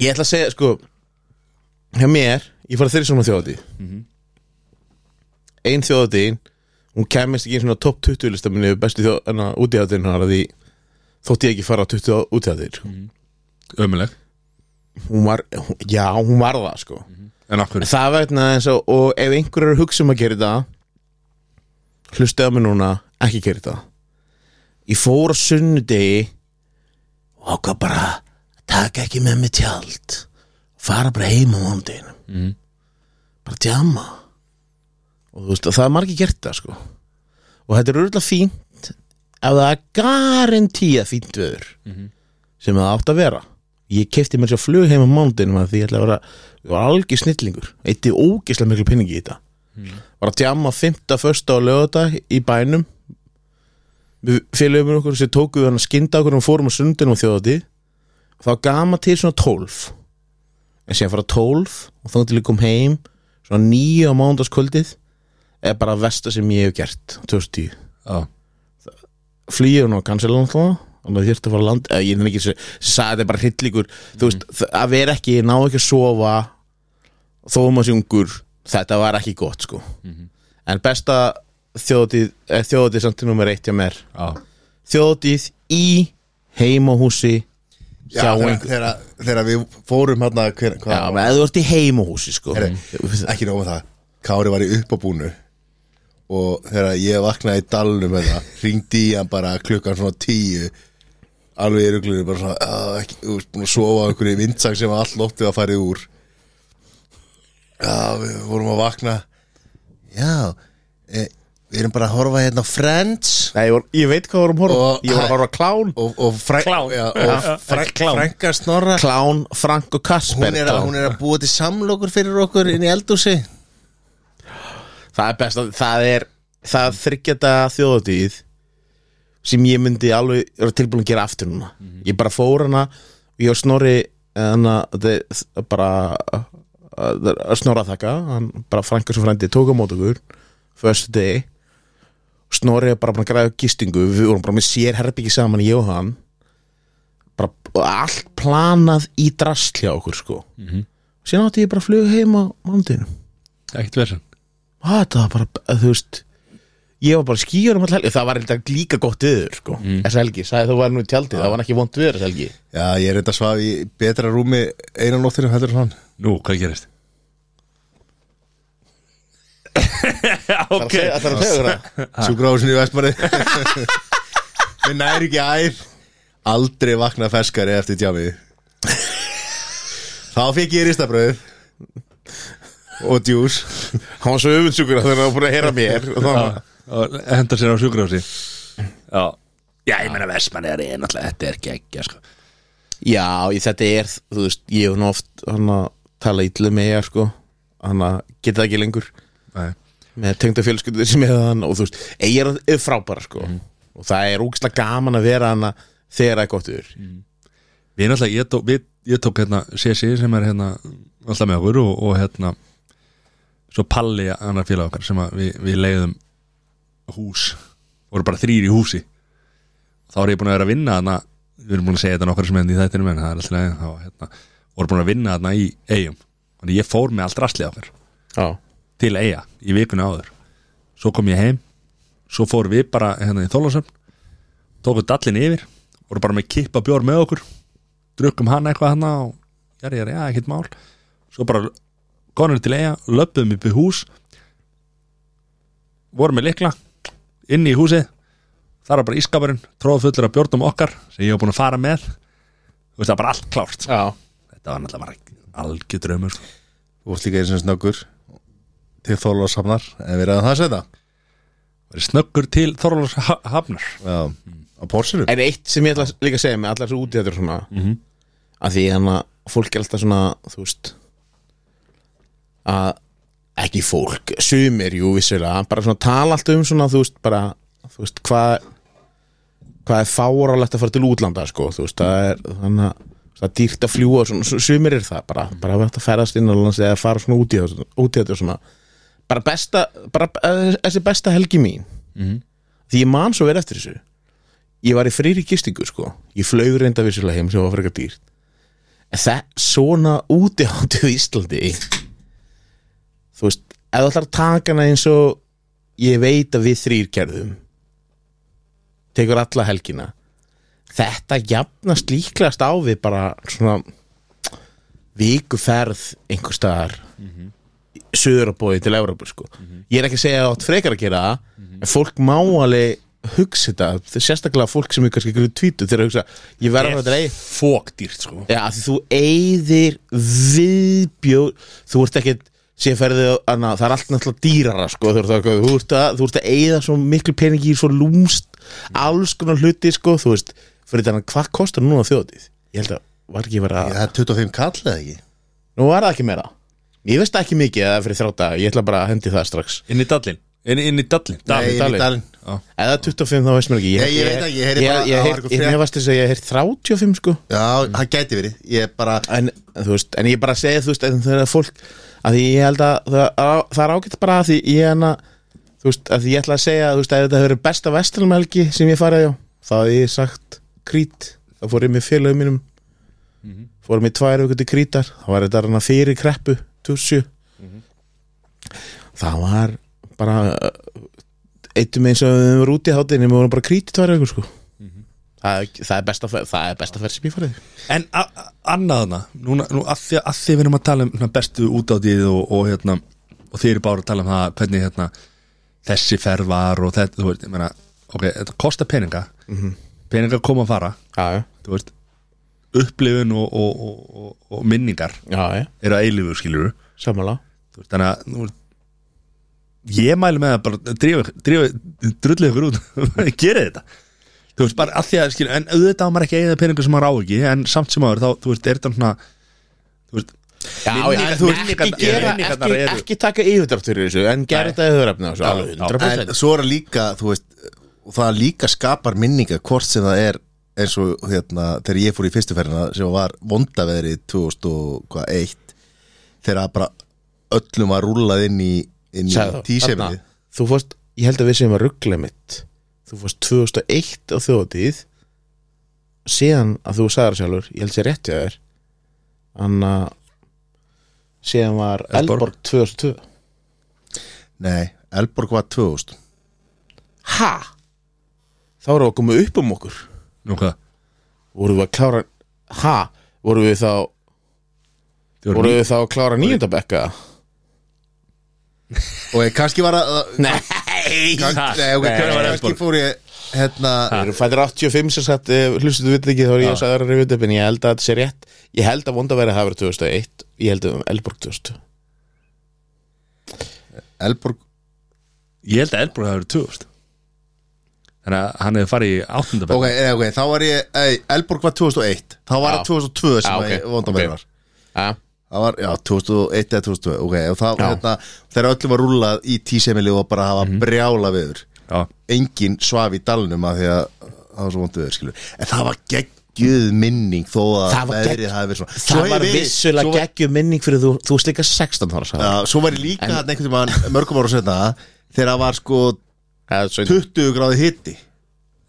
ég ætla að segja sko hjá mér, ég fara þeirri svona þjóði ein þjóði hún kemist ekki í svona topp 20 listaminni yfir bestu þjóð, hérna, enna útíðatinnar því þótt ég ekki fara á 20 útíðatir sko. ömuleg hún var, hún, já hún var það sko En af hverju? Það var eitthvað eins og, og ef einhver er að hugsa um að gera þetta Hlustaðu á mig núna, ekki gera þetta Ég fór á sunnudegi Og ákvað bara að Taka ekki með mig tjald Fara bara heim á mándeginu mm. Bara djama Og þú veist, og það er margir gert það sko Og þetta er örugglega fínt Ef það er garantíða fínt veður Sem það átt að vera Ég kefti mér svo flug heim á mándinum að því ég ætla að vera, ég var algjör snillingur eitti ógislega miklu peningi í þetta var að djama 5. första og lögadag í bænum við félögum okkur sem tóku við hann að skynda okkur og fórum á sundinum og þjóðati þá gama til svona 12 en síðan fara 12 og þá til ég kom heim svona 9 á mándaskvöldið er bara versta sem ég hef gert 2010 Já, flýja hún á kanselan alltaf þannig að þér að fara að landa eða ég nefnir ekki þessu sagði þetta er bara hryllíkur þú veist Mm. þ- að vera ekki ná ekki að sofa þó um að sé ungur þetta var ekki gott sko Mhm. en besta þjóðið eh, þjóðið samt til nummer eitt hjá mér já, þjóðið í heimahúsi Já, hjá þegar, einhver þegar, þegar við fórum hérna hver, hvað, já, menn þú ert í heimahúsi sko Herri, ekki nóg með það Kári var í uppabúnu og þegar ég vaknaði í dalnum hérna, ringdi í hann bara klukkan svona tíu alveg í ruglunum bara svona "Ah, ekki, þú veist, búin að sofa á einhverju vindsang sem allt lóttið að farið úr Já, við vorum að vakna Já e, við erum bara að horfa hérna á Friends Nei, ég, var, ég veit hvað vorum horfa Og- ég var að horfa á klán og, og, fræ, Klám. já, og fræ, Klám. frænka snorra klán Frank og Kasper hún er, að, hún er að búa til samlokur fyrir okkur inn í eldúsi Það er best að það er það þryggjata þjóðatíð sem ég myndi alveg vera tilbúin að gera aftur núna ég bara fór hana og ég var snorri hana, þið, bara að snorra þakka hann bara frænka sem frændi tók á mót okkur fyrstu degi snorri er bara búin að græða gistingu við vorum bara með sér herbyggi saman ég og hann bara allt planað í drastli á okkur sko mm -hmm. síðan átti ég bara að flug heim á mándinu ekkert verðsinn Hvað, það Ah, var bara, að, þú veist Ég var bara skýjur um all helgi Það var eitthvað líka gott viður, sko mm. Þess helgi, sagði þú var nú í tjaldið, það var ekki vond viður þess helgi Já, ég er þetta svaf í betra rúmi einan nóttinu heldur hann Nú, hvað gerist? ok, Það þarf að segja þér það Sjúkrahúsinu í Vestmanni Mér næri ekki æð Aldrei vakna ferskari eftir tjamið Þá fekk ég ristabröð Og djús Hann var svo öfundsjúkur að það var búin að heyra mér og það var- og henda sér á sjúkrafsi Já, já ég meina Vestmanni er einn alltaf, þetta er geggja sko. Já, ég, þetta er, þú veist, ég hef nú oft hann að tala ítlu með ég, sko hann að geta það ekki lengur Nei. með tengda fjölskyldur sem ég hef hann og þú veist, ég er, er frábæra, sko og það er úkslega gaman að vera hann þegar það er gott viður Við erum alltaf, ég tók, við, ég tók hérna CC sem er hérna alltaf með okkur og, og hérna svo Palli, annar félag okkar sem að við, við leiðum hús voru bara þrýr í húsi þá er ég búin að vera að vinna hana við erum búin að segja þetta nokkar sem enn í þættinum en það er alltaf leið þá hérna, voru búin að vinna hana í eigum þannig ég fór með allt rastlið okkar Já, til eiga í vikuna áður svo kom ég heim svo fór við bara hérna í Þólasöfn tókum dallin yfir voru bara með kippa bjór með okkur drukkum hann eitthvað hann og jari, jari, já, ekkert mál svo bara konur til eiga löpum upp í hús vorum með likla inn í húsið þar var bara ískapurinn, tróð fullur af bjórnum okkar sem ég var búin að fara með þú veist það var bara allt klárt já þetta var náttúrulega bara algjör draumur sko. Þú vorst líka eins og snöggur Til þólar samnar En við ræðum það setja verið snöggur til Þorlars Hafnar Já, á porsinu En eitt sem ég ætla að líka að segja með allar þessu útíðatur svona -hmm. að því hann að fólk er alltaf svona þú veist að ekki fólk sumir, jú, vissulega, bara svona tala alltaf um svona, þú veist, bara þú veist, hvað hvað er fárálegt að fara til útlanda, sko, þú veist það er, þannig að það er dýrt að fljúa og svona, su- sumir er það bara, bara að vera hægt að ferast inn á lands eða fara svona út í þetta út í þetta svona, bara besta bara, eh, þessi besta helgi mín því ég man svo verið eftir þessu ég var í frýri gistingu sko ég flög reynda vissulega heim sem var frekar dýrt en það svona úti áttu í Íslandi þú veist, ef þú ætlar að taka hana eins og ég veit að við þrýr gerðum tekur alla helgina þetta jafnast líklegast á við bara svona vikuferð einhver staðar söðurabói til Európu sko. ég er ekki að segja að átt frekar að gera það en fólk má alveg hugsa þetta Þetta er sérstaklega fólk sem er kannski ykkur tvítu þegar að hugsa, ég verður að þetta fókdýrt sko Já, af því þú eyðir viðbjóð Þú ert ekkert sé ferðið annað, það er allt náttúrulega dýrara sko, þú, ert að, þú, ert að, þú ert að eyða svo miklu peningi í svo lúmst alls konar hluti sko, þú veist fyrir þannig, hvað kostar núna þjóðið? Ég held að, var ekki verið að Það er 25 kall eða ekki Nú var það ekki meira Ég veist ekki mikið að það er fyrir þrjá daga, ég ætla bara að hendi það strax inn í dallin inn, inn í dallin Nei, Dalinn. ég veit Dalinn. alveg. Eða 25 þá veist mér ekki Nei, ég veit ekki, ég heyri bara að það var Ég, ég, eitthvað ég, frétt. ég varst þess að ég heyri 35 sko Já, það gæti verið Ég er bara en, en þú veist, en ég bara segi þú veist, en þegar fólk að því ég held að það, að, það er ágætt bara að því ég hana þú veist, að því ég ætla að segja þú veist, að þetta hefur besta vestlumhelgi sem ég farið á þá hafði ég sagt krít þá fór ég með félögum mínum fórum í tvær aukur til krítar þá var þetta hana fyrir kreppu 27 Mhm. það var bara eittum eins og við vorum úti í hátíðinni við vorum bara krít í tvær aukur sko það, er- það er besta ferð- það er besta ferð sem ég farið en a- a- annaðna núna, nú, að, því, að því við erum að tala um hérna, bestu útátið og, og, hérna, og þið eru bara að tala um það hvernig hérna, þessi ferð var og þetta, þú veist, ég meina ok, þetta kostar peninga Mhm. peninga koma að fara, já, já, þú veist upplifun og, og, og, og, og minningar já, já. eru að eilifu skilur Samanlega þú veist, þannig að nú, ég mæli með að bara drífa, drífa drullið ykkur út bara gera þetta þú veist, bara að því að, skilur, en auðvitað á maður ekki eða peningur sem maður á ekki, en samt sem maður þá, þú veist, er þetta svona þú veist, Já, já, Minningar- en þú veist, ekki, minningarnar- gera, minningarnar ekki, eru- ekki taka yfirdrátt fyrir þessu En gera Nei. þetta yfiröfni á þessu Já, alveg já. 100% En svo er það líka, þú veist og Það líka skapar minninga hvort sem það er eins og hérna þegar ég fór í fyrstu ferðina sem var vondaveðri 2001 þegar bara öllum var rúlað inn í, inn í Sagði þú, tísemið þarna, Þú fórst, ég held að við séum að ruggla mitt Þú fórst 2001 á þjóðatíð Síðan að þú sagðar sjálfur Ég held sér rétt hjá þér Þannig að Síðan var Eldborg. Elborg 2002 Nei, Elborg var 2000 Ha? Þá erum við að koma upp um okkur nú hvað, Vorum við að klára Ha? Vorum við þá þú Vorum eru við þá að klára nýjöndabekka? og ég kannski var að Nei kann, Ha, nei, okay, nei, kannski, nei, kannski Elborg. fór ég hérna, Það eru fættir 85 sem sagt, hlustu þú veit ekki þá er ég að sagða að reyfið upp en ég held að þetta sé rétt ég held að vondaværi hafi verið 2001 ég held um Elborg 2000 Elborg ég held að Elbrú hafa verið 2000 þannig að hann hefði farið í áttundabæð ok, nei, ok, þá var ég ei, Elborg var 2001, þá var Já. það 2002 sem Já, ah, ok, ég vonda með ok. var ja. það var, já, 2001 eða 2002 ok, og það, Já. Mhm. hérna, þegar öllu var rúlað í tísemili og bara hafa brjála viður Já, engin svaf í dalnum að því að það var svo vondu viður, skilur en það var geggjuð minning þó að Það var veðrið gegg- hafi verið svona Svo það hefur var verið- svo vissulega var- geggjum minning fyrir þú þú varst líka 16 ára sagði Já, svo var ég líka þarna einhvern tímann mörgum ára setna þegar það var sko hann. Eða 17. 20 gráði hitti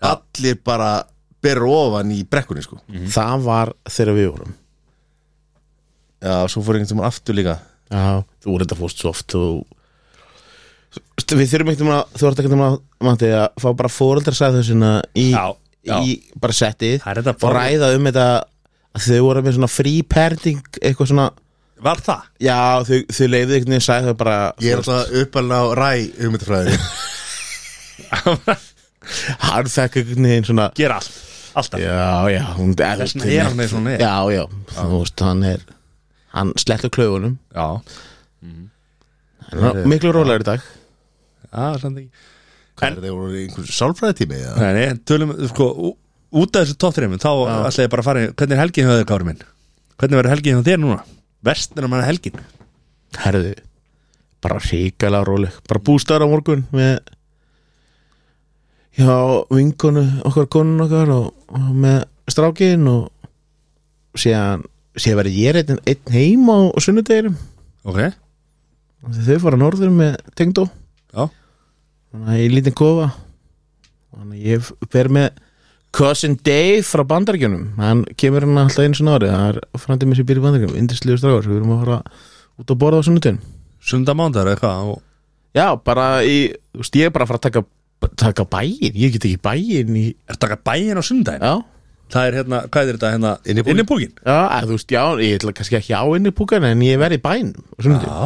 allir bara berur ofan í brekkunni sko Mhm. það var þegar við vorum Já, svo fór einhvern tímann aftur líka Já, þú voru þetta fórst svo oft og... Við þurfum ekkert um að þú ert ekkert um að, Matti, að fá bara fóreldra sæðhúsina í, Já, já. í bara settið Það er þetta og ræða um þetta að þau voru með svona free parenting eitthvað svona, var það? já, þau, þau leiðu einhvern veginn sæð þau bara Ég er alltaf uppalinn á ræ hugmyndafræði hann fekk einhvern veginn svona Gera allt, alltaf Já, já, hún er Þess vegna er hann eins og hann er. Já, já, þú veist, hann er hann slettur klaufunum Já, Hann er miklu rólegur í dag það er samt ekki Hvað er þeir voru í einhverjum sálfræðitími eða? Nei, nei, tölum, sko, ú- út af þessu tóttreymum þá ætla ég bara að fara, í- hvernig er helgin hjá þér, Kári minn? Hvernig verður helgin hjá þér núna? Verstur að manna helgin herðu bara ríkala róleg, bara bústar á morgun með hjá vinkonu okkar konun okkar og, og með strákin og síðan síðan verið ég einn, einn heim á sunnudeginum Ok, af því þau fara norður með tengdó já þannig að ég lítið kofa þannig að ég fer með Cousin Dave frá bandaríkjunum hann kemur hann alltaf eins og nári það er frændið mér sem býr í bandaríkjunum, indisliðu strákar svo við erum að fara út að borða á sunnudeginu sunda mándar eitthvað og Já, bara í, þú veist, ég er bara að fara að taka, taka bæin, ég get ekki bæin í, er að taka bæinn á sundaginn já, Það er hérna, hvað er þetta hérna? Innipúkinn. Innipúkin Já, að, þú veist, já, ég ætla kannski ekki á inni púkan en ég verði í bænum og svona Já,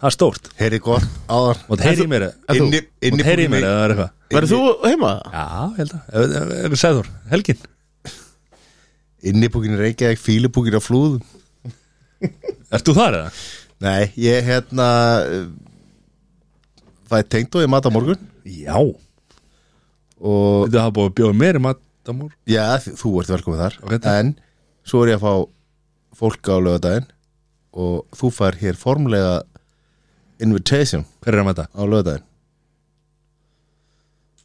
það er stórt Heyri gott áðan Og það heyri í mér en þú- Inni, Og inni heyri í mér eða það er eitthvað Verður þú heima? Já, ég held að Ef- ef- ef- Sæður, helgin Innipúkin Reykjavík, fílipúkin á flúðum Ert þú þar eða? Nei, ég hérna Það er tengt og ég mat á morgun Já Þetta Og hafa búið að bjóða mér í matamór já, þ- þú ert velkomið þar Ok, takk. En svo er ég að fá fólk á lögadaginn Og þú fær hér formlega invitation Hver er að mæta? á lögadaginn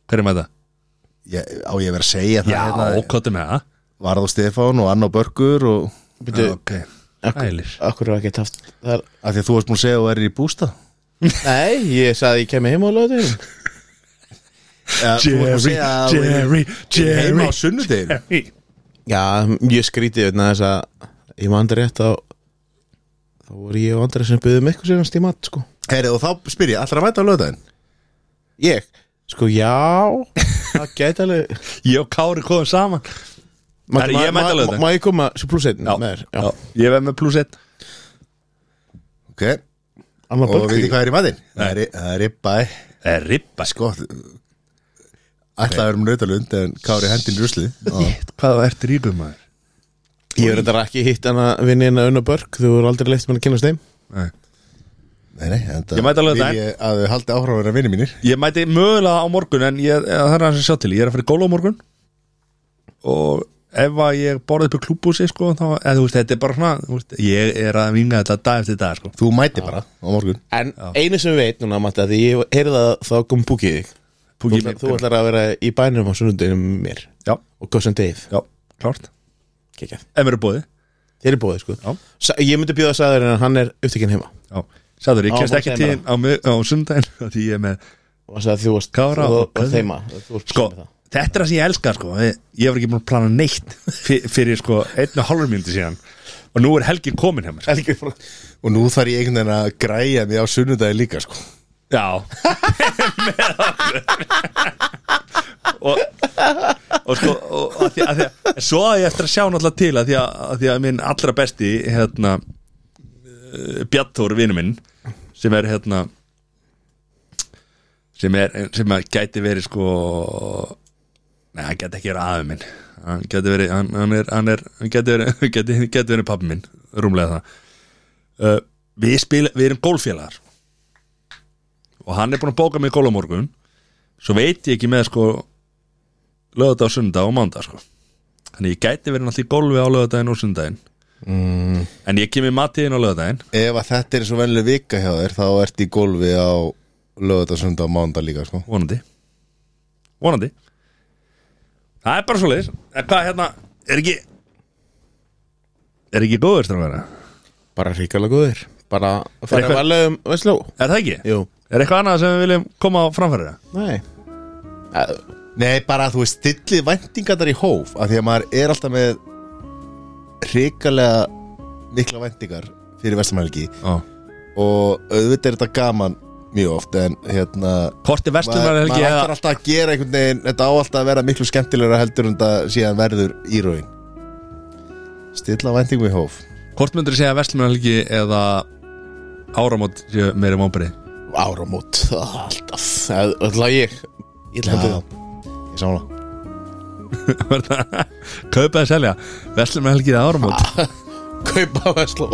Hver er að mæta? ég, Á ég verið að segja það Já, hérna, hvað er með það? Varð og Stefán og Anna Börgur og Byrju, Ok Ælir. akkur er ekki haft þar að því að þú varst múin að segja að þú erir í bústa Nei, ég sagði ég kemur heima á löðu Ja, þú varst búin að segja að þú værir heima á sunnudeginu Jerry Já, ég skrítið vegna þess að ég mann rétt á þá voru ég og andra sem byggðum eitthvað sérnast í mat, sko Herri, og þá spyr ég, allra mæta á lögadaginn Ég? Sko, já Það gæti alveg Ég og Kári komum saman Herri, ég mæti alveg þetta. Má ég koma svo pluss einn með þér? Já, Ég verð með pluss 1 Ok, Anna Og veitir Börgur hvað er í matinn? Það er- það er ribba Það er ribba Sko Ætla að vera um nautalund En Kári hendin rusli Shit, Hvað þú ert ríkum maður? Ég verður þetta ekki hitt hana hérna vinnina Unna Börg Þú voru aldrei leitt með að kynast þeim Nei. Nei, nei enda Ég mæti alveg vil þetta. ég Að þau haldi áhrá að vera vinni mínir Ég mæti mögulega á morgun en ég, eða það er hans að sjá til Ég er að fara í góla á morgun og ef að ég borði upp í klúbúsi sko, þá, eða þú veist, þetta er bara svona þú veist, ég er að vinga þetta dag eftir dag sko. Þú mæti bara á morgun En einu sem við veit núna, Matti, að því ég heyrði það þá kom búkið þig Púki Þú, þú ætlar að vera í bænum á sunnundinu með mér Já, og Gossan Dave já, klárt Kekjað. Ef mér er búið, Þeir eru bóðið sko Já. Sa Ég myndi bjóða sæður en hann er upptekinn heima já Sæður, ég Á kemst ekki mánudaginn til þín á, mið- á sundaginn því ég er með og hann sagði að þú varst Kára þú og varst Guðni. heima Þú varst sko, með það. þetta er það sem ég elska sko. ég ég var ekki búin að plana neitt fyr- fyrir sko, einn og hálfur mínúti síðan og nú er helgin komin hjá mér sko. Helgi frá- Og nú þarf ég einhvern veginn að græja mig á sunnudagi líka sko já og, og sko og, að því, að því, að, svo að ég eftir að sjá náttúrulega til að því að, að, því að minn allra besti hérna, Bjartór vinur minn sem er hérna sem er, sem að gæti verið sko nei, hann gæti ekki verið afi minn hann gæti verið, hann, hann er hann, er, hann gæti verið, hann gæti, hann gæti verið pappi minn rúmlega það uh, við spil, við erum gólfélagar og hann er búin að bóka mig gólf á morgun svo veit ég ekki með sko lögðað á sundag og mándag sko þannig ég gæti verið náttúrulega í gólfi á lögðaðin og sundaginn mm. en ég kem í matiðin á lögðaðin Ef að þetta er svo venlega vika hjá þér Þá ert í gólfi á lögudag, sundag og mándag líka sko vonandi vonandi það er bara svo leiðis en hvað hérna, er ekki er ekki góður strákara Bara ríkala góðir Bara að fara eitthvað- að vala um Vestló er það ekki? Jú, er eitthvað annað sem við viljum koma á framfæri nei Að- Nei, bara að þú veist stillið væntingarnar í hóf af því að maður er alltaf með hrikalega mikla væntingar fyrir vestamælgi Já. og auðvitað er þetta gaman mjög oft en hérna hvort er verslum maður, helgi maður ætlar eða alltaf að gera einhvern veginn þetta á alltaf að vera miklu skemmtilegra heldur en þetta síðan verður í raun stilla væntingum í hóf hvort myndur þú segja verslum helgi eða áramót séu meiri mómbri Áramót það er Alltaf Það það ætla ég Ég Já, ætla að heldur ég samla kaupa eða selja verslum helgi eða áramót Kaupa Vestló